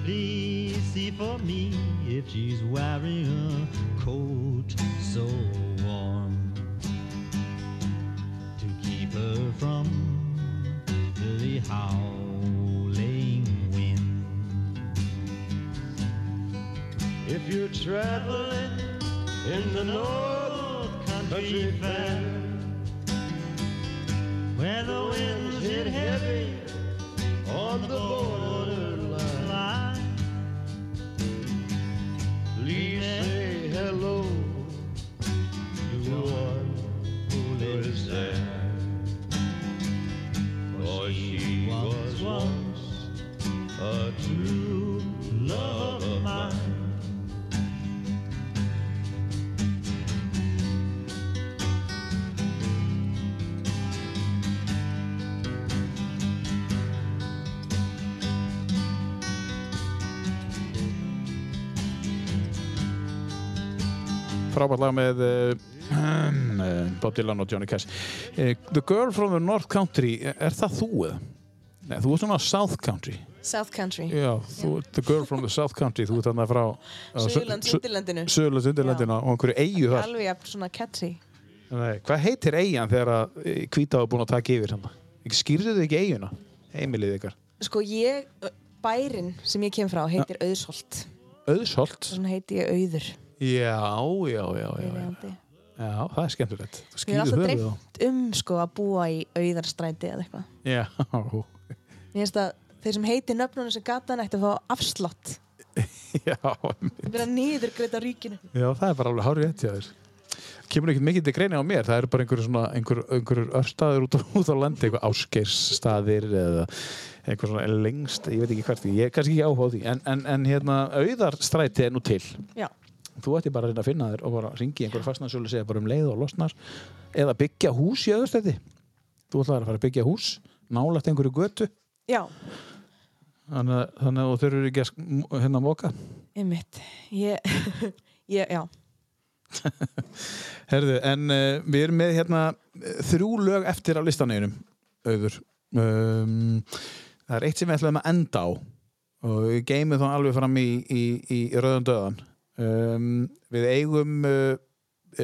Speaker 9: Please see for me if she's wearing a coat so warm to keep her from the howling wind. If you're traveling in the North Country Fair, where the winds hit heavy on the borderline, please say hello to one who lives there. For she was once a true love of mine.
Speaker 2: frábært lag með [clears throat] uh, Bob Dylan og Johnny Cash uh, The Girl from the North Country er það þú eða? Nei, þú ert svona South Country
Speaker 3: South Country
Speaker 2: Já, þú ert The Girl from the South Country þú ert þarna frá
Speaker 3: Suðurland, Sýndilendinu
Speaker 2: Söðurlands undirlandina og einhverju eigu þar
Speaker 3: Alveg jafn svona catchy
Speaker 2: Nei, Hvað heitir eigin þegar að eh, hvíta hafa búin að taka yfir hann? Skýrðu þið ekki eiguna? Heimilið ykkar
Speaker 3: Sko ég, bærin sem ég kem frá heitir Auðsholt
Speaker 2: Öðsholt
Speaker 3: Svona heiti ég Auður
Speaker 2: Já, já, já, já, já.
Speaker 3: viðeigandi.
Speaker 2: já það er skemmtilegt Þú
Speaker 3: Mér er
Speaker 2: skýrðu
Speaker 3: alltaf
Speaker 2: höfuð á
Speaker 3: dreift um sko að búa í Auðarstræti eða eitthvað
Speaker 2: Já,
Speaker 3: Mér finnst að þeir sem heiti nöfnunum sem gatan ætti að fá afslott
Speaker 2: já [laughs]
Speaker 3: Það byrja niður greita ríkinu
Speaker 2: Já, það er bara alveg hárið rétt hjá þér. Kemur ekkert mikið til greina á mér, það eru bara einhverjur svona, einhverjur, einhverjur örstaðir út, á- [laughs] út á landi, einhver áskersstaðir eða einhver svona lengst, ég veit ekki hvert, ég er kannski ekki áhuga á því, en, en, en hérna, auðarstræti er nú til.
Speaker 3: Já,
Speaker 2: Þú ætti bara að reyna að finna þér og bara ringi einhverju fastnarsölu segja bara um leið og losnar eða byggja hús í auðarstræti. Þú ætlaðir að fara að byggja hús, nálægt einhverju götu,
Speaker 3: já,
Speaker 2: þannig að- þannig að þú þurfur ekki að sk- hérna móka.
Speaker 3: einmitt Ég, [laughs] ég já
Speaker 2: Herðu, en uh, við erum með hérna eh, þrjú lög eftir á listaneginum, auður. Um, það er eitt sem við ætlum að enda á og við geymum þá alveg fram í, í, í röðan döðan. Um, við eigum uh,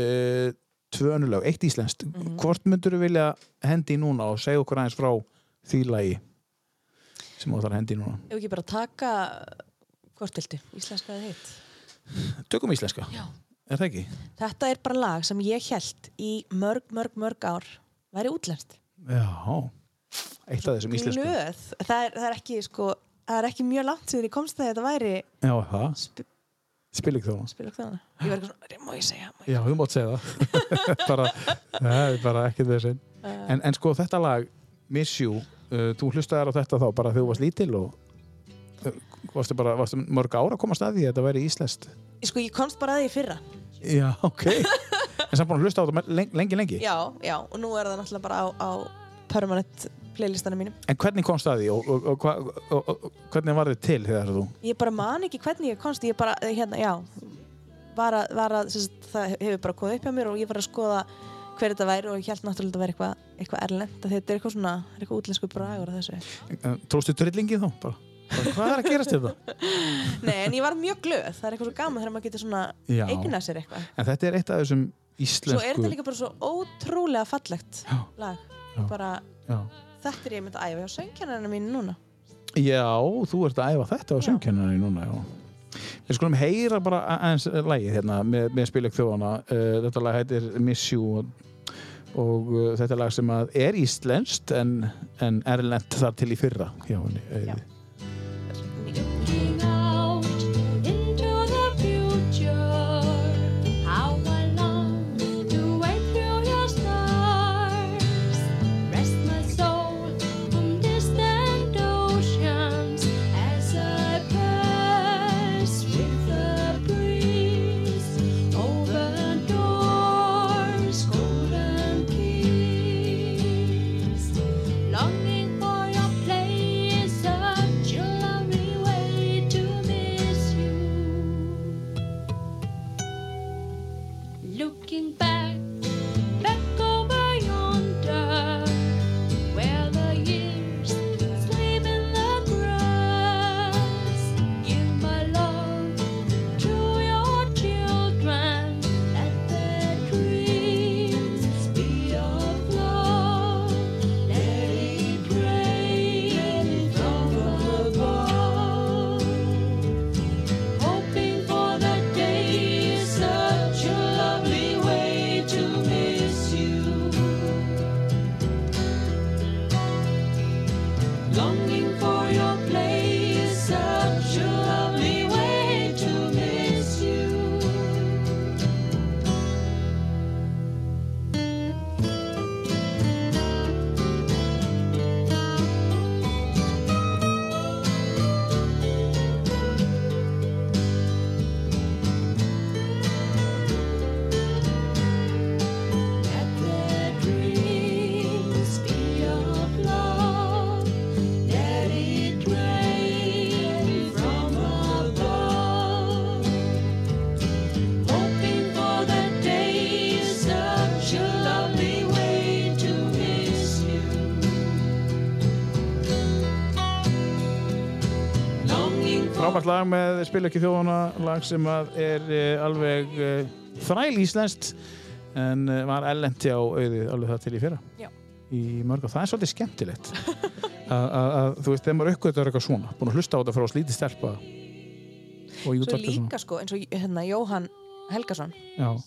Speaker 2: uh, tvö önnur lög, eitt íslenskt. Hvort myndur við vilja hendi í núna og segja okkur aðeins frá því lagi sem þú ætlar að hendi í núna?
Speaker 3: Ef ekki bara taka hvort viltu, íslenska eða hitt
Speaker 2: Tökum íslenska? Já. Er það ekki?
Speaker 3: Þetta er bara lag sem ég held í mörg, mörg, mörg ár væri útlenskt
Speaker 2: Já. Eitt af þessum íslensku.
Speaker 3: Glöð, það er, það er ekki sko það er ekki mjög langt síðan ég komst að þetta væri
Speaker 2: Já, það.
Speaker 3: sp
Speaker 2: Spil ekki þá hans.
Speaker 3: spila þjóðana Ég var eitthvað svona, má ég segja má ég-
Speaker 2: Já, þú mátt segja það [laughs] bara, Það er bara ekkert þessi
Speaker 3: Eh.
Speaker 2: en, en sko þetta lag, Miss You uh, þú hlustaðar á þetta þá bara þegar þú varst lítil og uh, varstu bara varstu mörg ára að koma staði því að þetta væri íslenskt
Speaker 3: Sko, ég komst bara að því í fyrra
Speaker 2: Já, ok En samt búin að hlusta á þetta lengi, lengi, lengi.
Speaker 3: Já, já, og nú er það náttúrulega bara á, á permanent playlistanum mínum
Speaker 2: En hvernig kom staði og, og, og, hva- og, og, og hvernig var þið til þegar þú
Speaker 3: Ég bara man ekki hvernig ég komst Ég bara, eh, hérna, já var að, var að, sem sagt, Það hefur bara komið upp hjá mér og ég var að skoða hver þetta væri og ég held náttúrulega að þetta væri eitthvað eitthvað erlend að þetta er eitthvað svona, er eitthvað útlensku bragur að þessu.
Speaker 2: eh, tróstu trillingi þá? Bara, bara, hvað er að gerast hérna? þetta?
Speaker 3: [laughs] Nei, en ég var mjög glöð, það er eitthvað svo gaman þegar maður getur svona
Speaker 2: Já.
Speaker 3: eigna sér eitthvað.
Speaker 2: En þetta er eitt af þessum
Speaker 3: Svo
Speaker 2: íslensku
Speaker 3: er þetta líka bara svo ótrúlega fallegt
Speaker 2: Já.
Speaker 3: lag.
Speaker 2: Já.
Speaker 3: Bara,
Speaker 2: Já.
Speaker 3: þetta er ég myndi að æfa hjá söngjarnarinn mín núna.
Speaker 2: Já, þú ert að æfa þetta á söngkennari núna, já. Við skulum heyra bara a- aðeins lagið hérna með, með spilökk þjóðana. Uh, þetta lag heitir Miss You og, og uh, þetta er lag sem að er íslenskt en, en erlent þar til í fyrra. Já, henni, eh,
Speaker 3: Já.
Speaker 2: Auði.
Speaker 10: Looking out into the future, how I long to wait through your stars. Rest my soul on distant oceans as I pass with the breeze over doors, golden keys longing for your place on
Speaker 2: frábært lag með spil ekki þjóðana lag sem að er eh, alveg eh, þræl íslenskt en eh, var ellendi á auðið alveg það til í fyrra
Speaker 3: Já.
Speaker 2: í mörg og það er svolítið skemmtilegt að, að, að þú veist, þegar maður uppgötur eitthvað svona búin að hlusta á þetta frá slítið stelpa og í
Speaker 3: svo
Speaker 2: útvarpi
Speaker 3: líka sko eins og hérna Jóhann Helgason
Speaker 2: svona já,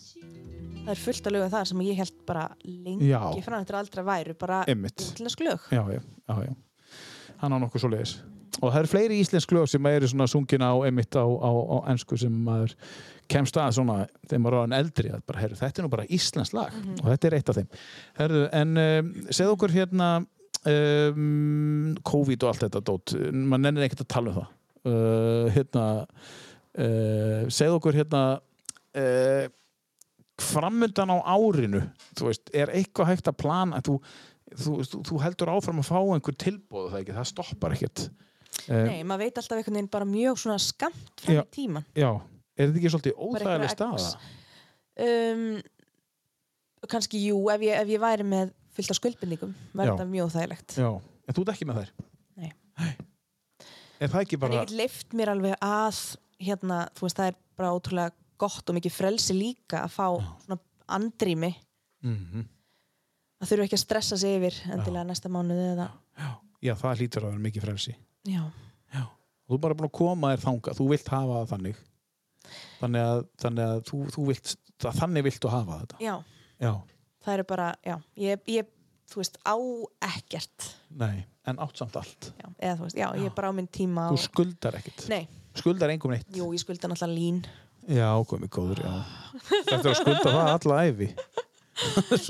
Speaker 3: það er fullt að lögum það sem ég held bara lengi
Speaker 2: Já.
Speaker 3: frá þetta aldrei væru bara
Speaker 2: Einmitt.
Speaker 3: íslensk lög
Speaker 2: já, já, já, já. hann á nokkuð svo leiðis og það eru fleiri íslensk lög sem eru svona sungin á emitt á, á, á ennsku sem maður kemst að svona þegar maður er orðinn eldri að bara, herru, þetta er nú bara íslensk lag og þetta er eitt af þeim herru, en um, segð okkur hérna um, COVID og allt þetta dót, maður nennir ekkert að tala um það uh, hérna uh, segð okkur hérna uh, framöndan á árinu þú veist, er eitthvað hægt að plana þú, þú, þú, þú heldur áfram að fá einhver tilbóð það ekki, það stoppar ekkert uh,
Speaker 3: nei, maður veit alltaf einhvern veginn bara mjög svona skamt
Speaker 2: Já.
Speaker 3: fram í tíman
Speaker 2: já, er þetta ekki svolítið
Speaker 3: Bara
Speaker 2: óþægileg
Speaker 3: einhverja
Speaker 2: staða?
Speaker 3: eggs. um, kannski jú, ef ég, ef ég væri með fullt af skuldbindingum,
Speaker 2: Já.
Speaker 3: verður það mjög þægilegt
Speaker 2: já, en þú ert ekki með þær?
Speaker 3: Nei.
Speaker 2: er það ekki
Speaker 3: en
Speaker 2: bara
Speaker 3: ég get leift mér alveg að hérna, þú veist, það er bara ótrúlega gott og mikið frelsi líka að fá svona andrými
Speaker 2: mm
Speaker 3: að þurfa ekki að stressa sig yfir endilega næsta mánuði eða
Speaker 2: já, það hlýtur að vera mikið frelsi
Speaker 3: já,
Speaker 2: þú er bara búin að koma þér þanga, þú vilt hafa það þannig þannig að, þannig að þú, þú vilt, þannig viltu hafa þetta
Speaker 3: já,
Speaker 2: já,
Speaker 3: það eru bara já, ég, ég, þú veist, á ekkert
Speaker 2: nei, en átt samt allt
Speaker 3: já, eða þú veist, já, ég er bara á minn tíma
Speaker 2: þú
Speaker 3: og,
Speaker 2: skuldar ekkert,
Speaker 3: nei,
Speaker 2: skuldar engum neitt
Speaker 3: jú, ég skulda náttúrulega lín
Speaker 2: Já, komið góður,
Speaker 3: [laughs]
Speaker 2: já. Þetta er að skulda það alla æfi.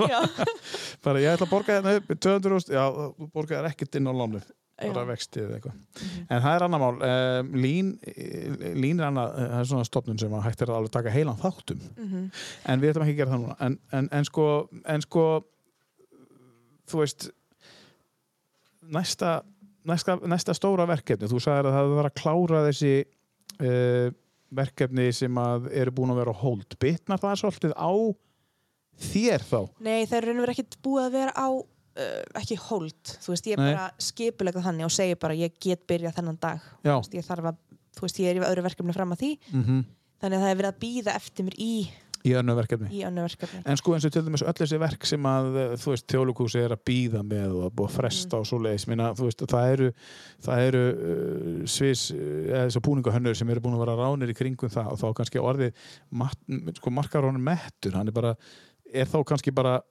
Speaker 3: já,
Speaker 2: [laughs] Bara ég ætla að borga þérna upp 200 rúst, já, þú borga þér ekkert inn á lánu. Bara
Speaker 3: já,
Speaker 2: vextið eða eitthvað. En það er annar mál. Um, lín, eh, lín er annað, eh, það er svona stopnun sem að hægt er að alveg taka heilan þáttum. En við ætlum ekki að gera það núna. En, en, en, sko, en sko, þú veist, næsta, næsta, næsta stóra verkefni, þú sagðir að það var að klára þessi uh, verkefni sem að eru búin að vera á hold. Bitnar það svolítið á þér þá?
Speaker 3: nei, það er raun og verið ekkert búið að vera á uh, ekki hold, þú veist, ég er
Speaker 2: Nei.
Speaker 3: bara skipulega þannig og segi bara, ég get byrjað þennan dag Þú
Speaker 2: Já.
Speaker 3: veist, ég þarf að, þú veist, ég er í öðru verkefni fram að því
Speaker 2: Mm -hmm.
Speaker 3: þannig að það er verið að býða eftir mér í,
Speaker 2: Í önnu verkefni?
Speaker 3: í önnu verkefni
Speaker 2: En sko eins og til dæmis öll þessi verk sem að eh, þú veist, þjóðlugúsi er að býða með og að búa að fresta og svo leiðis minna, þú veist, það eru, það eru uh, svis, eh, eða þessu búningahönnur sem eru búin að vera ránir í kringum það og þá kannski orðið, mat, m- sko markar honum mettur, hann er bara er þá kannski bara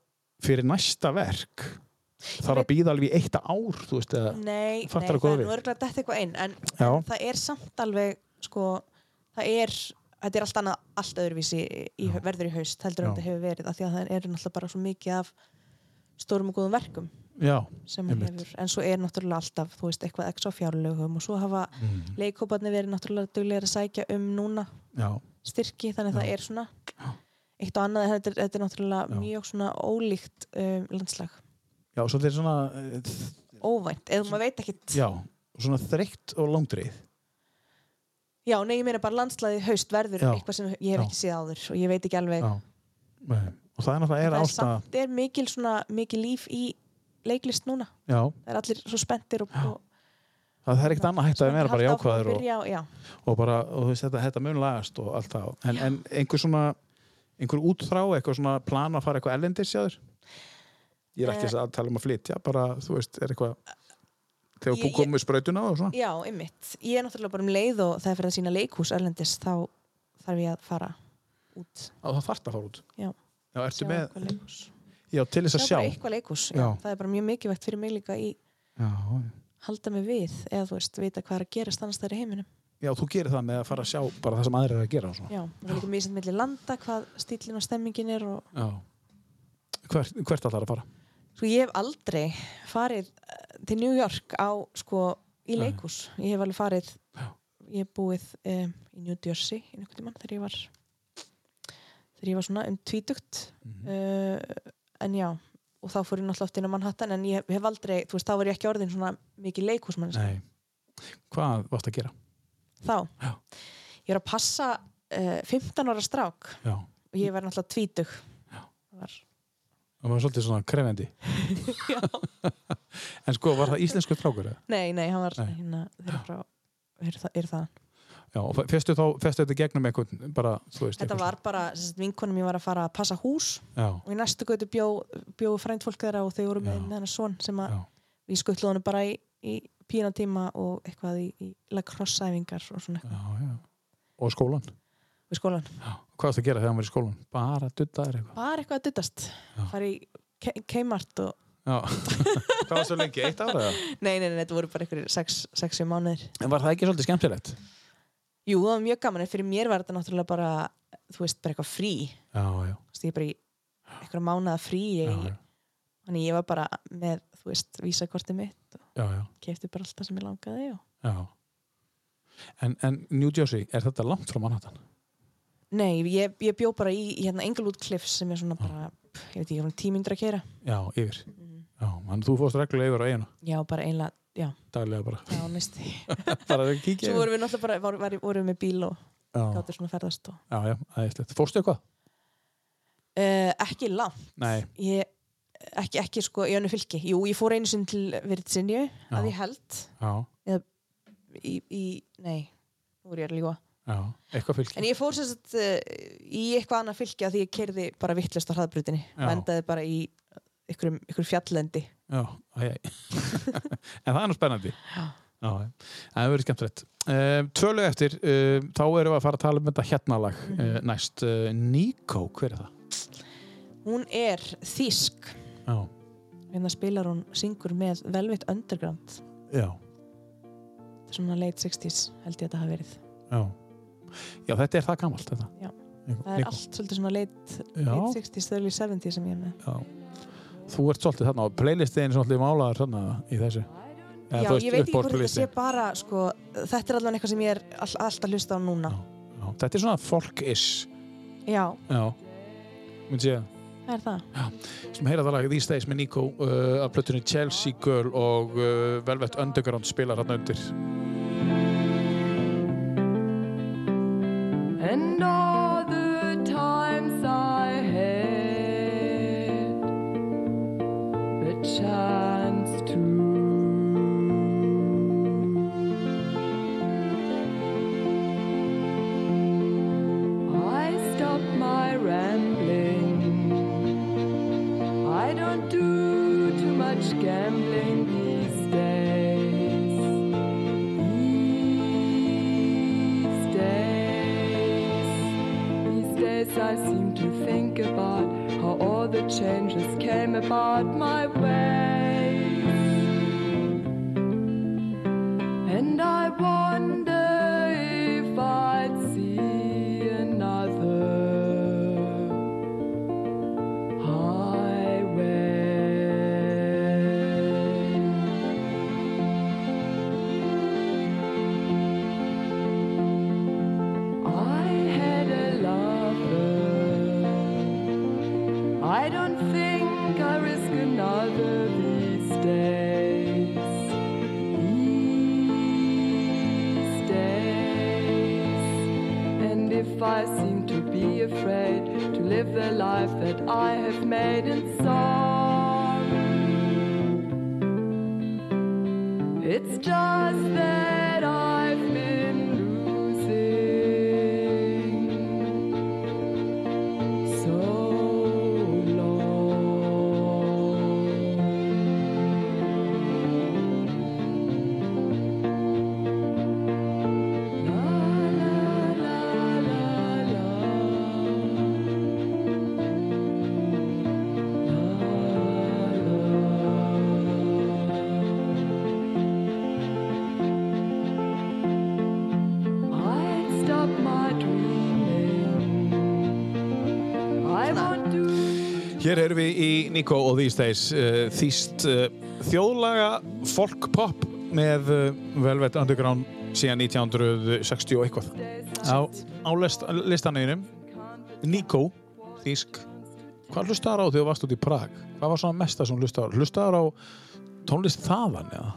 Speaker 2: fyrir næsta verk þarf að býða alveg í eitt ár, þú veist, eða
Speaker 3: nei, nei, það
Speaker 2: Fattar
Speaker 3: er
Speaker 2: þú hvað við?
Speaker 3: nú örgulega dætt eitthvað einn en
Speaker 2: Já,
Speaker 3: það er samt alveg sko, það er þetta er allt annað, allt öðruvísi í,
Speaker 2: Já.
Speaker 3: verður í haust, heldur
Speaker 2: Já.
Speaker 3: en þetta hefur verið af því að það eru náttúrulega bara svo mikið af stórum og góðum verkum
Speaker 2: já,
Speaker 3: sem að
Speaker 2: Einmitt.
Speaker 3: hefur, en svo er náttúrulega alltaf þú veist, eitthvað ekki á fjárlögum og svo hafa mm. leikóparnir verið náttúrulega duglegir að sækja um núna
Speaker 2: já,
Speaker 3: styrki þannig að
Speaker 2: Já.
Speaker 3: það er svona eitt og annað, en þetta er, þetta er náttúrulega
Speaker 2: Já.
Speaker 3: mjög svona ólíkt um, landslag,
Speaker 2: já, svo þetta er svona eh, þ-
Speaker 3: óvænt eða maður veit ekkit
Speaker 2: já, svona þreytt og langdreið
Speaker 3: Já, nei, ég meina bara landslæði haust verður
Speaker 2: Já.
Speaker 3: eitthvað sem ég hef
Speaker 2: Já.
Speaker 3: ekki séð áður og ég veit ekki alveg
Speaker 2: Já, Nei. og það er náttúrulega er
Speaker 3: það er
Speaker 2: ástæða
Speaker 3: samt er mikil, svona, mikil líf í leiklist núna
Speaker 2: já,
Speaker 3: það er allir svo spenntir og, og
Speaker 2: það er ekkert annað hægt að
Speaker 3: spenntir
Speaker 2: vera bara
Speaker 3: halda áfram að
Speaker 2: jákvæður og,
Speaker 3: byrja og, já.
Speaker 2: og bara, og þú veist þetta, þetta mun lagast og allt það, en, en einhver svona einhver útþrá, eitthvað svona plan að fara eitthvað ellendis hjá þér ég er
Speaker 3: Eh,
Speaker 2: ekki að tala um að flytja, bara þú veist, er eitthvað þegar
Speaker 3: Ég-
Speaker 2: þú
Speaker 3: ég-
Speaker 2: komið sprautuna og svona
Speaker 3: já, einmitt ég er náttúrulega bara um leið og það er fyrir að sína leikhús erlendis þá þarf ég að fara út
Speaker 2: að það þarft að fara út
Speaker 3: Já.
Speaker 2: já ertu með,
Speaker 3: eitthvað leikhús
Speaker 2: já, til þess
Speaker 3: sjá
Speaker 2: að sjá
Speaker 3: bara eitthvað leikhús, já.
Speaker 2: Já.
Speaker 3: það er bara mjög mikilvægt fyrir mig líka í
Speaker 2: já,
Speaker 3: halda mig við eða þú veist, vita hvað er að gerast annars þær í heiminum
Speaker 2: já, þú gerir það með að fara að sjá bara það sem aðrir er að gera og svona
Speaker 3: já, það er líka mjög sent milli landa hvað stílinn og stemmingin er og
Speaker 2: já. Hvert, hvert allar að fara
Speaker 3: Sko ég hef aldrei farið eh, til New York á sko í
Speaker 2: Nei.
Speaker 3: leikús. Ég hef alveg farið ég hef búið um, í New Jersey í einhvern tímann þegar ég var þegar ég var svona um tvítugt
Speaker 2: Mhm.
Speaker 3: uh, en já og þá fór ég náttúrulega oft inn á Manhattan en ég hef aldrei, þú veist, þá var ég ekki orðin svona mikið leikúsmann
Speaker 2: Nei. hvað varst að gera
Speaker 3: þá
Speaker 2: Já.
Speaker 3: ég var að passa uh, 15 ára strák
Speaker 2: já,
Speaker 3: og ég var náttúrulega tvítug Það var,
Speaker 2: það var svolítið svona krefendi
Speaker 3: [laughs]
Speaker 2: [laughs] en sko, var það íslensku strákur eða?
Speaker 3: nei, nei, hann var
Speaker 2: Nei.
Speaker 3: hérna, þeir eru frá, eru það, er það
Speaker 2: Já, og festu þá, festu þetta í gegnum eitthvað bara, þú veist
Speaker 3: Þetta
Speaker 2: eitthvað
Speaker 3: var bara, sem sagt, vinkonum ég var að fara að passa hús
Speaker 2: svona. Já,
Speaker 3: og í næstu götu bjó, bjó frænd fólk þeirra og þau voru með,
Speaker 2: Já.
Speaker 3: með hennar son sem að
Speaker 2: Já.
Speaker 3: við skuttluðu hann bara í, í pínatíma og eitthvað í, í lacrosse-æfingar og svona eitthvað
Speaker 2: já, já Og skólan,
Speaker 3: við skólan.
Speaker 2: hvað varst að gera þegar hann var í skólan? Bara duttaðir eitthvað
Speaker 3: Bara eitthvað að duttast, fara í Ke- Kmart og
Speaker 2: Já, [laughs] hvað var svo lengi, eitt ára?
Speaker 3: nei, nei, nei, þetta voru bara einhverjir 6-7 mánuðir.
Speaker 2: En var það ekki svolítið skemmtilegt?
Speaker 3: Jú, það var mjög gaman en fyrir mér var þetta náttúrulega bara, þú veist, bara eitthvað frí.
Speaker 2: Já, já,
Speaker 3: Þú veist, ég er bara í eitthvað mánuða frí.
Speaker 2: já,
Speaker 3: Ég,
Speaker 2: já,
Speaker 3: Þannig ég var bara með, þú veist, vísakortið mitt og
Speaker 2: já, já,
Speaker 3: kefti bara allt það sem ég langaði og...
Speaker 2: já. En, en New Jersey, er þetta langt frá Manhattan?
Speaker 3: Nei, ég, ég bjó bara í í hérna Englewood Cliffs sem er svona
Speaker 2: Ah.
Speaker 3: bara, pff, ég veit ekki, tímyndur að keira.
Speaker 2: Já, yfir
Speaker 3: Mm.
Speaker 2: Já, mann, þú fórst reglulega yfir á eiginu
Speaker 3: Já, bara einlega, já,
Speaker 2: daglega
Speaker 3: [laughs]
Speaker 2: bara,
Speaker 3: já,
Speaker 2: [laughs]
Speaker 3: næsti.
Speaker 2: bara að kíkja
Speaker 3: Svo
Speaker 2: yfir.
Speaker 3: vorum við náttúrulega bara, var, var, vorum við með bíl og
Speaker 2: Já,
Speaker 3: gáttum svona að ferðast og...
Speaker 2: já, já, æðislegt Fórstu eitthvað?
Speaker 3: Uh, ekki langt,
Speaker 2: Nei,
Speaker 3: ég, ekki, ekki sko, í önnu fylki. Jú, ég fór einu sinni til Virginia,
Speaker 2: Já.
Speaker 3: að ég held,
Speaker 2: já,
Speaker 3: í, í, nei, nú er ég að lífa.
Speaker 2: já, eitthvað fylgir
Speaker 3: En ég fór sem sagt uh, í eitthvað annað fylki að því ég kerði bara vittlust á hraðbrutinni og
Speaker 2: Já.
Speaker 3: endaði bara í ykkur, ykkur fjalllendi.
Speaker 2: Já, æj, æj. [laughs] en það er nú spennandi.
Speaker 3: Já.
Speaker 2: Já, já. það hefur verið skemmtilegt. Uh, Tvölu eftir, uh, þá erum við að fara að tala um þetta hérna lag
Speaker 3: Mhm.
Speaker 2: uh, næst. Uh, Nico, hver er það?
Speaker 3: Hún er þýsk,
Speaker 2: Já,
Speaker 3: hérna spilar hún, syngur með Velvet Underground,
Speaker 2: já,
Speaker 3: svona late 60s held ég að þetta hafi verið.
Speaker 2: já. Já, þetta er það gamalt, þetta.
Speaker 3: Já.
Speaker 2: Nico,
Speaker 3: Það er allt svolítið svona late, late
Speaker 2: Já,
Speaker 3: 60s, early 70s sem ég er með.
Speaker 2: já. Þú ert svolítið þarna og playlistin svolítið málaður þarna í þessu. Eða,
Speaker 3: Já,
Speaker 2: þú veist,
Speaker 3: ég veit ekki hvort þetta sé
Speaker 2: uppáhaldsplaylistinn.
Speaker 3: bara, sko, þetta er allavega eitthvað sem ég er all, alltaf hlusta á núna.
Speaker 2: Já, þetta er svona folk-ish.
Speaker 3: Já,
Speaker 2: Já, myndi segja.
Speaker 3: það er það.
Speaker 2: sem heyra það lagið These Days með Nico uh, af plötunni Chelsea Girl og uh, Velvet Underground spilar hann undir
Speaker 11: And all the times I had the chance to, I stop my rambling. I don't do too much gambling these days. These days, these days I seem to think about how all the changes came about my ways. And I wonder if I'd see another highway. I had a lover. I don't think I risk another these days. These days. And if I seem to be afraid to live the life that I have made in song. It's just that I've been losing so long. I'd stop my dreaming. I won't do.
Speaker 2: Hér erum við í Nico og These Days uh, þýst uh, þjóðlaga folk-pop með uh, Velvet Underground síðan 1960 og eitthvað á, á list, listanauðinum Nico, þýsk hvað hlustaðar á þegar þú varst út í Prag? hvað var svona mesta sem hlustaðar? hlustaðar á tónlist þaðan eða?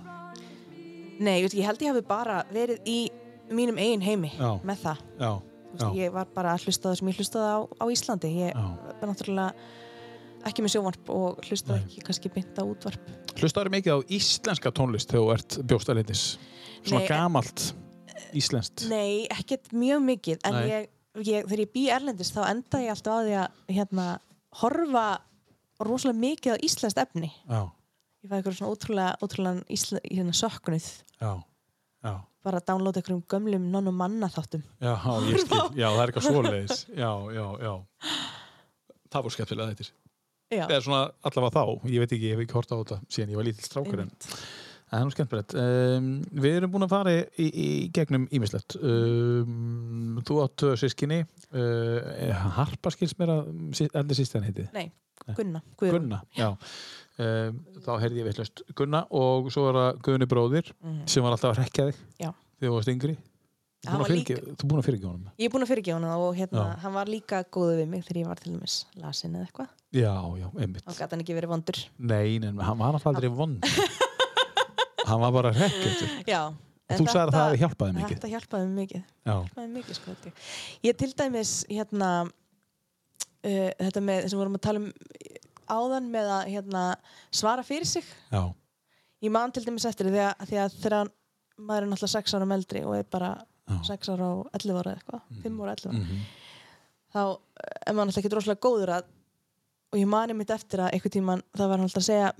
Speaker 3: Nei, ég veit ekki, ég held ég hafi bara verið í mínum eigin heimi
Speaker 2: Já.
Speaker 3: með það.
Speaker 2: já,
Speaker 3: Þú veist,
Speaker 2: já,
Speaker 3: ég var bara að hlusta á það sem ég hlustaði á, á Íslandi ég
Speaker 2: já.
Speaker 3: var náttúrulega ekki með sjóvarp og hlustaði
Speaker 2: Nei.
Speaker 3: ekki kannski bynda útvarp
Speaker 2: Hlustaður mikið á íslenska tónlist þegar þú ert bjóstalindis? Svona
Speaker 3: Nei,
Speaker 2: gamalt. Íslenskt
Speaker 3: Nei, ekkert mjög mikið en
Speaker 2: Nei.
Speaker 3: ég, ég, þegar ég bý erlendis þá enda ég alltaf á því að hérna, horfa rosalega mikið á íslenskt efni
Speaker 2: Já,
Speaker 3: ég fæði eitthvað svona ótrúlega, ótrúlega ísle, hérna, söknuð
Speaker 2: já, já
Speaker 3: bara að downloada einhverjum gömlum nonn og manna þáttum
Speaker 2: Já, ég skil, já, það er eitthvað svoleiðis Já, já, já Það voru skemmtilega þetta
Speaker 3: Já,
Speaker 2: Eða svona allavega þá, ég veit ekki, ég hef ekki hort á þetta síðan ég var lítill strákur en
Speaker 3: einmitt.
Speaker 2: Það er nú skemmtilegt um, Við erum búin að fara í, í gegnum ímislegt um, Þú átt tvö sískinni uh, Harpa skils mér að allir sístan heiti
Speaker 3: Nei, Gunna, Guðrún
Speaker 2: Gunna, já um, Þá heyrði ég veitlaust Gunna og svo var það Guðni bróðir sem var alltaf að rekja þig
Speaker 3: Mhm. Já.
Speaker 2: þegar þú varst yngri Þú
Speaker 3: Hann
Speaker 2: búin að
Speaker 3: var
Speaker 2: fyrirgefa- þú búin að fyrirgefa honum
Speaker 3: Ég er búin að fyrirgefa hana og hérna,
Speaker 2: Já.
Speaker 3: hann var líka góðu við mig þegar ég var til dæmis lasin eða eitthvað
Speaker 2: Já, já, einmitt
Speaker 3: og gæti hann ekki verið vondur
Speaker 2: Nei, nei, hann var alltaf aldrei vond Hann var bara rekkjöldur
Speaker 3: Já, en
Speaker 2: Þú sagði að það hafi hjálpaði mikið
Speaker 3: Þetta hjálpaði mig mikið
Speaker 2: Já,
Speaker 3: hjálpaði mikið sko held ég. Ég til dæmis hérna uh, þetta með þess að vorum að tala um áðan með að hérna svara fyrir sig.
Speaker 2: já,
Speaker 3: Ég man til dæmis eftir því að því að þegar maður er náttúrulega 6 ára meldri og er bara
Speaker 2: já
Speaker 3: 6 ára og 11 ára eða eitthvað, 5 ára 11 ára
Speaker 2: mhm.
Speaker 3: þá uh, er maður náttúrulega ekki droslega góður að og ég mani mitt eftir að einhvern tímann það var hann alltaf að segja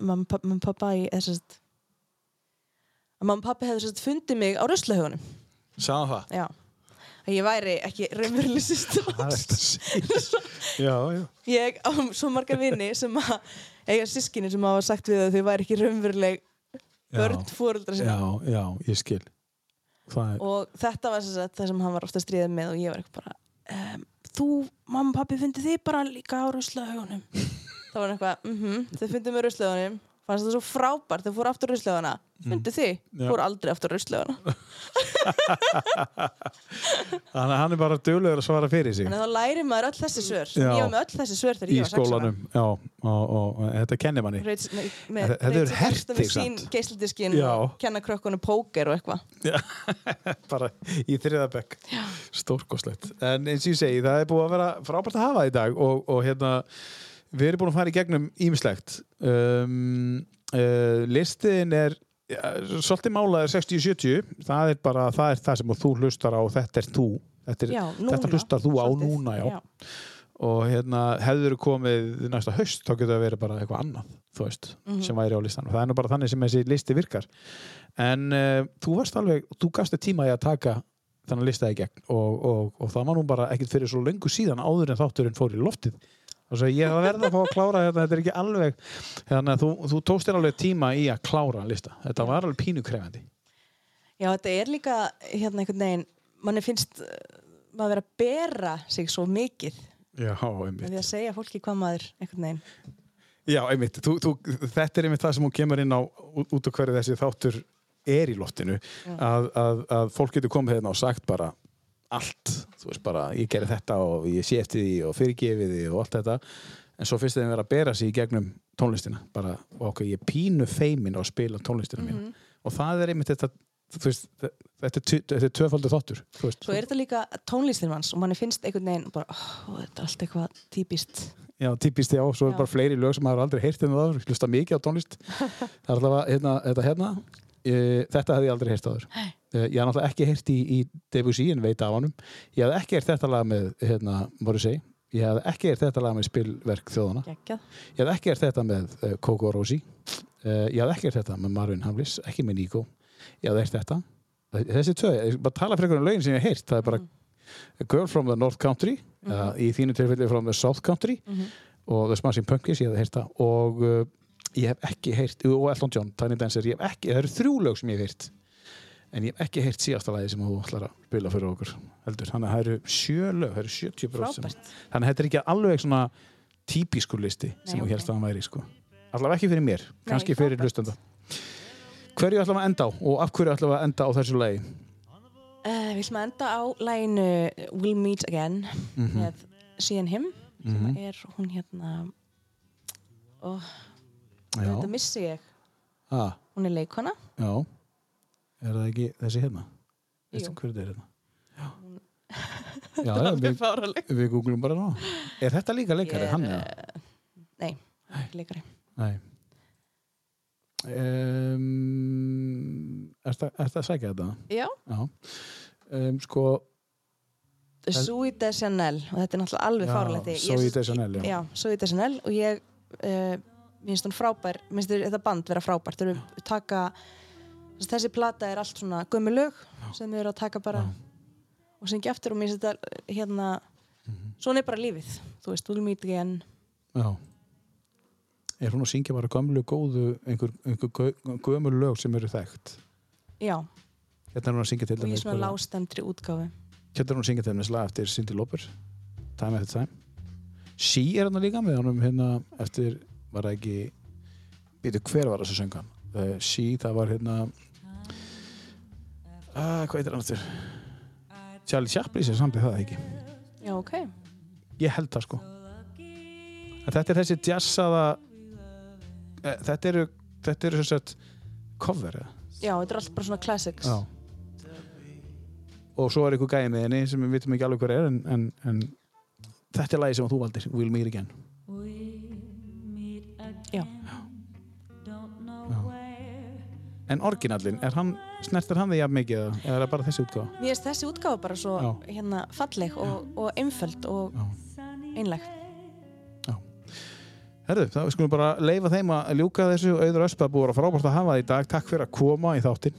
Speaker 3: mamma pappa, mamma, pappa í eða sem sagt að mamma pappi hefði sérst fundið mig á ruslahögunum
Speaker 2: Sáðan það
Speaker 3: Já, að ég væri ekki raunveruleg sýstur
Speaker 2: Það er þetta síðan Já, já,
Speaker 3: Ég á svo marga vini sem að eiga sískinni sem hafa sagt við að þau væri ekki raunveruleg börn
Speaker 2: já,
Speaker 3: fóreldra sinna
Speaker 2: já, já, ég skil Það er,
Speaker 3: og þetta var sem sagt, það sem hann var ofta að stríða með og ég var eitthvað bara um, þú, mamma og pappi fundið þið bara líka á
Speaker 2: [laughs]
Speaker 3: ruslahögunum það var hann eitthvað, mhm, þau fundið með ruslahögunum fannst það svo frábært, þau fóru aftur á ruslahöguna fundið þið,
Speaker 2: Mm. Já.
Speaker 3: fóru aldrei aftur á ruslahöguna
Speaker 2: þannig að hann er bara duglegur að svara fyrir sig
Speaker 3: þannig að þá læri maður öll þessi svör
Speaker 2: Já.
Speaker 3: ég var með öll þessi svör þegar
Speaker 2: í
Speaker 3: ég var sex ára.
Speaker 2: skólanum Já, og, og þetta kennir manni
Speaker 3: Reit, nei,
Speaker 2: Þetta-
Speaker 3: með,
Speaker 2: þetta eru hertig
Speaker 3: við sín
Speaker 2: samt.
Speaker 3: geisladiskinn
Speaker 2: Já.
Speaker 3: og kenna krökkunum póker og eitthvað
Speaker 2: [laughs] bara í þriðabekk stórkoslegt, en eins og ég segi það er búið að vera frábært að hafa í dag og, og hérna, við erum búin að fara í gegnum ímislegt um, uh, listin er ja, svolítið málaður 60-70 það er bara, það er það sem þú hlustar á þetta er þú, þetta, er,
Speaker 3: Já, núna,
Speaker 2: þetta hlustar þú á
Speaker 3: svolítið.
Speaker 2: núna, já,
Speaker 3: Já.
Speaker 2: og hérna, hefur komið næsta haust, þá getur það verið bara eitthvað annað, þú veist, sem væri á listanum það er nú bara þannig sem þessi listi virkar en uh, þú varst alveg, þú gafst þér tíma í að taka þannig lista í gegn og, og, og það var nú bara ekkert fyrir svo löngu síðan áður en þátturinn fór í loftið og svo ég verði að fá að klára þetta þetta er ekki alveg, þannig að þú, þú tókst þér alveg tíma í að klára lista þetta var alveg pínu krefandi
Speaker 3: Já, þetta er líka hérna einhvern veginn, manni finnst uh, maður vera að bera sig svo mikið
Speaker 2: Já,
Speaker 3: með því að segja fólki hvað maður einhvern veginn.
Speaker 2: Já, einmitt, þú, þú, þetta er einmitt það sem hún kemur inn á ú- út af hverju þessi þáttur er í loftinu
Speaker 3: Mm.
Speaker 2: að, að, að fólk getur komið hérna og sagt bara allt, þú veist bara ég gerði þetta og ég sé eftir því og fyrirgefið því og allt þetta, en svo finnst þeim vera að bera sig í gegnum tónlistina bara, og okkur ég er pínu feimin á að spila tónlistina mína
Speaker 3: Mhm.
Speaker 2: og það er einmitt þetta þú veist, þe- þetta er, tu- þetta er tvöfaldur þáttur, þú veist
Speaker 3: Svo er þetta líka tónlistin manns og manni finnst einhvern veginn bara, ó, þetta er allt eitthvað típist.
Speaker 2: Já, típist já, svo er
Speaker 3: Já.
Speaker 2: bara fleiri lög sem maður aldrei heyrt en það, hlusta mikið á tónlist Það er alltaf að, hérna, þetta hérna e, Þetta hefði ég aldrei heyrt áður e, Ég hef náttúrulega ekki heyrt í, í Debussy en veit af honum Ég hef ekki heyrt þetta lag með, hérna, Morrissey Ég hef ekki heyrt þetta lag með spilverk þjóðana
Speaker 3: Gægjað.
Speaker 2: Ég hef ekki heyrt þetta með uh, Coco Rosi uh, Ég hef ekki heyrt þetta með Marvin Hamlis ekki með Nico Ég hef heyrt þetta E, Þessi tvö, ég bara tala fyrir einhvern lögin sem ég hef heyrt það er bara A Girl from the North Country eða í þínu tilfelli from the South Country og The Smashing Pumpkins, ég hef heyrt það og uh, ég hef ekki heyrt og Elton John, Tiny Dancer, ég hef ekki það eru þrjú lög sem ég hef heyrt en ég hef ekki heyrt síðasta lagi sem þú ætlar að spila fyrir okkur heldur, þannig að það eru sjö lög, það eru 70 sem,
Speaker 3: Frábært.
Speaker 2: þannig að þetta er ekki alveg svona típiskur listi sem
Speaker 3: Nei,
Speaker 2: þú
Speaker 3: ok.
Speaker 2: helst að hann væri sko. allavega ekki fyrir mér,
Speaker 3: Nei,
Speaker 2: kannski fyrir
Speaker 3: frábært.
Speaker 2: hlustanda hverju ætlum við að enda á og af hverju ætlum við að enda á þessu lagi
Speaker 3: Uh, við ætlum að enda á læginu We'll Meet Again
Speaker 2: Mhm.
Speaker 3: með She and Him sem er hún hérna, ó, þetta
Speaker 2: já,
Speaker 3: missi ég,
Speaker 2: ah,
Speaker 3: hún er leikona.
Speaker 2: já er það ekki þessi hérna
Speaker 3: Jú.
Speaker 2: veistu hverju þetta er hérna
Speaker 3: [laughs]
Speaker 2: já, já, já við,
Speaker 3: fáraleg.
Speaker 2: við googlum bara ná er þetta líka leikari,
Speaker 3: Ég Eh, er,
Speaker 2: hann eða
Speaker 3: Nei, hún er ekki leikari.
Speaker 2: nei, um, Ertu að- ertu að sækja þetta?
Speaker 12: Já,
Speaker 2: Já um, Sko,
Speaker 3: Sui de Chanel og þetta er náttúrulega alveg
Speaker 2: Já,
Speaker 3: fáralegt ég-
Speaker 2: Zoe de Chanel, já.
Speaker 3: já Sui de Chanel og ég uh, minnst hún frábær minnst þér þetta band vera frábært þau eru að taka þessi, þessi plata er allt svona gömul lög sem þau eru að taka bara og syngja eftir og minnst þetta hérna
Speaker 2: Mhm.
Speaker 3: svona er bara lífið þú veist, we'll meet again
Speaker 2: já Er hún að syngja bara gömlu góðu einhver, einhver gö- gömul lög sem eru þekkt?
Speaker 3: já
Speaker 2: Hérna er hún að syngja til
Speaker 3: og ég
Speaker 2: dæmis
Speaker 3: svona
Speaker 2: bara-
Speaker 3: lástendri útgáfi
Speaker 2: Hérna er hún að syngja til dæmis lag eftir Cindy Lauper Time After Time She er hann líka með honum hérna eftir var það ekki býtu hver var þessu söngan uh, She það var hérna uh, hvað heitir hann eftir Charlie Chaplin sem samtið það ekki
Speaker 3: já, ok
Speaker 2: ég held það sko en þetta er þessi jazzaða eh, þetta eru þetta eru sem sagt cover eða
Speaker 3: já, þetta er allt bara svona classics
Speaker 2: Já. Og svo er ykkur gæði með henni sem við vitum ekki alveg hver er en, en, en þetta er lagi sem þú valdir We'll Meet Again
Speaker 3: Já.
Speaker 2: En orginallin, er hann, snertir hann þig jafn mikið eða eða er það bara þessi útgáfa?
Speaker 3: mér finnst þessi útgáfa bara svo
Speaker 2: Já.
Speaker 3: hérna falleg og, og einföld og einleg
Speaker 2: Herðu, þá skulum við bara leifa þeim að ljúka þessu auður öspa búið að vera frábært að hafa þig í dag takk fyrir að koma í þáttinn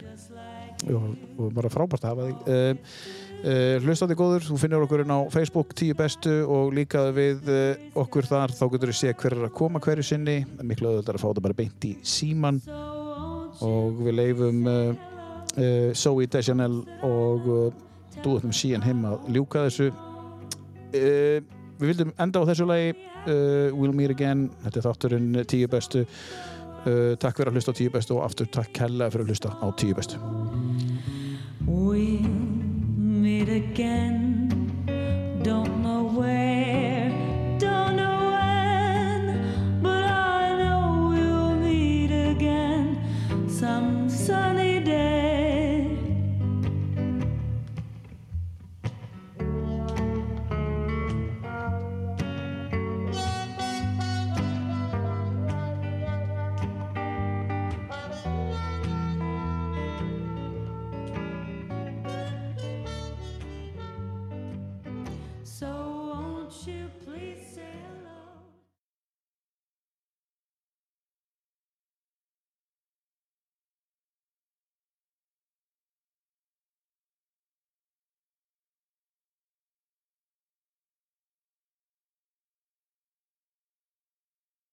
Speaker 2: og, og bara frábært að hafa þig uh, uh, hlustandi góður, þú finnir okkur inn á Facebook 10 bestu og líka við uh, okkur þar, þá getur við séð hver er að koma hverju sinni, Það er miklu auðvitað að fá þetta bara beint í síman og við leifum uh, uh, Zoe Deschanel og uh, Dúðum síðan heim að ljúka þessu uh, við vildum enda á þessu lagi uh, We'll Meet Again þetta er þátturinn Eh, tíu bestu uh, takk fyrir að hlusta á tíu bestu og aftur takk hella fyrir að hlusta á tíu bestu